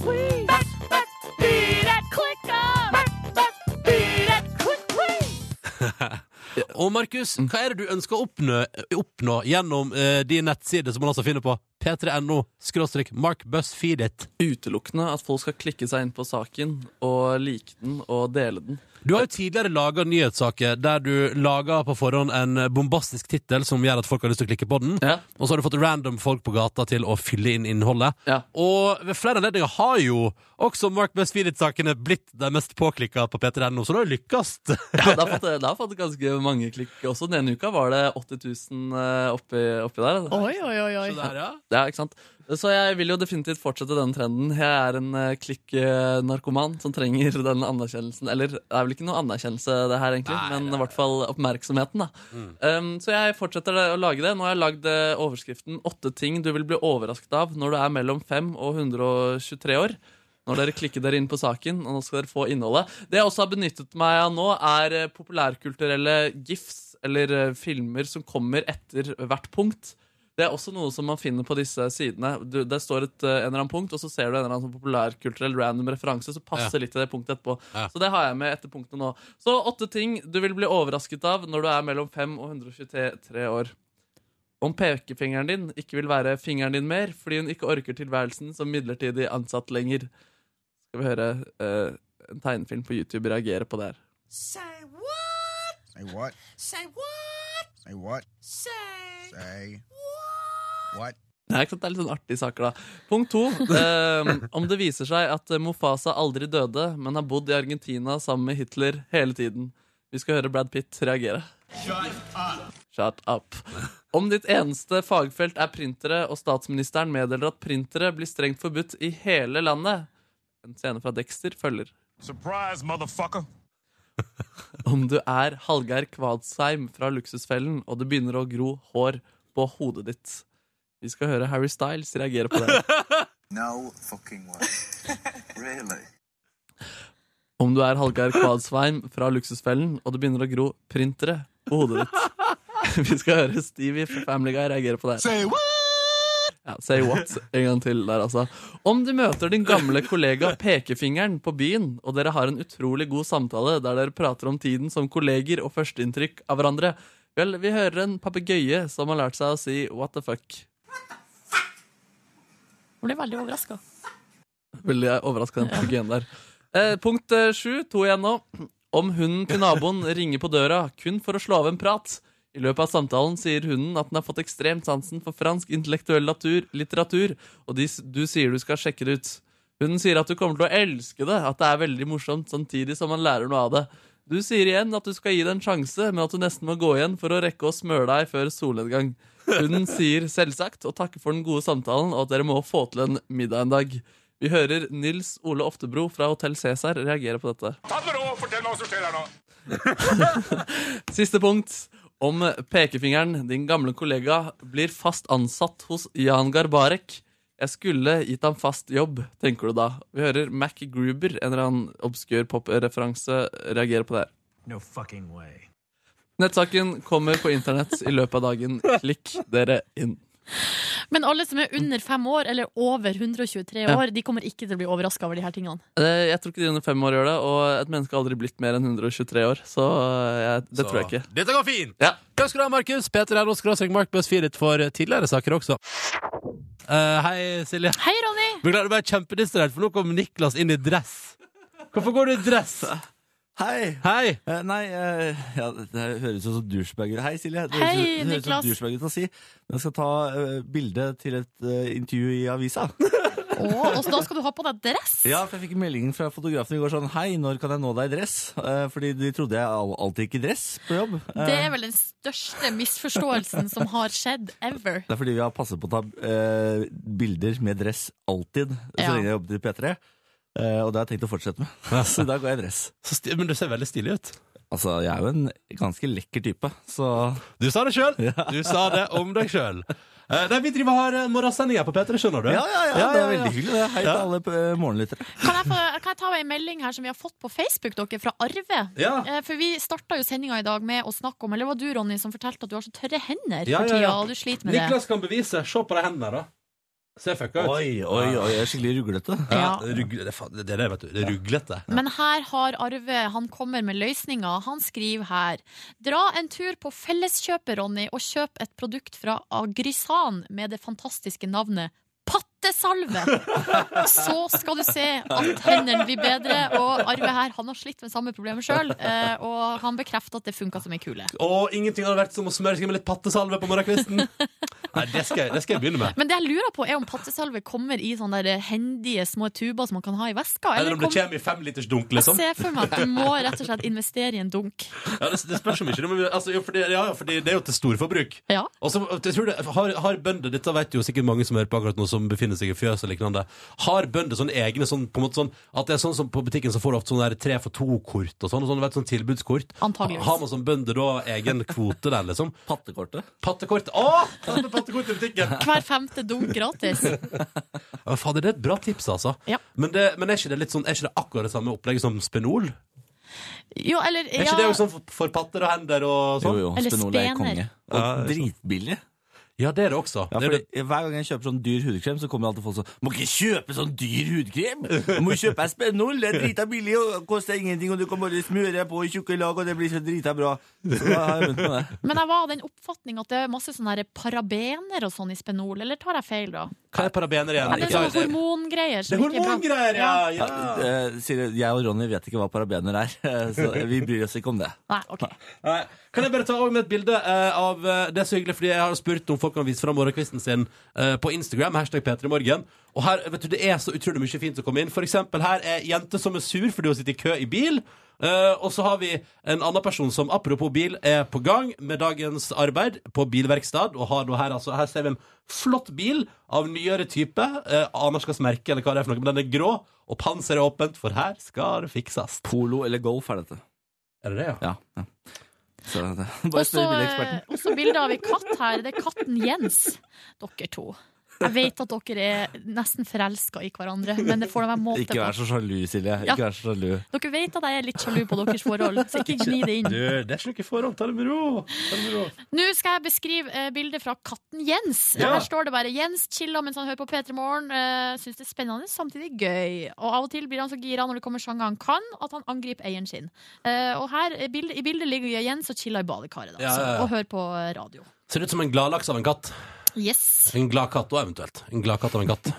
B: quick
E: (laughs) Og Markus, hva er det du ønsker å oppnå, oppnå gjennom eh, din nettside, som man altså finner på p3.no skråstrek markbusfeedet?
C: Utelukkende at folk skal klikke seg inn på saken og like den og dele den.
E: Du har jo tidligere laga nyhetssaker der du laga på forhånd en bombastisk tittel som gjør at folk har lyst til å klikke på den,
C: Ja.
E: og så har du fått random folk på gata til å fylle inn innholdet.
C: Ja.
E: Og ved flere anledninger har jo også Mark Busfeedet-sakene blitt de mest påklikka på p3.no, så du har jo lykkes.
C: (laughs) Ja, det, har fått, det har fått ganske mange klikk. Også den ene uka var det 80 000 eh, oppi, oppi der.
B: Oi, oi, oi, oi.
C: Ja, ikke sant? Så jeg vil jo definitivt fortsette denne trenden. Jeg er en eh, klikk-narkoman som trenger den anerkjennelsen. Eller det er vel ikke noe anerkjennelse, det her, egentlig, men i hvert fall oppmerksomheten. da. Um, så jeg fortsetter det- å lage det. Nå har jeg lagd eh, overskriften 'Åtte ting du vil bli overrasket av når du er mellom 5 og 123 år'. Når dere klikker dere inn på saken, og nå skal dere få innholdet. Det jeg også har benyttet meg av nå, er eh, populærkulturelle gifs eller eh, filmer som kommer etter hvert punkt. Det er også noe som man finner på disse sidene. Du, det står et, eh, en eller annen punkt, og så ser du en eller annen sånn populærkulturell random referanse som passer litt til det punktet etterpå.
E: Ja.
C: Så det har jeg med etter punktene nå. Så åtte ting du vil bli overrasket av når du er mellom 5 og 123 år. Om pekefingeren din ikke vil være fingeren din mer fordi hun ikke orker tilværelsen som midlertidig ansatt lenger. Skal vi høre eh, en tegnefilm på YouTube reagere på det her.
F: Say what?
H: Say what?
F: Say what?
H: Say what?
F: Say
H: Say
F: what?
H: what?
C: Nei, ikke sant? Det er litt sånn artige saker, da. Punkt to. Eh, om det viser seg at eh, Mofasa aldri døde, men har bodd i Argentina sammen med Hitler hele tiden. Vi skal høre Brad Pitt reagere. Shut up. Om ditt eneste fagfelt er printere, og statsministeren meddeler at printere blir strengt forbudt i hele landet En scene fra Dexter følger.
I: Surprise, motherfucker.
C: Om du er Hallgeir Kvadsheim fra Luksusfellen, og det begynner å gro hår på hodet ditt. Vi skal høre Harry Styles reagere på det.
H: No fucking way. really?
C: Om du er Hallgeir Kvadsveim fra Luksusfellen, og det begynner å gro printere på hodet ditt. (laughs) Vi skal høre Stevie fra Family Guy reagere på det. her.
H: Say what?
C: Ja, say what en gang til der, altså. Om du møter din gamle kollega Pekefingeren på byen, og dere har en utrolig god samtale der dere prater om tiden som kolleger og førsteinntrykk av hverandre, vel, vi hører en papegøye som har lært seg å si what the fuck.
B: Jeg ble veldig overraska.
C: Veldig overraska den papegøyen der. Eh, punkt eh, sju, to igjen nå. Om hunden til naboen ringer på døra kun for å slå av en prat. I løpet av samtalen sier hunden at den har fått ekstremt sansen for fransk intellektuell latur, litteratur, og de, s- du sier du skal sjekke det ut. Hunden sier at du kommer til å elske det, at det er veldig morsomt, samtidig som man lærer noe av det. Du sier igjen at du skal gi det en sjanse, men at du nesten må gå igjen for å rekke å smøre deg før solnedgang. Hunden sier selvsagt og takker for den gode samtalen, og at dere må få til en middag en dag. Vi hører Nils Ole Oftebro fra Hotell Cæsar reagere på dette.
I: Ta det råd, fortell hva som skjer her nå.
C: (laughs) Siste punkt. Om pekefingeren, din gamle kollega, blir fast ansatt hos Jan Garbarek. Jeg skulle gitt ham fast jobb, tenker du da. Vi hører Mac Gruber, en eller annen obskur popreferanse, reagere på det her.
I: No fucking way.
C: Nettsaken kommer på internett i løpet av dagen. Klikk dere inn.
B: Men alle som er under fem år, eller over 123 år, de kommer ikke til å bli overraska over de her tingene.
C: Eh, Jeg tror ikke de under fem år gjør det, og et menneske har aldri blitt mer enn 123 år, så eh, jeg, det tror jeg ikke.
E: Dette går fint!
C: Ja.
E: Takk skal du ha, Markus. Peter Erlo skråstrek Mark Busfeedet for tidligere saker også. Eh, hei, Silje.
B: Hei, Ronny!
E: Beklager, jeg ble kjempedistrahert, for nå kom Niklas inn i dress. Hvorfor går du i dress?
J: Hei!
E: Hei!
J: Eh, Nei, eh, ja, det- det høres ut som douchebag ut. Hei, Silje. Det
B: Hei,
J: høres, ut- det høres ut
B: Niklas.
J: som douchebag ut å si. Men jeg skal ta eh, bilde til et eh, intervju i avisa.
B: Å, og så da skal du ha på deg dress?
J: Ja, for jeg fikk meldingen fra fotografen i går sånn Hei, når kan jeg nå deg i dress? Eh, fordi de trodde jeg al- alltid gikk i dress på jobb. Eh,
B: Det er vel den største misforståelsen som har skjedd ever.
J: det er fordi vi har passet på å ta eh, bilder med dress alltid så
B: Ja.
J: lenge jeg jobbet i P3. Eh, og det har jeg tenkt å fortsette med. Så i dag går jeg i dress.
E: Så sti- men du ser veldig stilig ut.
J: Altså, jeg er jo en ganske lekker type, så
E: Du sa det sjøl! Du sa det om deg sjøl. Nei, vi driver og har eh, morgensending her på P3, skjønner du.
J: Ja, ja, ja, det er veldig hyggelig. det. Hei til
E: Ja.
J: alle eh, morgenlyttere.
B: Kan jeg, få, kan jeg ta en melding her som vi har fått på Facebook, dere, fra Arve?
E: Ja.
B: Eh, For vi starta jo sendinga i dag med å snakke om Eller det var du, Ronny, som fortalte at du har så tørre hender
E: Ja,
B: for
E: ja,
B: tida,
E: ja.
B: og du sliter med det.
E: Niklas kan bevise. Se på de hendene, da. Ser fucka ut.
J: Oi, oi, oi, jeg er skikkelig ruglete.
E: Ja,
B: Ja.
E: rugg- det, er faen- det er det, vet du. Det er ruglete.
B: Men her har Arve Han kommer med løsninga. Han skriver her Dra en tur på Felleskjøpet, Ronny, og kjøp et produkt fra Agrisan med det fantastiske navnet Pattesalve!
E: (laughs)
B: Så skal du se at hendene blir bedre. Og Arve her, han har slitt med samme problemet sjøl, og han bekrefter at det funka som ei kule.
E: Og ingenting hadde vært som å smøre seg med litt pattesalve på (laughs) morgenkvisten. Nei, det skal, jeg- det skal jeg begynne med.
B: Men det jeg lurer på, er om pattesalve kommer i sånne der hendige små tuber som man kan ha i veska.
E: Eller om det
B: kom-
E: kommer i femlitersdunk,
B: Jeg
E: liksom.
B: ser for meg at du må rett og slett investere i en dunk.
E: Ja, det, det spørs om ikke. det, men vi- Altså, jo, fordi, ja, ja, fordi det er jo til storforbruk.
B: Ja.
E: Og så, Altså, jeg tror det, har, har bønder, Dette vet jo sikkert mange som hører på akkurat nå, som befinner seg i fjøs og lignende. Har bønder sånne egne sånn, på en måte sånn, At det er sånn som på butikken så får du ofte sånn der tre for to-kort og sånn, og sånn, du vet, sånn tilbudskort.
B: Antageligvis.
E: Har man som bønder da egen kvote der, liksom?
J: Pattekortet.
E: Pattekort. Å! Kast med pattekort i butikken!
B: Hver femte dunk gratis.
E: Ja, fader, det er et bra tips, altså.
B: Ja.
E: Men, det, men er, ikke det litt sånn, er ikke det akkurat det samme opplegget som Spenol?
B: Jo, eller ja,
E: Er ikke det jo sånn for, for patter og hender
J: Jo,
E: og sånn?
J: jo,
B: Eller
J: Spenola er
B: spener.
J: konge. Og
E: Ja, det er
J: dritbillig.
E: Ja, det er det også.
J: Ja,
E: det er jo
J: fordi
E: det.
J: Hver gang jeg kjøper sånn dyr hudkrem, så kommer alltid folk sånn Må ikke kjøpe sånn dyr hudkrem! Du må kjøpe Spenol! Det er drita billig og koster ingenting, og du kan bare smøre på i tjukke lag, og det blir så drita bra. Så da har jeg begynt med det.
B: Men jeg var av den oppfatning at det er masse sånne her parabener og sånn i Spenol, eller tar jeg feil da?
E: Hva er parabener igjen?
B: Ja, det er
E: Ikke-
B: sånne hormongreier.
E: Det
B: som
E: er
B: ikke bra.
E: hormongreier, ja! ja.
J: Ja, eh, Silje, jeg og Ronny vet ikke hva parabener er, eh, så vi bryr oss ikke om det.
B: Nei, ok.
E: Nei. Kan jeg bare ta over med et bilde eh, av eh, Det er så hyggelig, fordi jeg har spurt om folk kan vise fram morgenkvisten sin eh, på Instagram. Hashtag P3morgen. Og her, vet du, det er så utrolig mye fint å komme inn. For eksempel her er jente som er sur fordi hun sitter i kø i bil. Eh, og så har vi en annen person som apropos bil er på gang med dagens arbeid på bilverkstad. Og har da her, altså, her ser vi en flott bil av nyere type. Eh, aner ikke hva slags merke eller hva det er for noe, men den er grå, og panseret er åpent, for her skal det fikses.
J: Polo eller golf er dette.
E: Er det det, ja?
J: Ja. ja. Så, det- (laughs) bare
B: Også,
J: spør
B: eh,
J: bileksperten.
B: også bilder av en katt her. Det er katten Jens. Dere to. Jeg vet at dere er nesten forelska i hverandre, men det får da være måte
J: Ikke
B: på.
J: vær så sjalu, Silje.
B: Ja.
J: Ikke vær så sjalu.
B: Dere vet at jeg er litt sjalu på deres forhold, så ikke gni det inn.
E: Du, det er ikke noe forhold. Ta det med ro. Ta det med ro.
B: Nå skal jeg beskrive eh, bildet fra katten Jens.
E: Ja.
B: Her står det bare 'Jens chiller mens han hører på P3 Morgen'. Eh, Syns det er spennende, samtidig gøy. Og av og til blir han så gira når det kommer sanger han kan, at han angriper eieren sin. Eh, og her eh, bildet, i bildet ligger jo Jens og chiller i badekaret, da,
E: Ja,
B: altså,
E: ja, ja.
B: og hører på eh, radio.
E: Ser ut som en gladlaks av en katt.
B: Yes.
E: En glad katt òg, eventuelt. En glad katt av en (laughs) katt.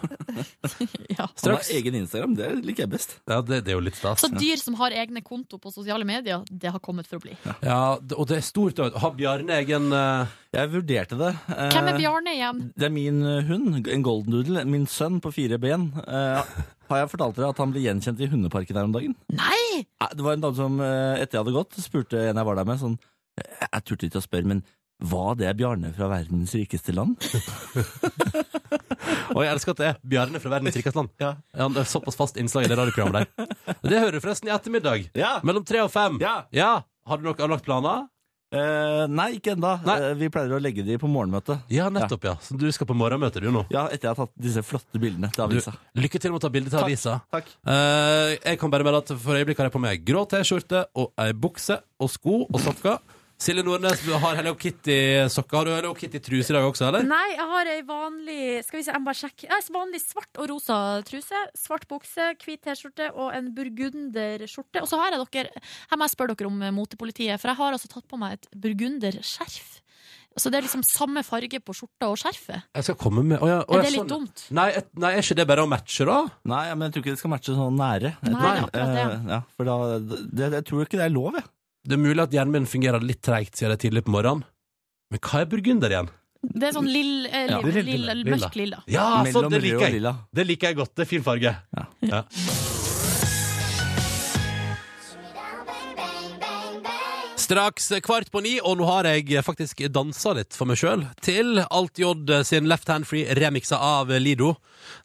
B: Ja.
J: Han har egen Instagram, det liker jeg best.
E: Ja, det, det er jo litt stas.
B: Så dyr som har egne konto på sosiale medier, det har kommet for å bli.
E: Ja, det- og det er stort. da. Har Bjarne egen eh,
J: Jeg vurderte det. eh,
B: Hvem er Bjarne igjen?
J: Det er min eh, hund, en golden doodle, min sønn på fire ben. Eh, har jeg fortalt dere at han ble gjenkjent i hundeparken her om dagen?
B: Nei!
J: Eh, Det var en dame som, eh, etter jeg hadde gått, spurte en jeg var der med, sånn eh, Jeg turte ikke å spørre, men var det Bjarne fra verdens rikeste land?
E: Og jeg elsker at det er Bjarne fra verdens rikeste land. (laughs) Ja. det er såpass fast innslag i det radioprogrammet (laughs) der. Og Det hører du forresten i ettermiddag.
J: Ja!
E: Mellom tre og fem.
J: Ja.
E: Har du nok har du lagt planer?
J: Eh, nei, ikke ennå.
E: Nei.
J: Eh, vi pleier å legge de på morgenmøtet.
E: Ja, nettopp, ja. Så du skal på morgenmøte, du nå.
J: Ja, etter jeg har tatt disse flotte bildene til
E: Du,
J: avisa.
E: lykke til med å ta bilde til
J: Takk.
E: avisa.
J: Takk.
E: Eh, jeg kan bare melde at for øyeblikket har jeg på meg grå T-skjorte og ei bukse og sko og sokker. Silje Nordnes du har Hello Kitty-sokker. Har du Hello Kitty-truse i dag også, eller?
B: Nei, jeg har ei vanlig Skal vi se, jeg må bare sjekke. Jeg har vanlig svart og rosa truse, svart bukse, hvit T-skjorte og en burgunderskjorte. Og så har jeg dere Her må jeg spørre dere om eh, motepolitiet, for jeg har altså tatt på meg et burgunderskjerf. Så det er liksom samme farge på skjorta og skjerfet.
E: Jeg skal komme med Å ja, å,
B: Er
E: ja,
B: det litt
E: sånn.
B: dumt?
E: Nei, et, nei, er ikke det bare å matche, da?
J: Nei, ja, men jeg tror ikke det skal matche sånn nære. Jeg
B: Nei,
J: tror-
B: det er akkurat
J: eh, ja, for da, det, jeg tror ikke det er lov, jeg.
E: Det er mulig at hjernen min fungerer litt treigt siden det er tidlig på morgenen. Men hva er burgunder igjen?
B: Det er sånn lill, eh,
J: Ja.
B: lill,
E: Lilla.
B: lill, mørk lilla.
E: Ja,
J: Mellom
E: sånn, det
J: rød
E: liker
J: og
E: jeg.
J: lilla.
E: Det liker jeg godt. Det er fin farge.
J: Ja.
E: Ja. Straks kvart på ni, og nå har jeg faktisk dansa litt for meg sjøl til Alt J sin Left Hand Free remiksa av Lido.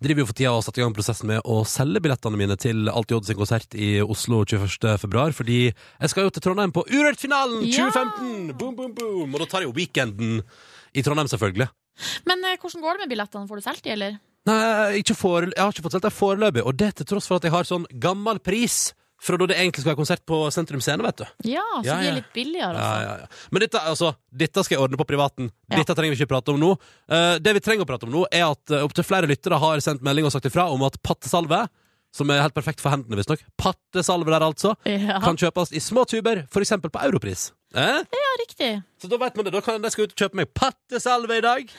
E: Driver jo for tida og har satt i gang prosessen med å selge billettene mine til Alt J sin konsert i Oslo 21. februar, fordi jeg skal jo til Trondheim på Urørt-finalen
B: Ja!
E: 2015! Boom, boom, boom! Og da tar jeg jo weekenden i Trondheim, selvfølgelig.
B: Men eh, hvordan går det med billettene? Får du solgt de, eller?
E: Nei, ikke forel- jeg har ikke fått solgt det foreløpig, og det til tross for at jeg har sånn gammel pris fra da det egentlig skulle være konsert på Sentrum Scene, vet du.
B: Ja, så de
E: Ja, ja.
B: er litt billigere.
E: Ja,
B: Altså.
E: ja, ja. Men dette, altså, dette skal jeg ordne på privaten.
B: Ja.
E: Dette trenger vi ikke prate om nå. Eh, det vi trenger å prate om nå, er at uh, opptil flere lyttere har sendt melding og sagt ifra om at pattesalve, som er helt perfekt for hendene, visstnok, pattesalve der altså,
B: Ja.
E: kan kjøpes i små tuber, f.eks. på Europris. Eh?
B: ja, riktig.
E: Så da vet man det. Da kan jeg skal jeg ut og kjøpe meg pattesalve i dag.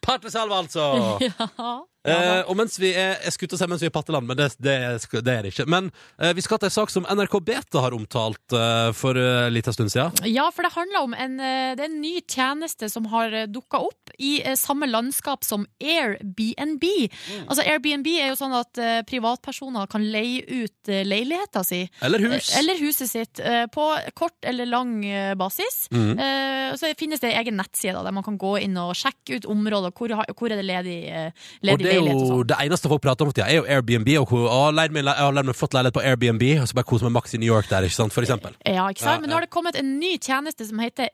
E: Pattesalve, altså!
B: Ja.
E: Eh, og mens vi er, jeg skulle til å si mens vi er i patteland, men det, det, sk- det er det ikke. Men eh, vi skal til en sak som NRK Beta har omtalt eh, for eh, en liten stund siden.
B: Ja, for det handler om en, eh, det er en ny tjeneste som har dukka opp i eh, samme landskap som Airbnb.
E: Mm.
B: Altså Airbnb er jo sånn at eh, privatpersoner kan leie ut eh, leiligheta si.
E: Eller hus.
B: eh, Eller huset sitt eh, på kort eller lang eh, basis.
E: Mhm.
B: Eh, Så finnes det egen nettside da, der man kan gå inn og sjekke ut områder. Hvor, har- hvor er det ledig, eh,
E: Og
B: ledig
E: det er
B: leilighet? og sånn.
E: jo det eneste folk prater om for tida, er jo Airbnb. Og hvor, å, leid meg, le- jeg har leid meg en flott leilighet på Airbnb, og så bare kose meg maks i New York der, ikke
B: Eh,
E: sant, for eksempel.
B: Ja, ikke
E: Ja,
B: sant? Men
E: ja.
B: nå har det kommet en ny tjeneste som heter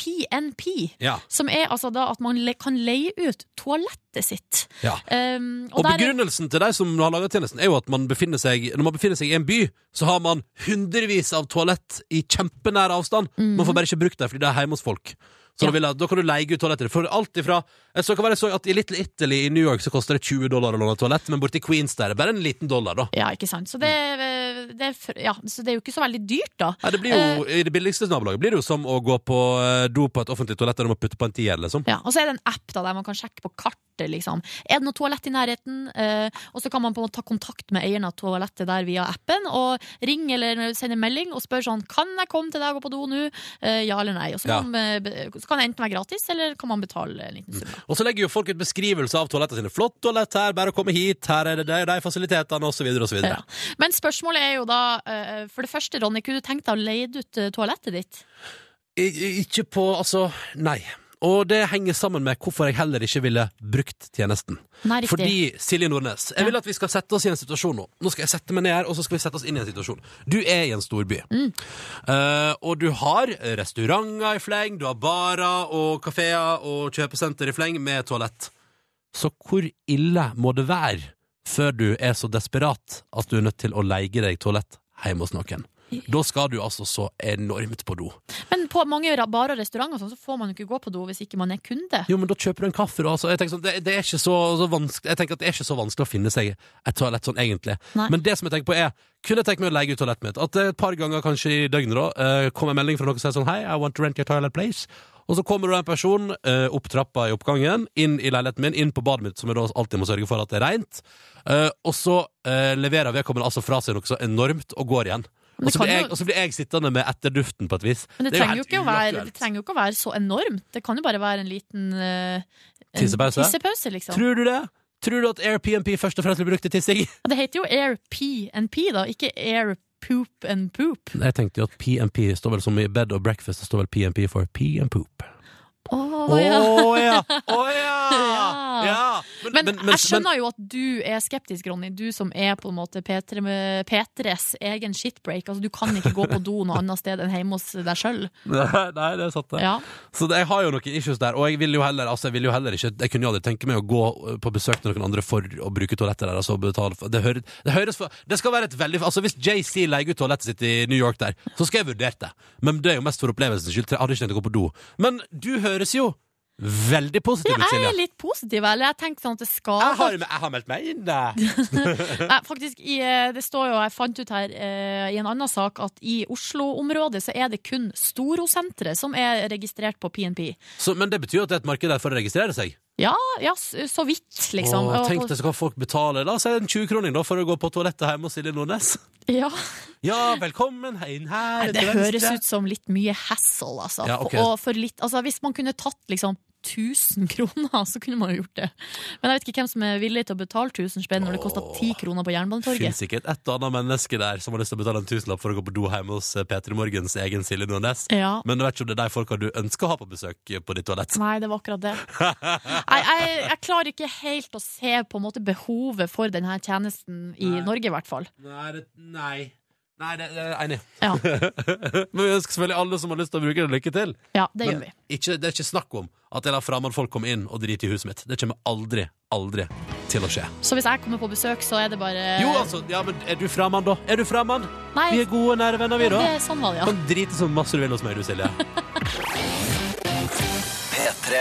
B: AirPNP.
E: Ja.
B: Som er altså da at man le kan leie ut toalettet sitt.
E: Ja.
B: Um,
E: Og
B: der er-
E: begrunnelsen til de som har laga tjenesten, er jo at man befinner seg, når man befinner seg i en by, så har man hundrevis av toalett i kjempenær avstand. Man får bare ikke brukt dem fordi det er hjemme hos folk.
B: Mhm. Ja.
E: Så da, vil jeg, da kan du leie ut toaletter. For alt ifra jeg så, kan være, jeg så at I Little Italy i New York så koster det 20 dollar å låne toalett, men borti Queens der er det bare en liten dollar, da.
B: ja, ikke sant. Så det,
E: Mm.
B: eh, det, er fr- ja, så det er jo ikke så veldig dyrt, da.
E: Nei, det blir jo,
B: Eh.
E: I det billigste nabolaget blir det jo som å gå på eh, do på et offentlig toalett der du må putte på en tier, liksom.
B: Ja, og så er det en app da, der man kan sjekke på kartet. Liksom. Er det noe toalett i nærheten? Eh, og så kan man på en måte ta kontakt med eieren av toalettet der via appen. Og ringe eller sende melding og spørre sånn Kan jeg komme til deg og gå på do nå? Eh, ja eller nei. Og så
E: Ja.
B: kan, man, eh, be- så kan det enten være gratis, eller kan man betale en liten sum. da.
E: Og så legger jo folk ut beskrivelser av toalettene sine. 'Flott toalett her, bare å komme hit, her er det de og de fasilitetene', osv., osv.
B: Ja. Men spørsmålet er jo da, eh, for det første, Ronny, kunne du tenkt deg å leie ut eh, toalettet ditt?
E: I- i- Ikke på Altså, nei. Og det henger sammen med hvorfor jeg heller ikke ville brukt tjenesten.
B: Nei, riktig.
E: Fordi, Silje Nordnes, jeg
B: Ja.
E: vil at vi skal sette oss i en situasjon nå. Nå skal jeg sette meg ned her, og så skal vi sette oss inn i en situasjon. Du er i en storby.
B: Mm.
E: Eh, og du har restauranter i fleng, du har barer og kafeer og kjøpesenter i fleng med toalett. Så hvor ille må det være før du er så desperat at du er nødt til å leie deg toalett hjemme hos noen? Da skal du altså så enormt på do.
B: Men på mange ra- barer og restauranter og sånn, så får man jo ikke gå på do hvis ikke man er kunde.
E: Jo, men da kjøper du en kaffe, da. Altså, jeg, tenker sånn, det, det er ikke så, så vanskelig, jeg tenker at det er ikke så vanskelig å finne seg et toalett sånn, egentlig.
B: Nei.
E: Men det som jeg tenker på, er Kunne jeg tenkt meg å leie ut toalettet mitt? At eh, et par ganger kanskje i døgnet da eh, kom en melding fra noen som sier sånn Hei, I want to rent your toilet place. Og så kommer det en person eh, opp trappa i oppgangen, inn i leiligheten min, inn på badet mitt, som jeg da alltid må sørge for at det er rent. Eh, og så eh, leverer vedkommende altså fra seg noe så enormt og går igjen.
B: Men det
E: Og så
B: kan
E: blir, jeg-
B: jo-
E: og så blir jeg sittende med etterduften på et vis.
B: Men det,
E: Det er jo
B: trenger jo
E: helt
B: ikke å være,
E: uaktuelt.
B: det trenger jo ikke å være så enormt. Det kan jo bare være en liten eh, en
E: Tissepause?
B: tissepause, liksom.
E: Tror du det? Tror du at AirPNP først og fremst blir brukt til tissing?
B: Ja, Det heter jo air pee and pee, da, ikke air poop and poop.
E: (laughs) Jeg tenkte jo at PNP står vel som i bed og breakfast, det står vel PNP for pee and poop.
B: Å,
E: Å
B: ja.
E: ja! Å ja!
B: (laughs) Ja.
E: ja.
B: Men, jeg skjønner jo at du er skeptisk, Ronny. Du som er på en måte P3 med- P3s egen shitbreak. Altså, du kan ikke gå på do noe annet sted enn hjemme hos deg sjøl.
E: Nei, (laughs) nei, det er sant, det.
B: Ja.
E: Så det, jeg har jo noen issues der, og jeg vil jo heller, altså, jeg vil jo heller ikke Jeg kunne jo aldri tenke meg å gå eh, på besøk til noen andre for å bruke toalettet der. Altså, og betale for, det, hører, det høres for Det skal være et veldig Altså Hvis JC leier ut toalettet sitt i New York der, så skal jeg vurdert det. Men det er jo mest for opplevelsens skyld. Jeg hadde ikke tenkt å gå på do. Men du høres jo veldig positiv ut,
B: Jeg
E: Silje.
B: er litt positiv, eller jeg tenkte sånn at det
E: Jeg
B: skal
E: har, jeg har meldt meg inn. eh.
B: (laughs) Nei, faktisk, i, eh, det står jo, jeg fant ut her eh, i en annen sak, at i Oslo-området så er det kun Storosenteret som er registrert på PNP.
E: Så, men det betyr jo at det er et marked der for å registrere seg.
B: Ja, ja, s- så vidt, liksom.
E: Åh,
B: Og-
E: tenk deg så kan folk betale La oss si en 20-kroning da for å gå på toalettet hjemme hos Silje Nordnes.
B: Ja.
E: Ja, velkommen inn her.
B: Nei, det
E: til
B: høres
E: venstre.
B: ut som litt mye hassle, altså.
E: Ja, ok.
B: Og for litt, altså hvis man kunne tatt liksom 1000 (laughs) kroner, så kunne man jo gjort det. Men jeg vet ikke hvem som er villig til å betale 1000 spenn når det koster 10 kroner på Jernbanetorget.
E: Finnes sikkert et og annet menneske der som har lyst til å betale en tusenlapp for å gå på do hjemme hos P3 Morgens egen Silje Nordnes.
B: Ja.
E: Men du vet ikke om det er de folka du ønsker å ha på besøk på ditt toalett.
B: Nei, det var akkurat det. Nei, jeg, jeg klarer ikke helt å se på en måte behovet for denne tjenesten i Norge, i hvert fall.
E: Nei, det, nei. Nei, det, det er enig.
B: Ja.
E: (laughs) Men vi ønsker selvfølgelig alle som har lyst til å bruke det, lykke til.
B: Ja, det
E: Men
B: gjør vi.
E: ikke, det er ikke snakk om at jeg lar fremmedfolk komme inn og drite i huset mitt. Det kommer aldri, aldri til å skje.
B: Så hvis jeg kommer på besøk, så er det bare
E: Jo, altså, ja, men er du fremmed, da? Er du fremmed?
B: Nei,
E: Vi er gode, nære venner, vi,
B: det
E: da.
B: er sånn var det, ja.
E: Kan drite så masse du vil hos meg, du, Silje.
A: P3.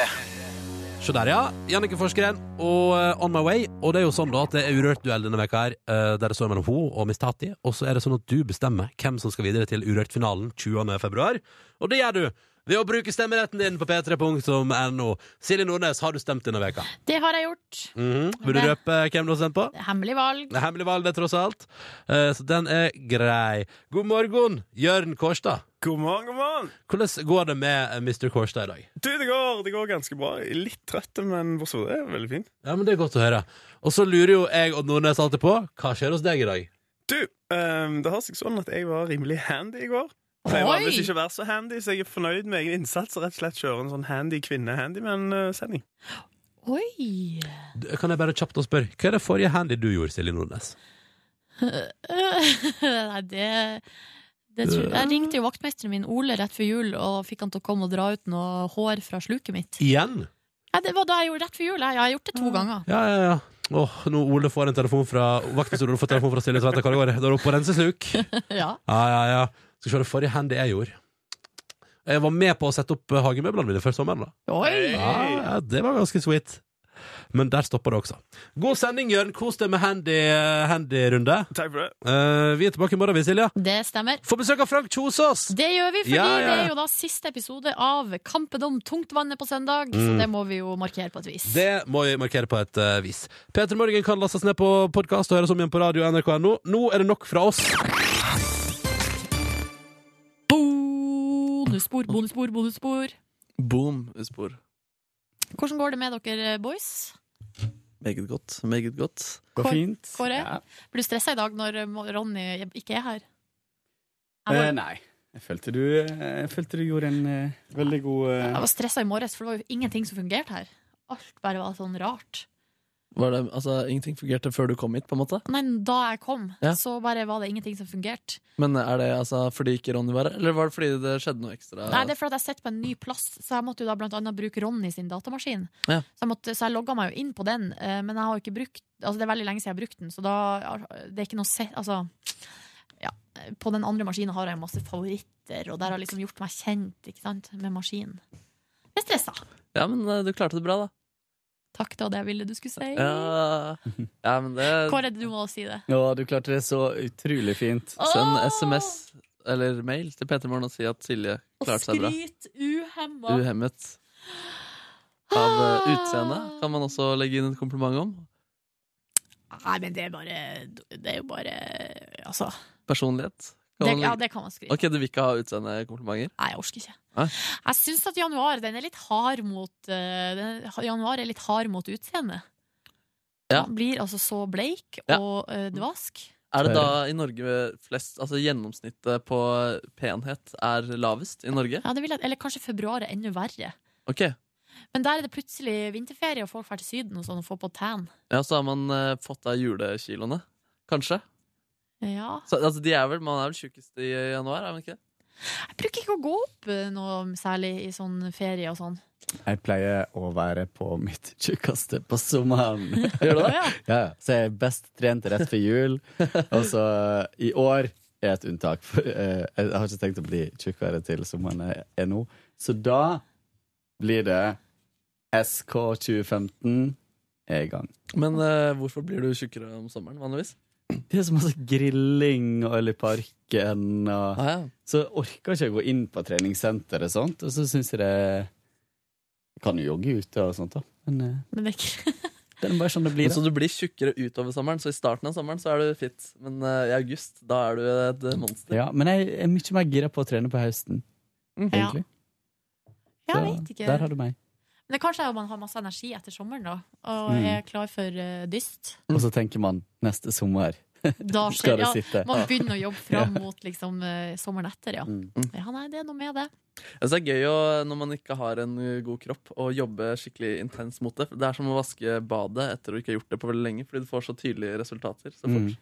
E: Se der, ja. Jannicke Forskeren og eh, On My Way. Og det er jo sånn da at det er Urørt-duell denne veka her, eh, der det står mellom hun og Miss Tati. Og så er det sånn at du bestemmer hvem som skal videre til Urørt-finalen 20. februar. Og det gjør du ved å bruke stemmeretten din på p3.no. Silje Nordnes, har du stemt denne veka?
B: Det har jeg gjort.
E: Mhm. Vil du
B: Det-
E: røpe hvem du har stemt på?
B: Hemmelig valg.
E: Det er hemmelig valg, det, tross alt. Eh, Så den er grei. God morgen, Jørn Kårstad.
K: God morgen, god morgen.
E: Hvordan går det med eh, Mr. Kårstad i dag?
K: Du, det går, det går ganske bra. Jeg er Litt trøtt, men for så vidt er det veldig fint.
E: Ja, men Det er godt å høre. Og så lurer jo jeg og Nordnes alltid på hva skjer hos deg i dag.
K: Du, ehm, det har seg sånn at jeg var rimelig handy i går. Jeg var
B: Oi!
K: visst ikke vært så handy, så jeg er fornøyd med egen innsats og rett og slett kjøre en sånn handy eh, kvinne-handyman-sending.
B: Oi. (laughs)
E: Du, Kan jeg bare kjapt og spørre, hva er det forrige handy du gjorde, Silje Nordnes?
B: Nei, det, det tror jeg. jeg ringte jo vaktmesteren min Ole rett før jul og fikk han til å komme og dra ut noe hår fra sluket mitt.
E: Igjen?
B: Nei, det var da jeg gjorde rett før jul. Jeg, jeg har gjort det to ganger.
E: Ja, ja, ja. Åh, nå Ole får en telefon fra Vaktmester Ole får telefon fra Silje Tveita Karlgaard. Da er du oppe på rensesluk.
B: (laughs) ja.
E: Ja, ja, ja. Skal vi se det forrige handy jeg gjorde. Jeg var med på å sette opp eh, hagemøblene mine før sommeren, da.
B: Oi!
E: Ja, ja, det var ganske sweet. Men der stoppa det også. God sending, Jørn. Kos deg med handy, eh, handy-runde.
K: Takk for det.
E: Eh, vi er tilbake i morgen, vi, Silje.
B: Det stemmer.
E: Få besøk av Frank Kjosås!
B: Det gjør vi, fordi
E: Ja, ja, ja.
B: det er jo da siste episode av Kampen om tungtvannet på søndag, så
E: Mm.
B: det må vi jo markere på et vis.
E: Det må vi markere på et eh, vis. P3 Morgen kan lastes ned på podkast og høres om igjen på radio nrk.no. Nå er det nok fra oss.
B: Bonusspor, bonusspor, bonusspor.
C: Boom, spor.
B: Hvordan går det med dere eh, boys?
C: Meget godt. Meget godt.
B: Går
L: fint.
B: Kåre?
L: Ja.
B: Blir du stressa i dag når eh, Ronny ikke er her? Jeg
L: Eh,
B: var,
L: nei. Jeg følte, du, eh, jeg følte du gjorde en eh, veldig god eh,
B: jeg var stressa i morges, for det var jo ingenting som fungerte her. Alt bare var sånn rart.
C: Var det, altså, ingenting fungerte før du kom hit, på en måte?
B: Nei, da jeg kom,
C: Ja.
B: så bare var det ingenting som fungerte.
C: Men er det altså, fordi ikke Ronny var her, eller var det fordi det skjedde noe ekstra?
B: Nei, det er fordi jeg sitter på en ny plass, så jeg måtte jo da blant annet bruke Ronny sin datamaskin.
C: Ja.
B: Så jeg, måtte, så jeg logga meg jo inn på den, eh, men jeg har jo ikke brukt Altså det er veldig lenge siden jeg har brukt den, så da det er ikke noe se... Altså, ja. På den andre maskinen har jeg masse favoritter, og der har jeg liksom gjort meg kjent ikke sant, med maskinen. Jeg er stressa.
C: Ja, men eh, du klarte det bra, da.
B: Takk, det var det jeg ville du skulle si.
C: Ja, ja men det
B: Kåre, du må si det.
L: Ja, du klarte det så utrolig fint.
C: Send SMS eller mail til Peter Morgen og si at Silje klarte seg bra.
B: Skryt uhemma.
C: Uhemmet. Av eh, utseende kan man også legge inn en kompliment om.
B: Nei, men det er bare Det er jo bare Altså.
C: Personlighet.
B: Det,
C: Kan man legge-
B: ja, det kan man skryte
C: Ok, du vil ikke ha utseendekomplimenter?
B: Nei, jeg orker ikke.
C: Nei?
B: Jeg syns at januar den er litt hard mot eh, den, Januar er litt hard mot utseendet.
C: Ja.
B: Man blir altså så bleik
C: Ja.
B: og eh, dvask.
C: Er det da i Norge flest Altså gjennomsnittet på penhet er lavest i Norge?
B: Ja, det vil jeg, eller kanskje februar er enda verre.
C: Ok.
B: Men der er det plutselig vinterferie, og folk drar til Syden og sånn og får på tan.
C: Ja, så har man eh, fått av julekiloene, kanskje?
B: Ja.
C: Så, altså, de er vel, man er vel tjukkest i januar, er man ikke det?
B: Jeg bruker ikke å gå opp eh, noe særlig i sånn ferie og sånn.
L: Jeg pleier å være på mitt tjukkaste på sommeren.
C: (laughs) Gjør du det?
B: Ja.
L: (laughs) Ja, ja. så jeg er best trent rett før jul. Og så i år er et unntak. For, eh, jeg har ikke tenkt å bli tjukkere til sommeren jeg er nå. Så da blir det SK 2015 er i gang.
C: Men eh, hvorfor blir du tjukkere om sommeren, vanligvis?
L: Det er så masse grilling og øl i parken. Og,
C: Ah, ja.
L: så orker ikke jeg gå inn på treningssenter og sånt. Og så syns jeg det Jeg kan jo jogge ute og sånt, da. Men eh,
B: Men det er ikke
L: det er bare sånn det blir.
C: Så du blir tjukkere utover sommeren, så i starten av sommeren så er du fit. Men eh, i august, da er du et eh, monster.
L: Ja, men jeg er mye mer gira på å trene på høsten.
B: Ja.
L: Egentlig.
B: Ja, Jeg
L: Så
B: vet
L: Der
B: ikke.
L: har du meg.
B: Men det er kanskje er om man har masse energi etter sommeren, da, og
L: Mm.
B: er klar for eh, dyst.
L: Og så tenker man neste sommer (laughs)
B: Da
L: skal
B: skjer
L: det
B: ja,
L: sitte.
B: Man begynner å jobbe fram
L: (laughs) Ja.
B: mot liksom, eh, sommeren etter, ja.
L: Mm.
B: Ja, nei, det er noe med det.
C: Jeg synes det er gøy å, når man ikke har en eh, god kropp, å jobbe skikkelig intens mot det. Det er som å vaske badet etter å ikke ha gjort det på veldig lenge, fordi du får så tydelige resultater så fort.
L: Mm.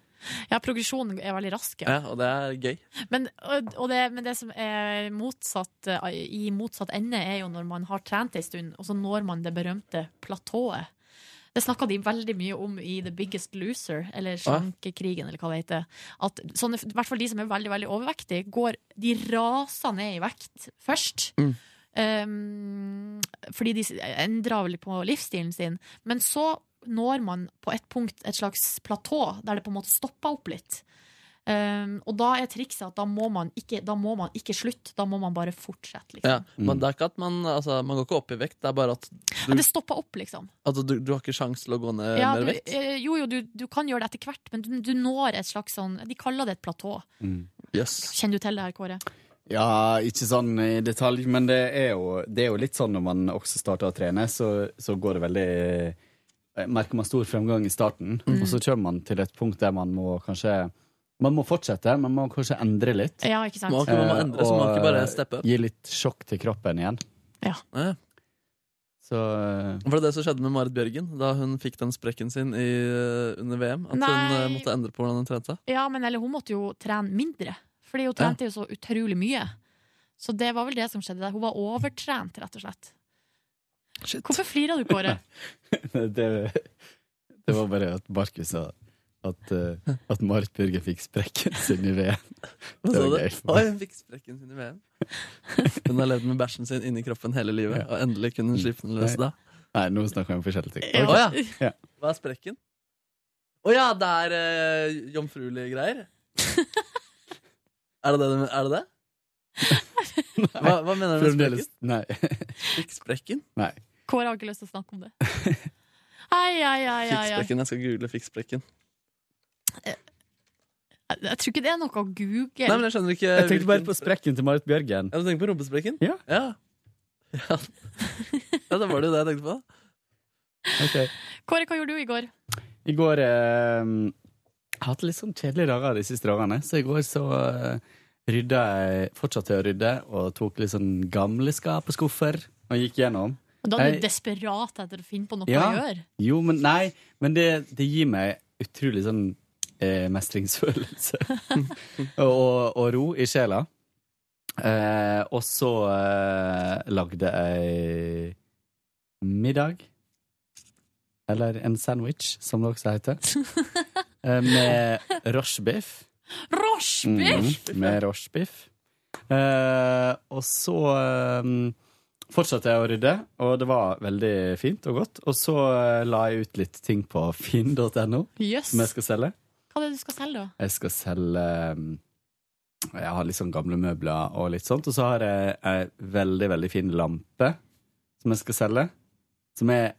B: Ja, progresjonen er veldig rask,
C: Ja,
B: ja.
C: og det er gøy.
B: Men, og, og det, men det som er motsatt, eh, i motsatt ende, er jo når man har trent ei stund, og så når man det berømte platået. Det snakka de veldig mye om i The Biggest Loser, eller slankekrigen, eller hva det heter. At sånne, I hvert fall de som er veldig veldig overvektige, går, de raser ned i vekt først.
F: Mm.
B: Um, fordi de s- endrer vel på livsstilen sin. Men så når man på et punkt et slags platå, der det på en måte stopper opp litt. Um, og da er trikset at da må, man ikke, da må man ikke slutte, da må man bare fortsette. Liksom.
C: Ja, men det er ikke at man, altså, man går ikke opp i vekt, det er bare at du,
B: Men det stopper opp, liksom.
C: altså, du, du har ikke sjans til å gå ned
B: Ja,
C: mer
B: du,
C: vekt.
B: eh, jo, jo, du, du kan gjøre det etter hvert, men du, du når et slags sånn De kaller det et platå. Kjenner du til det her, Kåre?
L: Ja, ikke sånn i detalj, men det er jo, det er jo litt sånn når man også starter å trene, så, så går det veldig eh, Merker man stor fremgang i starten,
B: Mm.
L: og så kommer man til et punkt der man må kanskje Man må fortsette, men man må kanskje endre litt.
B: Ja, ikke sant. Man må- man må endre,
L: Eh,
B: så man må ikke bare
L: og
C: steppe opp.
L: Gi litt sjokk til kroppen igjen.
B: Ja.
L: Så (laughs)
C: Var det det som skjedde med Marit Bjørgen da hun fikk den sprekken sin i, eh, under VM? At hun
B: Nei.
C: eh, måtte endre på hvordan hun trente?
B: Ja, men eller hun måtte jo trene mindre, fordi hun trente jo så utrolig mye. Så det var vel det som skjedde der. Hun var overtrent, rett og slett. Hvorfor flirer du, Kåre?
L: det, det var bare at Markus sa at, eh, at Marit Bjørgen fikk sprekken sin i E VM.
C: Hva
L: Det
C: sa
L: var
C: du?
L: gøy. for
C: Oi,
L: meg.
C: hun fikk sprekken sin i VM. Hun har levd med bæsjen sin inni kroppen hele livet, og endelig kunne hun slippe den løs da.
L: Mm. Nei, nå snakker vi om forskjellige ting.
C: (laughs) Ja.
L: Ok.
C: Å,
L: Ja.
C: Hva er sprekken? Å ja, det er eh, jomfruelige
L: (laughs)
C: greier. er det det? du- Er det det? Hva, hva mener du med
L: Fremdeles-
C: sprekken?
L: Nei.
C: Fikk sprekken?
L: Nei.
B: (laughs) Kåre har ikke lyst til å snakke om det. Ai, ai, ai, ai,
C: Fikk
B: ai.
C: sprekken, Jeg skal google 'fikk sprekken'.
B: Jeg, jeg tror ikke det er noe å google.
C: Nei, men jeg skjønner ikke
L: (laughs) Jeg tenkte bare på sprekken til Marit Bjørgen.
C: Ja, du tenker på rumpesprekken?
L: Ja.
C: Ja. ja. Ja, da var det jo det jeg tenkte på.
L: Ok.
B: Kåre, hva gjorde du i går?
L: I går eh, Jeg har hatt litt sånn kjedelige dager de siste dagene, så i går så eh, rydda jeg Fortsatte jeg å rydde og tok litt sånn gamle skap og skuffer og gikk gjennom.
B: Da er du
L: Jeg-
B: desperat etter å finne på noe å gjøre.
L: Jo, men nei, men det, det gir meg utrolig sånn eh, mestringsfølelse. (laughs) og, og, og ro i sjela. Eh, og så eh, lagde jeg middag. Eller en sandwich, som det også heter. eh, med rochebiff.
B: Rochebiff!
L: Mhm, med rochebiff. Eh, og så eh, fortsatte jeg å rydde, og det var veldig fint og godt. Og så eh, la jeg ut litt ting på finn.no,
B: Jøss.
L: som jeg skal selge.
B: Hva er det du skal selge, da?
L: Jeg skal selge mm, Jeg har litt sånn gamle møbler og litt sånt. Og så har jeg ei veldig, veldig fin lampe som jeg skal selge. Som er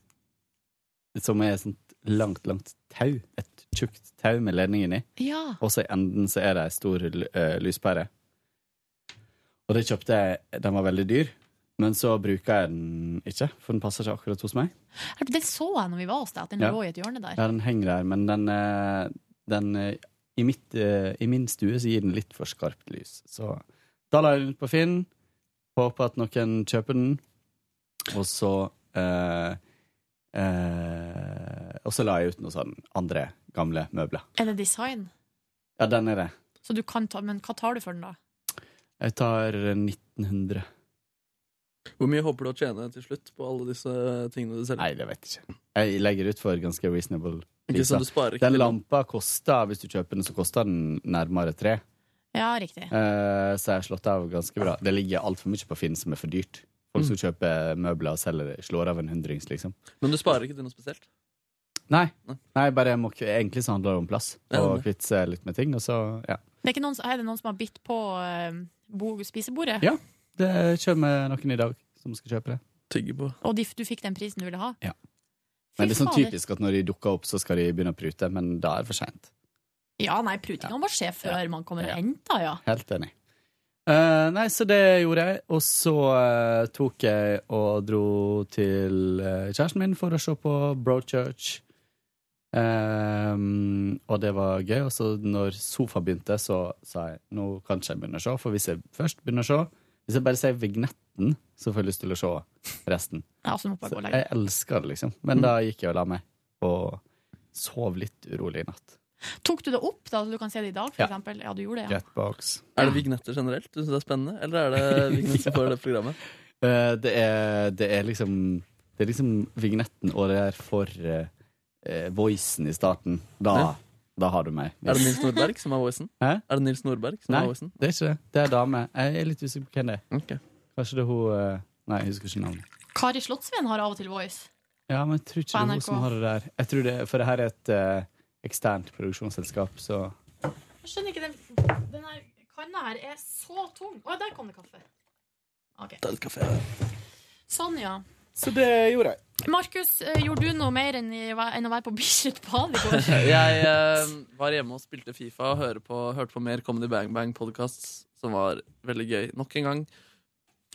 L: Som er et sånt langt, langt tau. Et tjukt tau med ledning inni.
B: Ja.
L: Og så i enden så er det ei stor l- eh, lyspære. Og det kjøpte jeg Den var veldig dyr. Men så bruker jeg den ikke, for den passer ikke akkurat hos meg.
B: Den så jeg når vi var hos deg, at den
L: Ja.
B: lå i et hjørne der.
L: Ja, den henger der, men den, eh, den eh, i, mitt, eh, I min stue så gir den litt for skarpt lys. Så da la jeg den ut på Finn. Håper at noen kjøper den. Og så eh, eh, Og så la jeg ut noen sånne andre gamle møbler.
B: Er det design?
L: Ja, den er det.
B: Så du kan ta, men hva tar du for den, da?
L: Jeg tar 1900.
C: Hvor mye håper du å tjene til slutt på alle disse eh, tingene du selger?
L: Nei, det vet jeg ikke. Jeg legger ut for ganske reasonable
C: Ikke
L: priser.
C: sånn du sparer ikke
L: Den
C: til-
L: lampa koster, hvis du kjøper den, så koster den nærmere tre.
B: Ja, riktig.
L: Eh, så jeg har slått av ganske bra. Det ligger altfor mye på Finn som er for dyrt. Folk som kjøper møbler og selger det, slår av en hundrings, liksom.
C: Men du sparer ikke til noe spesielt?
L: Nei, Nei bare jeg må, ikke- egentlig så handler det om plass.
C: Ja,
L: Og
C: det
L: kvitte seg litt med ting, og så ja.
B: Det er, ikke noen, som- er det noen som har bitt på eh, bo, spisebordet?
L: ja. Det kommer noen i dag som skal kjøpe det.
C: Tygge på.
B: Og de, du fikk den prisen du ville ha?
L: Men det er sånn
B: fader.
L: typisk at når de dukker opp, så skal de begynne å prute, men da er det for seint.
B: Ja, nei, prutinga må skje før man kommer og henter, ja.
L: Helt enig. Eh, nei, så det gjorde jeg. Og så eh, tok jeg og dro til eh, kjæresten min for å se på Brochurch. Um, og det var gøy. Og så når sofa begynte, så sa jeg nå kan ikke jeg begynne å se. For hvis jeg først begynner å se, hvis jeg bare sier vignetten, så får jeg lyst til å se resten.
B: Ja, så må jeg bare gå og legge Mm.
L: jeg elsker det, liksom. Men da gikk jeg og la meg. Og sov litt urolig i natt.
B: Tok du det opp, da, så du kan se det i dag, for
L: Ja.
B: eksempel? Ja, du gjorde det, ja.
L: Jetbox.
C: Er det vignetter generelt du synes det er spennende, eller er det vignetter for det programmet?
L: Eh, det, er, det er liksom Det er liksom vignetten og det er for eh, eh, voicen i starten, da,
C: Ja.
L: da har du meg.
C: Er det Nils Nordberg som er voicen?
L: Hæ?
C: Er det Nils Nordberg som
L: Nei,
C: er voicen?
L: det er ikke det. Det er dame. Jeg er litt usikker på hvem det er. Kanskje det er hun eh, Nei, jeg husker ikke navnet.
B: Kari Slottsveen har av og til voice.
L: Ja, men jeg tror ikke
B: På
L: det er hun
B: NRK.
L: som har det der. Jeg tror det, For det her er et eh, eksternt produksjonsselskap, så
B: Jeg skjønner ikke den, den her kanna her er så tung. Å, der kom det kaffe. Sånn, ja.
M: Så det gjorde jeg.
B: Markus, eh, gjorde du noe mer enn, i, enn å være på (laughs) Bislett Bad i går?
C: Jeg eh, var hjemme og spilte Fifa og hørte på, hørte på mer Comedy Bang Bang-podkasts, som var veldig gøy. Nok en gang.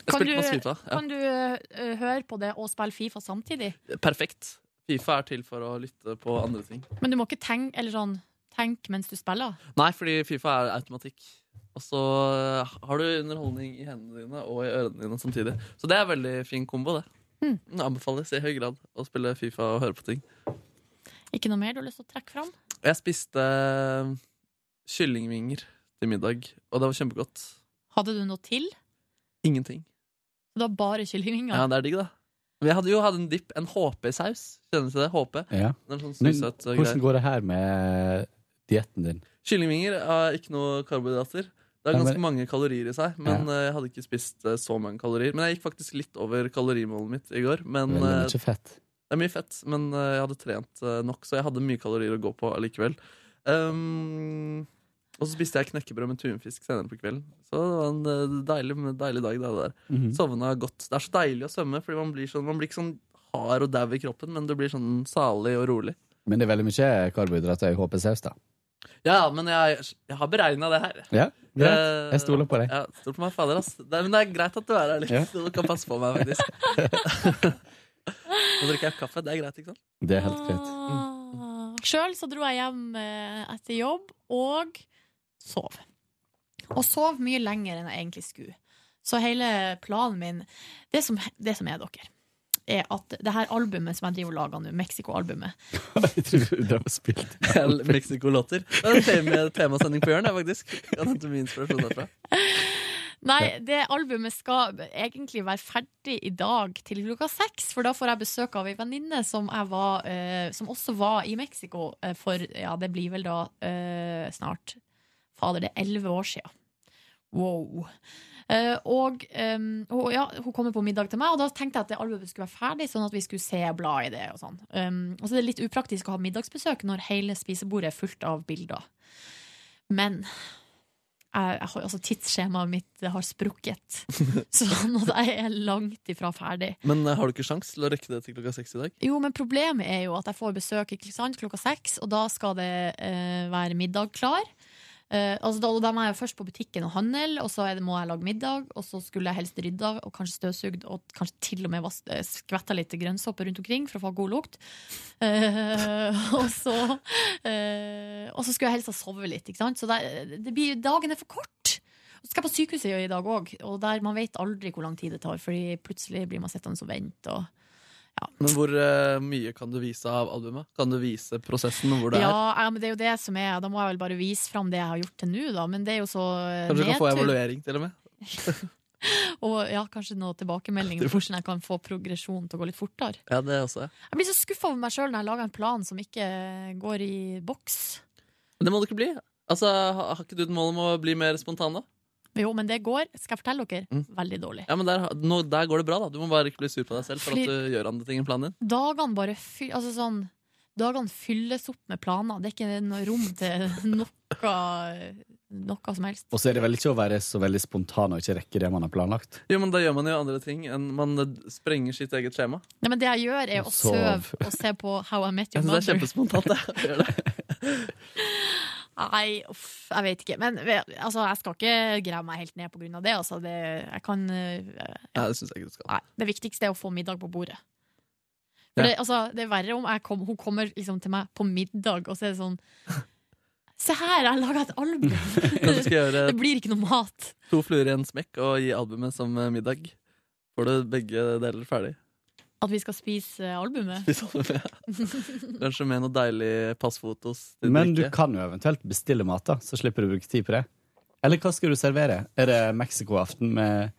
C: Jeg
B: Kan
C: spilte
B: du,
C: masse Fifa. Ja.
B: kan du eh, høre på det og spille Fifa samtidig?
C: Perfekt. Fifa er til for å lytte på andre ting.
B: Men du må ikke tenke, eller sånn, tenke mens du spiller?
C: Nei, fordi Fifa er automatikk. Og så eh, har du underholdning i hendene dine og i ørene dine samtidig. Så det er veldig fin kombo, det. Mm, Anbefales i høy grad å spille Fifa og høre på ting.
B: Ikke noe mer du har lyst til å trekke fram?
C: Jeg spiste eh, kyllingvinger til middag, og det var kjempegodt.
B: Hadde du noe til?
C: Ingenting.
B: Det var bare kyllingvinger?
C: Ja, det er digg, da. Men jeg hadde jo hatt en dipp, en HP-saus. Kjenner du til det? HP?
L: ja.
C: Det er en sånn
L: Men
C: susete
L: hvordan
C: greie.
L: går det her med dietten din?
C: Kyllingvinger er ikke noe karbohydrater. Det har
L: Ja,
C: ganske
L: men-
C: mange kalorier i seg, men eh, jeg hadde ikke spist eh, så mange kalorier. Men jeg gikk faktisk litt over kalorimålet mitt i går. Men, eh,
L: Veldig mye fett.
C: Det er mye fett, men eh, jeg hadde trent eh, nok, så jeg hadde mye kalorier å gå på allikevel. Ehm, og så spiste jeg knekkebrød med tunfisk senere på kvelden. Så det var en eh, deilig, deilig dag. Det der.
L: Mhm.
C: Sovna godt. Det er så deilig å svømme, fordi man blir, sånn, man blir ikke sånn hard og dau i kroppen, men du blir sånn salig og rolig.
L: Men det er veldig mye karbohydrater i HP-saus, da.
C: Ja, men jeg, jeg har beregna det her.
L: Ja, greit.
C: Eh,
L: Jeg stoler på deg.
C: Ja, stol på meg, fader, ass. Det, er- men det er greit at du er her litt,
L: Ja.
C: så (laughs) du kan passe på meg,
L: (laughs)
C: faktisk. Nå drikker jeg kaffe. Det er greit, ikke
L: (laughs)
C: sant?
L: Det er helt greit.
B: Sjøl Mm. så dro jeg hjem eh, etter jobb og sov. Og sov mye lenger enn jeg egentlig skulle. Så hele planen min Det som, det som er, dere, er at det her albumet som jeg driver og lager nå, Mexico-albumet
L: Jeg tror det var spilt.
C: Mexico-låter. Det er en tema- temasending på Jørn, det, faktisk. Jeg henter mye inspirasjon derfra.
B: Nei, det albumet skal egentlig være ferdig i dag til klokka seks, for da får jeg besøk av ei venninne som, jeg var, eh, som også var i Mexico eh, for Ja, det blir vel da eh, snart Fader, det er elleve år sia. Wow. Eh, og em, hun, ja, hun kommer på middag til meg, og da tenkte jeg at det albumet skulle være ferdig, sånn at vi skulle se bla i det. Og sånn Em, Og så er det litt upraktisk å ha middagsbesøk når hele spisebordet er fullt av bilder. Men jeg, jeg har, altså, tidsskjemaet mitt det har sprukket. Sånn at jeg er langt ifra ferdig.
C: Men eh, har du ikke sjans til å rekke det til klokka seks i dag?
B: Jo, men problemet er jo at jeg får besøk ikke sant, klokka seks, og da skal det eh, være middag klar. Eh, altså da, da må jeg jo først på butikken og handle, og så er det, må jeg lage middag. Og så skulle jeg helst rydda og kanskje støvsugd og kanskje til og med vas- eh, skvetta litt grønnsåpe rundt omkring for å få god lukt. Eh, (laughs) og, så, eh, og så skulle jeg helst ha sovet litt. Ikke sant? Så det, det blir, dagen er for kort. Så skal jeg på sykehuset i dag òg, og der man vet aldri hvor lang tid det tar. Fordi plutselig blir man sittende og vente. Og
C: Men hvor eh, mye kan du vise av albumet? Kan du vise prosessen og hvor det er?
B: ja, ja, men det er jo det som er Da må jeg vel bare vise fram det jeg har gjort til nå, da. Men det er jo så eh,
C: Kanskje du kan få
B: nedtur.
C: evaluering, til og med?
B: Og ja, kanskje noen
C: (laughs)
B: tilbakemeldinger på hvordan jeg kan få progresjon til å gå litt fortere.
C: Ja, det også. ja.
B: Jeg blir så skuffa over meg sjøl når jeg lager en plan som ikke eh, går i boks.
C: Men det må du ikke bli. Altså, ha- Har ikke du et mål om å bli mer spontan, da?
B: Jo, men det går, skal jeg fortelle
C: Mm.
B: dere, veldig dårlig.
C: Ja, men der, ha- nå, der går det bra, da. Du må bare ikke bli sur på deg selv for
B: Fordi-
C: at du gjør andre ting enn planen din.
B: Dagene bare fy, altså sånn, dagene fylles opp med planer. Det er ikke noe rom til noe, noe som helst.
L: Og så er det vel ikke å være så veldig spontan og ikke rekke det man har planlagt.
C: Jo, men da gjør man jo andre ting enn man eh, sprenger sitt eget skjema.
B: Nei, men det jeg gjør, er å
C: Sov.
B: søve og se på How I Met
C: Jeg
B: Your
C: synes
B: Mother.
C: det er (laughs) kjempespontant, det. Gjør det.
B: Nei, uff, jeg vet ikke. Men ve- altså, jeg skal ikke grave meg helt ned på grunn av det. Altså, det, jeg kan, eh,
C: Nei, det syns jeg ikke du skal.
B: det viktigste er å få middag på bordet. For
C: Ja.
B: det, altså, det er verre om jeg kom, hun kommer liksom til meg på middag, og så er det sånn (laughs) Se her, jeg har laga et album!
C: Kanskje du skal gjøre
B: Det blir ikke noe mat.
C: to fluer i en smekk og gi albumet som eh, middag. Får du begge deler ferdig. (laughs)
B: At vi skal spise eh, albumet.
C: Spis albumet, ja. Kanskje med noe deilig passfotos. til
L: Men du
C: drikke.
L: kan jo eventuelt bestille mat, da, så slipper du å bruke tid på det. Eller hva skal du servere? Er det Mexico-aften med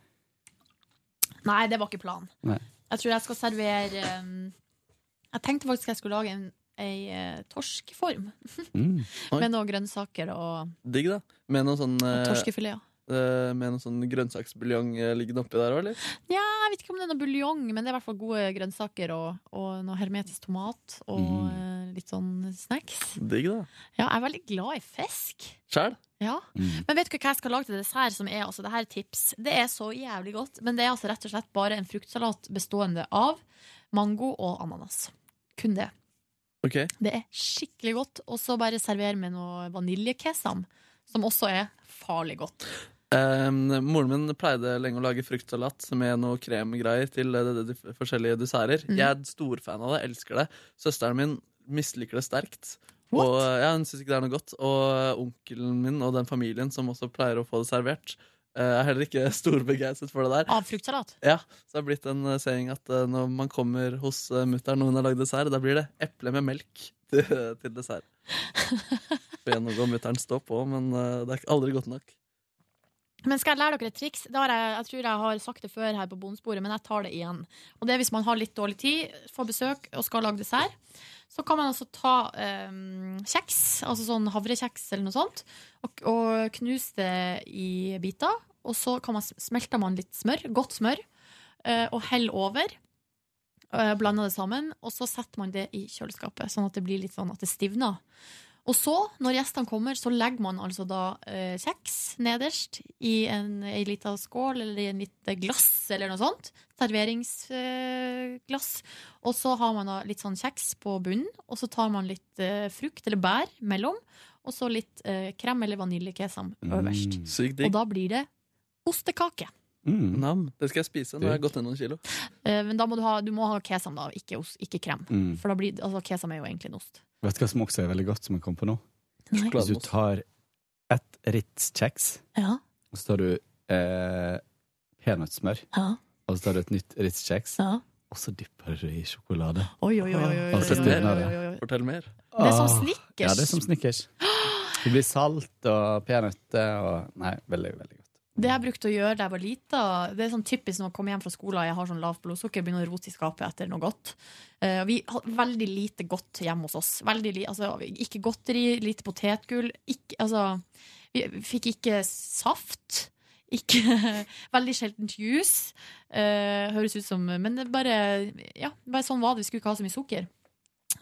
B: Nei, det var ikke planen.
L: Nei.
B: Jeg tror jeg skal servere eh, Jeg tenkte faktisk jeg skulle lage en
F: ei eh, torskform.
L: Mm.
C: Oi.
F: Med noen grønnsaker og
C: Digg, da. Med noen sånn eh,
F: torskefileter.
C: eh, Med noen sånn grønnsaksbuljong eh, liggende oppi der òg, eller?
F: Nja, jeg vet ikke om det er noe buljong, men det er i hvert fall gode grønnsaker og, og noe hermetisk tomat og eh, litt sånn snacks.
C: Digg, da.
F: Ja, jeg er veldig glad i fisk.
C: Sjæl?
F: Ja. Men vet du hva jeg skal lage til dessert, som er altså det her er tips? Det er så jævlig godt, men det er altså rett og slett bare en fruktsalat bestående av mango og ananas. Kun det.
C: Ok.
F: Det er skikkelig godt. Og så bare server med noe vaniljekesam, som også er farlig godt.
C: Em, Ehm, moren min pleide lenge å lage fruktsalat med noe kremgreier til eh, de, de, f- forskjellige desserter.
F: Mm.
C: Jeg er storfan av det, elsker det. Søsteren min misliker det sterkt.
F: What?
C: Og ja, Hun syns ikke det er noe godt. Og onkelen min og den familien som også pleier å få det servert, eh, er heller ikke (laughs) storbegeistret for det der.
F: Av fruktsalat?
C: Ja, så det er blitt en eh, saying at eh, når man kommer hos uh, mutter'n når hun har lagd dessert, da blir det eple med melk (laughs) til, til
F: (laughs)
C: dessert. For gjennomgå mutter'n stå på, men eh, det er ikke- aldri godt nok.
F: Men skal jeg lære dere et triks? Det har jeg, jeg tror jeg har sagt det før her på bonusbordet, men jeg tar det igjen. Og det er hvis man har litt dårlig tid, får besøk og skal lage dessert, så kan man altså ta eh, kjeks, altså sånn havrekjeks eller noe sånt, og, og knuse det i biter. Og så kan man, smelter man litt smør, godt smør, eh, og heller over. eh, Blander det sammen, og så setter man det i kjøleskapet, sånn at det blir litt sånn at det stivner. Og så, når gjestene kommer, så legger man altså da eh, kjeks nederst i en, ei lita skål eller i en lite glass eller noe sånt. Serveringsglass. og så har man da litt sånn kjeks på bunnen, og så tar man litt eh, frukt eller bær mellom, og så litt eh, krem eller vaniljekesam
L: Mm.
F: øverst.
C: Sykt
F: Og
C: digg.
F: da blir det ostekake.
L: Mm,
C: Nam. Det skal jeg spise når jeg har gått ned noen kilo.
F: Eh, men da må du ha, du må ha kesam, da, ikke, os, ikke krem.
L: Mm.
F: For da blir, altså, kesam er jo egentlig en ost.
L: Vet du hva som også er veldig godt, som jeg kom på nå?
F: Nei.
L: Hvis du tar ett Ritz-kjeks,
F: Ja.
L: og så tar du eh, peanøttsmør,
F: Ja.
L: og så tar du et nytt Ritz-kjeks,
F: Ja.
L: og så dypper du det i sjokolade.
F: Oi, oi, oi, oi, oi,
L: Og så
F: oi,
L: stivner
F: oi,
L: det.
F: oi, oi.
C: Fortell mer.
F: Det er som
L: Åh.
F: Snickers.
L: Ah. Ja, det er som Snickers. Det blir salt og peanøtter og Nei, veldig, veldig godt.
F: Det jeg brukte å gjøre da jeg var lita, det er sånn typisk når jeg kommer hjem fra skolen jeg har sånn lavt blodsukker, begynner å rote i skapet etter noe godt. Eh, vi har veldig lite godt hjemme hos oss. Veldig li altså, ikke godteri, lite potetgull. Ikke, altså, vi fikk ikke saft. Ikke (laughs) Veldig sjelden juice. Eh, høres ut som Men det er bare, ja, bare sånn var det. Vi skulle ikke ha så mye sukker.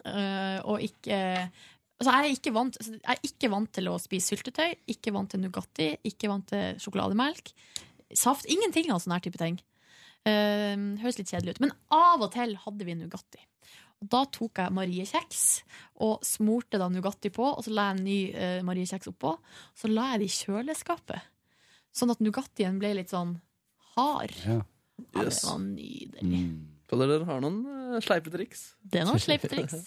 F: Eh, og ikke Altså, jeg, er ikke vant, altså, jeg er ikke vant til å spise syltetøy, ikke vant til Nugatti, ikke vant til sjokolademelk. Saft. Ingenting av sånne her type ting. Eh, høres litt kjedelig ut. Men av og til hadde vi Nugatti. Og da tok jeg Mariekjeks og smurte da Nugatti på, og så la jeg en ny eh, Mariekjeks oppå. Så la jeg det i kjøleskapet, sånn at Nugattien ble litt sånn hard.
L: Ja.
F: Ja, det
C: Yes.
F: var nydelig.
C: Så dere har noen eh, sleipe triks.
F: Det er noen sleipe triks.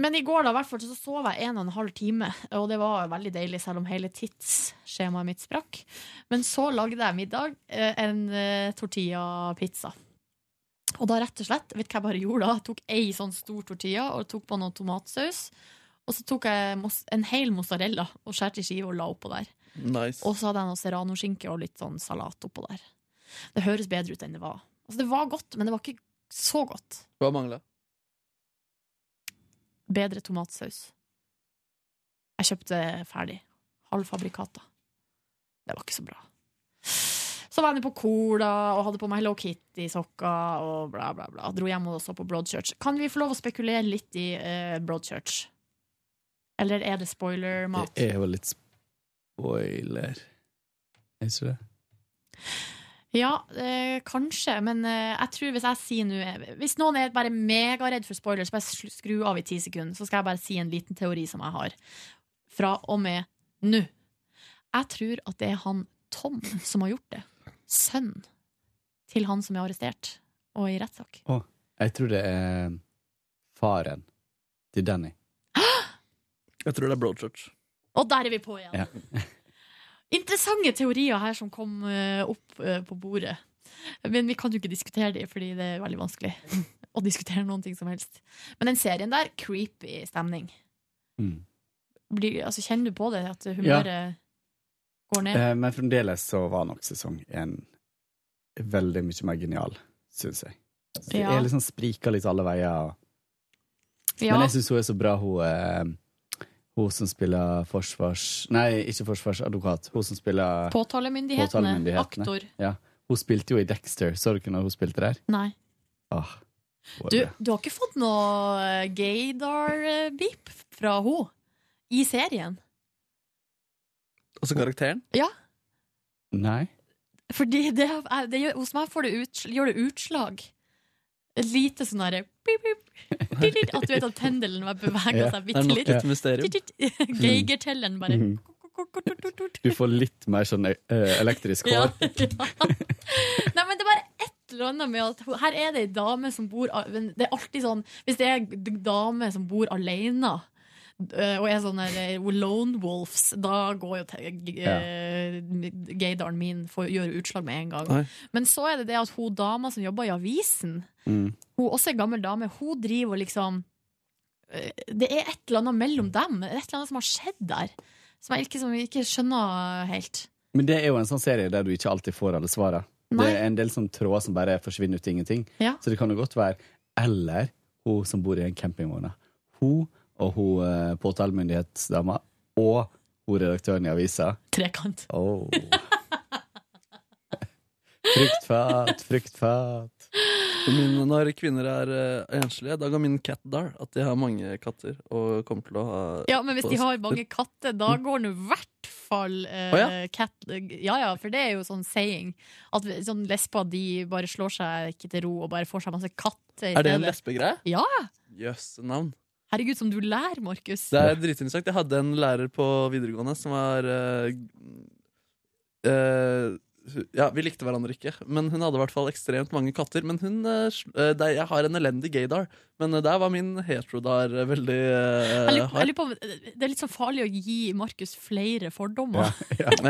F: Men i går da, i hvert fall, så sov jeg en og en halv time, og det var veldig deilig, selv om hele tidsskjemaet mitt sprakk. Men så lagde jeg middag eh, en eh, tortilla-pizza. Og da rett og slett, vet du hva jeg bare gjorde da? Jeg tok ei sånn stor tortilla og tok på noe tomatsaus, og så tok jeg mos- en hel mozzarella og skjærte i skive og la oppå der.
C: Nice.
F: Og så hadde jeg noe serranoskinke og litt sånn salat oppå der. Det høres bedre ut enn det var. Altså, det var godt, men det var ikke så godt.
C: Hva mangla?
F: Bedre tomatsaus. Jeg kjøpte ferdig. Halvfabrikata. Det var ikke så bra. Så var jeg inne på Cola og hadde på meg Hello Kitty-sokker og bla, bla, bla. Dro hjem og så på Broadchurch. Kan vi få lov å spekulere litt i eh, Broadchurch? Eller er det spoiler-mat?
L: Det er jo litt spoiler. Er ikke det?
F: Ja, eh, kanskje, men eh, jeg tror hvis jeg sier nå Hvis noen er bare megaredd for spoilers, bare slu- skru av i ti sekunder, så skal jeg bare si en liten teori som jeg har. Fra og med nå. Jeg tror at det er han Tom som har gjort det. Sønnen til han som er arrestert og i rettssak.
L: Å, jeg tror det er faren til Danny.
C: Jeg tror det er Broadchurch.
F: Og der er vi på igjen!
L: Ja.
F: (laughs) Interessante teorier her som kom eh, opp eh, på bordet. Men vi kan jo ikke diskutere dem, fordi det er veldig vanskelig (laughs) å diskutere noen ting som helst. Men den serien der, creepy stemning.
L: Mm.
F: Blir, altså, kjenner du på det, at humøret går ned?
L: Eh, Men fremdeles så var nok sesong én veldig mye mer genial, syns jeg. Så Det
F: Ja.
L: er liksom sprika litt alle veier. og
F: Ja.
L: Men jeg syns hun er så bra, hun eh, Hun som spiller forsvars... Nei, ikke forsvarsadvokat. Hun som spiller
F: Påtalemyndighetene.
L: påtalemyndighetene.
F: Aktor.
L: Ja. Hun spilte jo i Dexter. Så du ikke når hun spilte der?
F: Nei.
L: Åh, hun er
F: Du,
L: bra.
F: du har ikke fått noe gaydar-beep fra hun i serien?
C: Altså karakteren?
F: Ja,
L: Nei.
F: fordi det, er- det, gjør- hos meg får det ut, gjør det utslag. Et lite sånn derre beep, beep, dit, dit, At du vet at pendelen bare beveger
L: Ja,
F: seg
L: det er
F: bitte
L: nok
F: litt.
L: et mysterium.
F: Dit, dit. Geigertelleren bare
L: Mhm. Du får litt mer sånn eh,
F: (laughs)
L: elektrisk
F: Ja,
L: hår.
F: Nei, men det er bare et eller annet med at her er det ei dame som bor al- men Det er alltid sånn Hvis det er en dame som bor alene øh, og er sånn der, øh, lone wolves, da går jo te-
N: Ja.
F: øh, gaydaren min får gjøre utslag med en gang.
N: Oi.
F: Men så er det det at hun dama som jobber i avisen,
L: Mm.
F: hun også er en gammel dame, hun driver og liksom øh, Det er et eller annet mellom dem, et eller annet som har skjedd der, som jeg ikke, som jeg ikke skjønner helt.
L: Men det er jo en sånn serie der du ikke alltid får alle svarene. Det
F: Nei.
L: er en del sånn tråder som bare forsvinner ut i ingenting.
F: Ja.
L: Så det kan jo godt være Eller hun som bor i en campingvogn. Hun og hun eh, påtalemyndighetsdama og hun redaktøren i avisa.
F: Trekant.
L: Oh.
F: (laughs)
L: Fryktfat, fryktfat.
C: For min, når kvinner er eh, enslige, da går min cat dar at de har mange katter. Og kommer til å ha
F: Ja, men hvis de har mange katter, da
C: Mm.
F: går det i hvert fall eh,
C: Å, ja?
F: cat, ja, ja, for det er jo sånn saying. At sånn lesber de bare slår seg ikke til ro og bare får seg masse katter. i
C: Er det en
F: stedet.
C: lesbegreie?
F: Ja!
C: Jøss, navn.
F: Herregud, som du lærer, Markus.
C: Det er dritinteressant. Jeg hadde en lærer på videregående som var eh, eh, hu- Ja, vi likte hverandre ikke, men hun hadde i hvert fall ekstremt mange katter. Men hun eh, sl- eh, det- Jeg har en elendig gaydar, men eh, der var min heterodar eh, veldig eh,
F: jeg lurer, jeg
C: hard.
F: lurer på, om- det er litt sånn farlig å gi Markus flere fordommer. (laughs)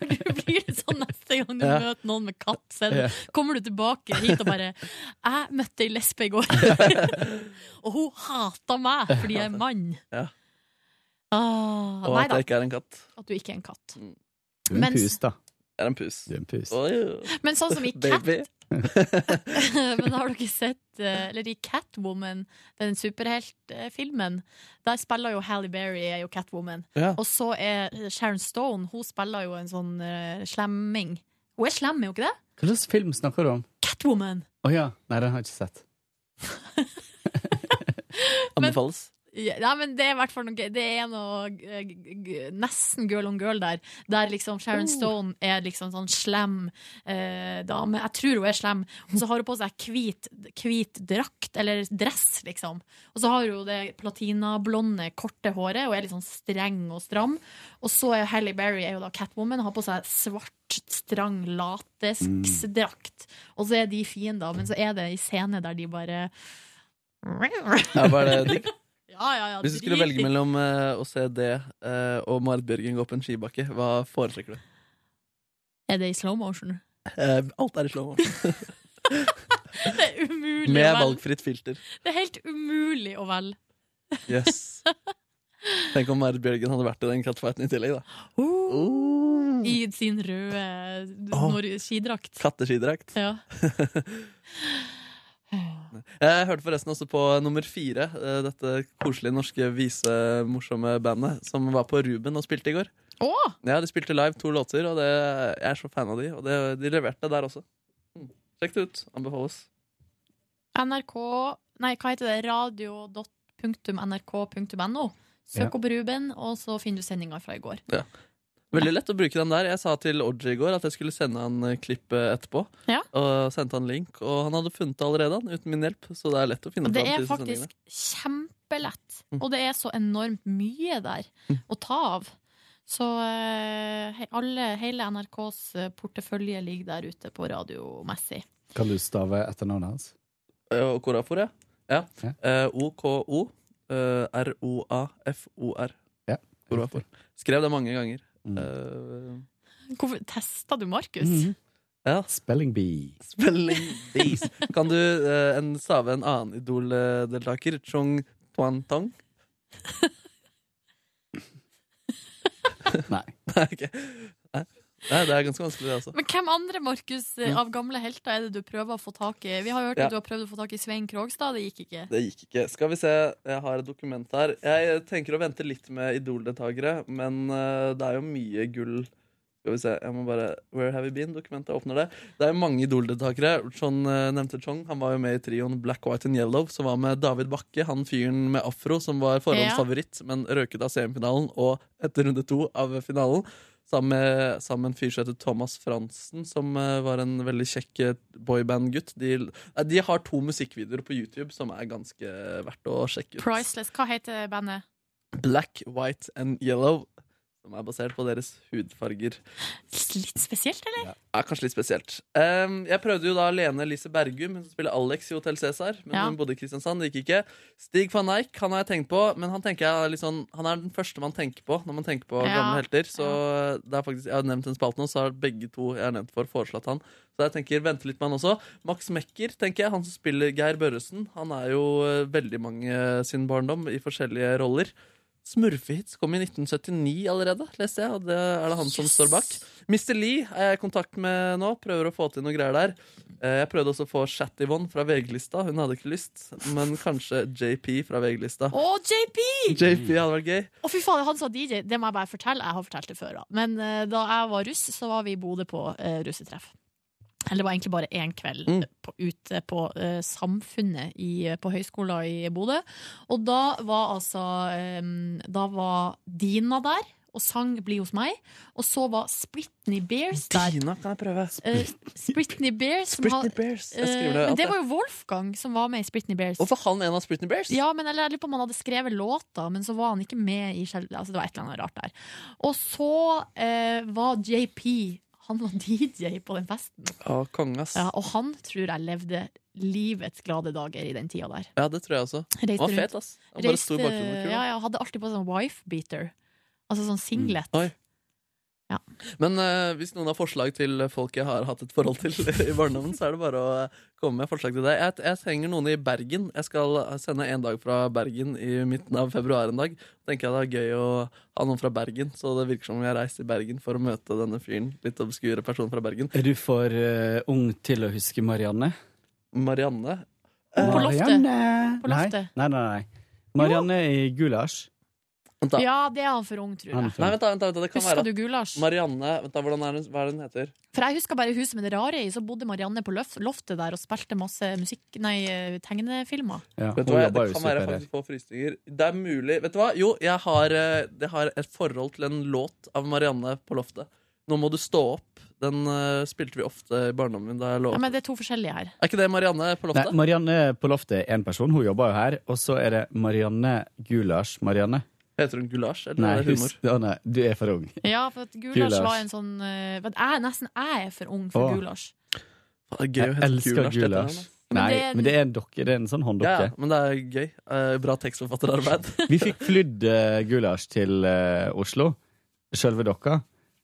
F: For du blir litt sånn neste gang du
C: Ja.
F: møter noen med katt. Så er det-
C: Ja.
F: kommer du tilbake hit og bare 'Jeg møtte ei lesbe i går',
C: (laughs)
F: og hun hata meg fordi jeg er mann.
C: Ja.
F: Ah,
C: Og
F: nei
C: at
F: da.
C: jeg ikke er en katt.
F: At du ikke er en katt.
C: Du er en
F: Mens-
C: pus,
L: da.
C: Jeg er en pus.
L: Du er en pus.
F: Men sånn
C: (laughs)
F: som i
C: Baby.
F: (laughs) Men har dere sett eh, Eller i Catwoman, den superheltfilmen, der spiller jo Halle Berry er jo Catwoman.
N: Ja.
F: Og så er Sharon Stone, hun spiller jo en sånn eh, slemming. Hun er slem, er hun ikke det?
L: Hva slags film snakker du om?
F: Catwoman!
L: Å ja. Nei, den har jeg ikke sett.
C: Anbefales.
F: Ja, nei, men det er i hvert fall noe gøy. Det er noe eh, g- g- nesten girl on girl der. Der liksom Sharon
N: Oh.
F: Stone er liksom sånn slem eh, dame. Jeg tror hun er slem. Og så har hun på seg hvit, hvit drakt, eller dress, liksom. Og så har hun det platinablonde, korte håret og er litt sånn streng og stram. Og så er Halle Berry er jo da Catwoman og har på seg svart, strang
C: Mm.
F: latesdrakt. Og så er de fiender, men så er det ei scene der de
C: (laughs)
F: bare
C: Ja, var det
F: (laughs)
C: digg?
F: Ja, ja, ja,
C: Hvis du skulle
F: dritdigg.
C: velge mellom eh, å se det eh, og Marit Bjørgen gå opp en skibakke, hva foretrekker du?
F: Er det i slow motion?
C: Eh, alt er i slow motion.
F: (laughs) Det er umulig
C: Med
F: å velge.
C: valgfritt filter.
F: Det er helt umulig å velge.
C: Yes. Tenk om Marit Bjørgen hadde vært i den catfighten i tillegg, da. Uh.
F: I sin røde nor skidrakt.
C: Katteskidrakt.
F: Ja.
C: Jeg hørte forresten også på nummer fire, eh, dette koselige norske visemorsomme bandet, som var på Ruben og spilte i går.
F: Å!
C: Ja, De spilte live to låter, og det, jeg er så fan av de, og det, de leverte der også. Mm. Sjekk det ut. Anbefales.
F: NRK Nei, hva heter det? Radio.nrk.no. Søk
C: Ja.
F: opp Ruben, og så finner du sendinga fra i går.
C: Ja. Veldig lett å bruke den der. Jeg sa til Orji i går at jeg skulle sende han eh, klippet etterpå.
F: Ja.
C: Og sendte han link, og han hadde funnet det allerede, han, uten min hjelp. Så det er lett å finne
F: Det
C: fram
F: er
C: til
F: faktisk
C: sendingene. Mm.
F: kjempelett, og det er så enormt mye der å ta av. Så eh, he- alle, hele NRKs eh, portefølje ligger der ute på radiomessig.
L: Kan du stave etternavnet hans?
C: Eh, Okafor, ja. ja. Eh, O-K-O. eh, R-O-A-F-O-R.
L: Ja.
C: Korafor. Skrev det mange ganger. Eh,
F: Hvorfor testa du Markus?
C: Mm. ja.
L: Mhm. Spelling bee.
C: Spelling bees. Kan du eh, en, stave en annen Idol-deltaker? Chung Tuan Tong? (laughs)
L: Nei.
C: Nei, ok. Nei. Nei, det er ganske vanskelig, altså. det også.
F: Men hvem andre Markus, eh,
C: Mm.
F: av gamle helter er det du prøver å få tak i? Vi har jo hørt
C: Ja.
F: at du har prøvd å få tak i Svein Krogstad, det gikk ikke.
C: Det gikk ikke. Skal vi se, jeg har et dokument her. Jeg tenker å vente litt med Idol-deltakere, men eh, det er jo mye gull. Skal vi se, jeg må bare Where have you been? Dokumentet åpner det. Det er jo mange Idol-deltakere. Chon eh, nevnte Chong. Han var jo med i trioen Black, White and Yellow, som var med David Bakke, han fyren med afro som var forhåndsfavoritt, men røket av semifinalen og etter runde to av finalen. Sammen med, sammen med en fyr som heter Thomas Fransen, som eh, var en veldig kjekk eh, boyband-gutt. De, eh, de har to musikkvideoer på YouTube som er ganske verdt å sjekke ut.
F: Priceless. Hva heter bandet?
C: Black, White and Yellow, som er basert på deres hudfarger.
F: Litt spesielt, eller?
C: Er kanskje litt spesielt. Ehm, jeg prøvde jo da Lene Lise Bergum, hun som spiller Alex i Hotell Cæsar. Men
F: Ja.
C: hun bodde i Kristiansand, det gikk ikke. Stig van Eijk han har jeg tenkt på, men han, tenker jeg er litt sånn, han er den første man tenker på når man tenker på
F: Ja.
C: gamle helter. Så det er faktisk, Jeg har nevnt en spalte nå, så har begge to jeg har nevnt for, foreslått han. Så jeg tenker, vente litt med han også. Max Mekker, tenker jeg, han som spiller Geir Børresen. Han er jo eh, veldig mange sin barndom i forskjellige roller. Smurfehits kom i 1979 allerede, leste jeg, og det er det han som står bak. Mr. Lee er jeg i kontakt med nå, prøver å få til noe greier der. Eh, Jeg prøvde også å få Chat-Yvonne fra VG-lista, hun hadde ikke lyst, men kanskje JP fra VG-lista.
F: Å, JP!
C: JP hadde vært gøy.
F: Å, fy faen, han sa DJ. Det må jeg bare fortelle. Jeg har fortalt det før, da. Men eh, da jeg var russ, så var vi i Bodø på eh, russetreff. Eller det var egentlig bare én kveld
C: Mm.
F: eh, på, ute på eh, Samfunnet i, eh, på høyskolen i Bodø. Og da var altså eh, Da var Dina der og sang 'Bli hos meg'. Og så var Spritney Bears der.
C: Dina, kan jeg prøve?
F: Eh, Spritney Bears. som
C: Spritney
F: har-
C: Bears. Jeg
F: eh,
C: skriver det
F: men
C: alt,
F: det
C: jeg.
F: var jo Wolfgang som var med i Spritney Bears.
C: Hvorfor han en av Spritney Bears?
F: Ja, men eller, jeg lurer på om han hadde skrevet låta, men så var han ikke med i sjel... Altså, det var et eller annet rart der. Og så eh, var JP Han var (laughs) DJ på den festen.
C: Å, konge, ass.
F: Ja, og han tror jeg levde livets glade dager i den tida der.
C: Ja, det tror jeg også.
F: Reiste
C: Han var
F: rundt.
C: fet, ass. Han bare
F: Reiste-
C: sto i bakgrunnen. og kul, da.
F: Ja, ja, hadde alltid på sånn wife-beater. Altså sånn singlet.
C: Oi. Men eh, hvis noen har forslag til folk jeg har hatt et forhold til (laughs) i barndommen, så er det bare å eh, komme med forslag til det. Jeg, jeg trenger noen i Bergen. Jeg skal sende en dag fra Bergen i midten av februar en dag. Tenker jeg det er gøy å ha noen fra Bergen, så det virker som om jeg reiser til Bergen for å møte denne fyren. Litt obskure personen fra Bergen.
L: Er du for eh, ung til å huske Marianne?
C: Marianne? Eh,
L: På
F: loftet. På
L: Nei,
F: loftet.
L: nei, nei. nei. Marianne i gulasj.
F: Ja, det er han for ung, tror
L: Han er
F: jeg.
L: for ung. Nei, vent
C: da, vent da, vent da, det kan
F: Husker
C: være-
F: du gulasj?
C: Marianne, vent da, hvordan er hun, hva er det hun heter?
F: For jeg husker bare huset med det rare i, så bodde Marianne på løf- loftet der og spilte masse musikk, nei, eh, tegnefilmer.
C: Vet du hva, det kan være jeg faktisk på frysninger. Det er mulig. Vet du hva? Jo, jeg har, eh, jeg har et forhold til en låt av Marianne på loftet. Nå må du stå opp. Den eh, spilte vi ofte i barndommen min da jeg lå
F: Ja,
C: opp.
F: men det er to forskjellige her.
C: Er ikke det Marianne på
L: Nei,
C: loftet?
L: Marianne på loftet er én person, hun jobber jo her. Og så er det Marianne Gulasj. Marianne.
C: Heter hun gulasj, eller
L: Nei,
C: er det humor?
L: husk, å nei, du er for ung.
F: Ja, for at gulasj,
L: Gulasj.
F: var en sånn eh, men jeg, Nesten jeg er for ung for
L: Åh.
F: gulasj.
L: Jeg elsker
C: Gulasj, heter den,
L: gulasj.
C: altså.
F: Men
L: Nei,
F: det er-
L: men det er en dokke. Det er en sånn
C: Ja,
L: hånddokke.
C: ja, men det er gøy. Eh, bra tekstforfatterarbeid.
L: (laughs) Vi fikk flydd eh, gulasj til eh, Oslo, sjølve dokka,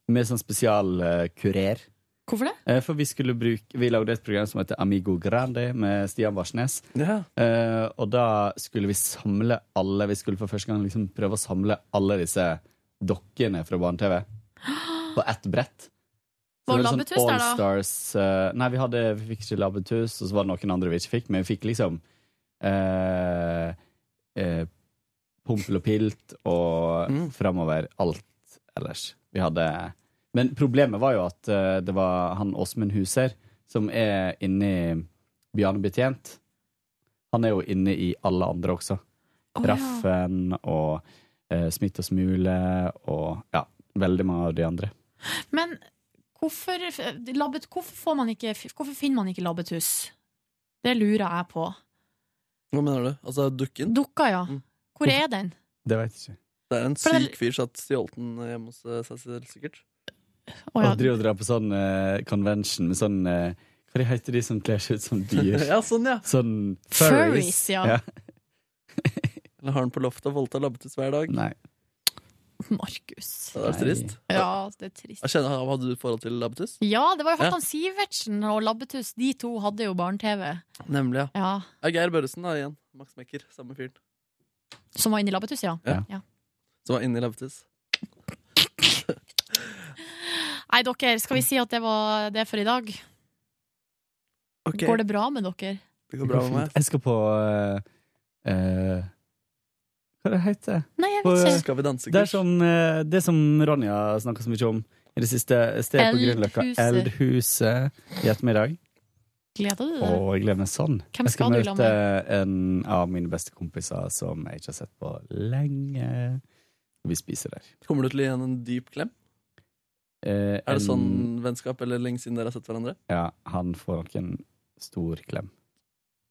L: med sånn spesialkurer.
F: Hvorfor det?
L: Eh, for vi skulle bruke Vi lagde et program som heter Amigo Grande med Stian Varsnes.
C: Ja.
L: Eh, og da skulle vi samle alle Vi skulle for første gang liksom prøve å samle alle disse dokkene fra barne-TV på ett brett. Så
F: Var
L: det var
F: labbetuss der, da?
L: All Stars eh, Nei, vi, hadde, vi fikk ikke labbetuss, og så var det noen andre vi ikke fikk, men vi fikk liksom eh, eh, Pompel og pilt og framover alt ellers. Vi hadde Men problemet var jo at eh, det var han Åsmund Huser, som er inni Bjarne Betjent. Han er jo inne i alle andre også.
F: Å, ja.
L: Raffen og eh, Smitt og Smule og ja, veldig mange av de andre.
F: Men hvorfor, eh, labbet, hvorfor, får man ikke, hvorfor finner man ikke labbetuss? Det lurer jeg på.
C: Hva mener du? Altså dukken?
F: Dukka, ja. Hvor er den?
L: Det vet jeg ikke.
C: Det er en
F: For det er-
C: syk fyr som stjålet den hjemme hos eh, seg selv, sikkert.
F: Å, ja.
L: Og driver og drar på sånn eh, convention med sånn eh, Hva de heter de som kler seg ut som dyr?
F: (laughs)
C: (laughs) Ja, sånn, ja.
L: Sånn furries.
F: Furries, ja.
C: Eller har den på loftet og voldtar labbetuss hver dag?
L: Nei.
F: Markus.
C: Det er trist.
F: Ja, det er trist.
C: Jeg kjenner, hadde du et forhold til labbetuss?
F: Ja, det var jo
C: Ja.
F: Halvdan Sivertsen og Labbetuss. De to hadde jo barne-TV.
C: Nemlig, ja.
F: Ja.
C: Ja, Geir Børresen da, igjen. Max Mekker, samme fyren.
F: Som var inne i Labbetuss, ja.
C: Ja.
F: ja.
C: Som var inne i labbetuss.
F: Nei, dere, skal vi si at det var det for i dag?
O: Ok.
F: Går det bra med dere?
O: Det går bra med meg.
L: Jeg skal på eh, eh, Hva er det heter
F: Nei, jeg
L: På,
F: vet
L: eh,
F: ikke.
O: Skal vi danse,
L: Det, er som, eh, det som Ronja snakka så mye om i det siste, stedet på Grünerløkka.
F: Eldhuset.
L: Eldhuset i ettermiddag.
F: Gleder du deg?
L: Og jeg gleder meg sånn.
F: Mm. Hvem
L: jeg skal
F: skal du la
L: møte en av mine beste kompiser som jeg ikke har sett på lenge. Vi spiser der.
C: Kommer du til å gi henne en dyp klem?
L: Eh,
C: Er det
L: en-
C: sånn vennskap, eller lenge siden dere har sett hverandre?
L: Ja, han får nok en stor klem.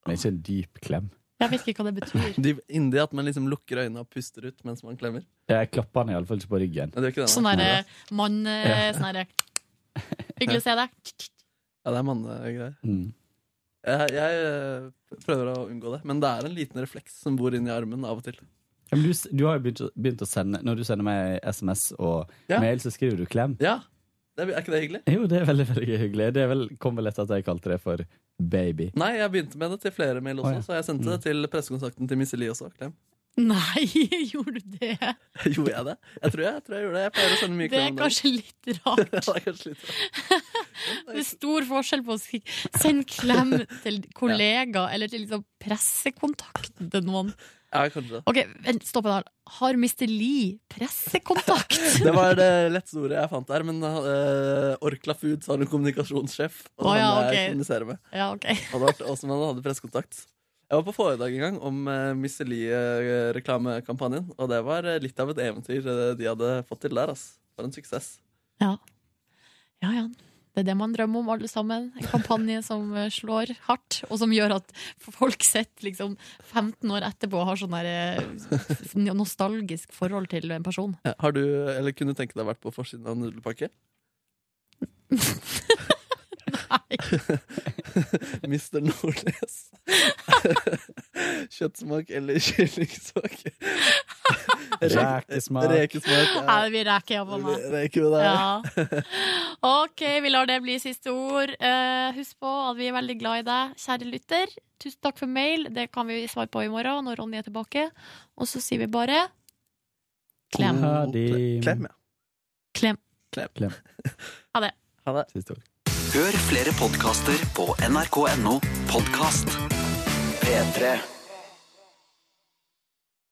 L: Men ikke en dyp klem.
F: Jeg vet ikke hva
C: (laughs)
F: det betyr.
C: Dyp Inni at man liksom lukker øynene og puster ut mens man klemmer?
L: Jeg klapper han iallfall ikke på ryggen.
C: Nei, det gjør ikke det,
F: Sånn
C: nei.
F: derre mann eh, Sånn derre Hyggelig å se deg. (laughs)
C: Ja, det er mannegreier.
L: Mm.
C: Jeg, jeg eh, prøver å unngå det, men det er en liten refleks som bor inni armen av og til.
L: Ja, men Du, s- du har jo begynt, å- begynt å sende Når du sender meg SMS og
C: Ja.
L: mail, så skriver du klem.
C: Ja, det Er er ikke det hyggelig?
L: Jo, det er veldig veldig hyggelig. Det er vel, kom vel etter at jeg kalte det for baby.
C: Nei, jeg begynte med det til flere mail også,
L: Å, ja. Mm.
C: så jeg sendte det til pressekontakten til Missy Lie også. Klem.
F: Nei, (laughs) gjorde du det?
C: (laughs) Gjorde jeg det? Jeg tror jeg, jeg tror jeg gjorde det. Jeg pleier å sende mye
F: Det er
C: klem. om
F: kanskje litt
C: dagen. (laughs) Ja,
F: rart.
C: det er kanskje litt rart.
F: Det er stor forskjell på å si- sende klem til kollegaer eller til liksom pressekontakten til noen.
C: Ja, kanskje det.
F: Ok, vent, stopp en hal. Har Mr. Lee pressekontakt?
C: (laughs) Det var det letteste ordet jeg fant der, men eh, Orkla Foods har en kommunikasjonssjef. Og
F: Å, ja,
C: han jeg
F: ok.
C: kommuniserer med.
F: Ja, ok.
C: Og det var også man hadde pressekontakt. Jeg var på foredrag en gang om uh, reklamekampanjen og det var eh, litt av et eventyr eh, de hadde fått til der. ass. Det var en suksess.
F: Ja. ja, ja. Det er det man drømmer om, alle sammen. En kampanje som eh, slår hardt, og som gjør at folk sett liksom 15 år etterpå har sånn der eh, nostalgisk forhold til en person. (laughs)
C: Ja, Har du, eller Kunne du tenke deg å vært på forsiden av en (laughs) nudelpakke? Nei. Mr. Nordnes. (laughs) Kjøttsmak eller kyllingsmak? Rek-
L: Rekesmak.
C: Rekesmak.
F: Nei,
C: ja.
F: det blir reke ja, på meg.
C: Reker du det?
F: Ja. OK, vi lar det bli siste ord. Eh, husk på at vi er veldig glad i deg, kjære lytter. Tusen takk for mail. Det kan vi svare på i morgen når Ronny er tilbake. Og så sier vi bare Klem.
L: Ha det.
C: Klem, ja.
F: Klem.
L: Klem.
F: Ha det.
C: Ha det.
L: Siste ord.
P: Hør flere podkaster på nrk.no podkast P3.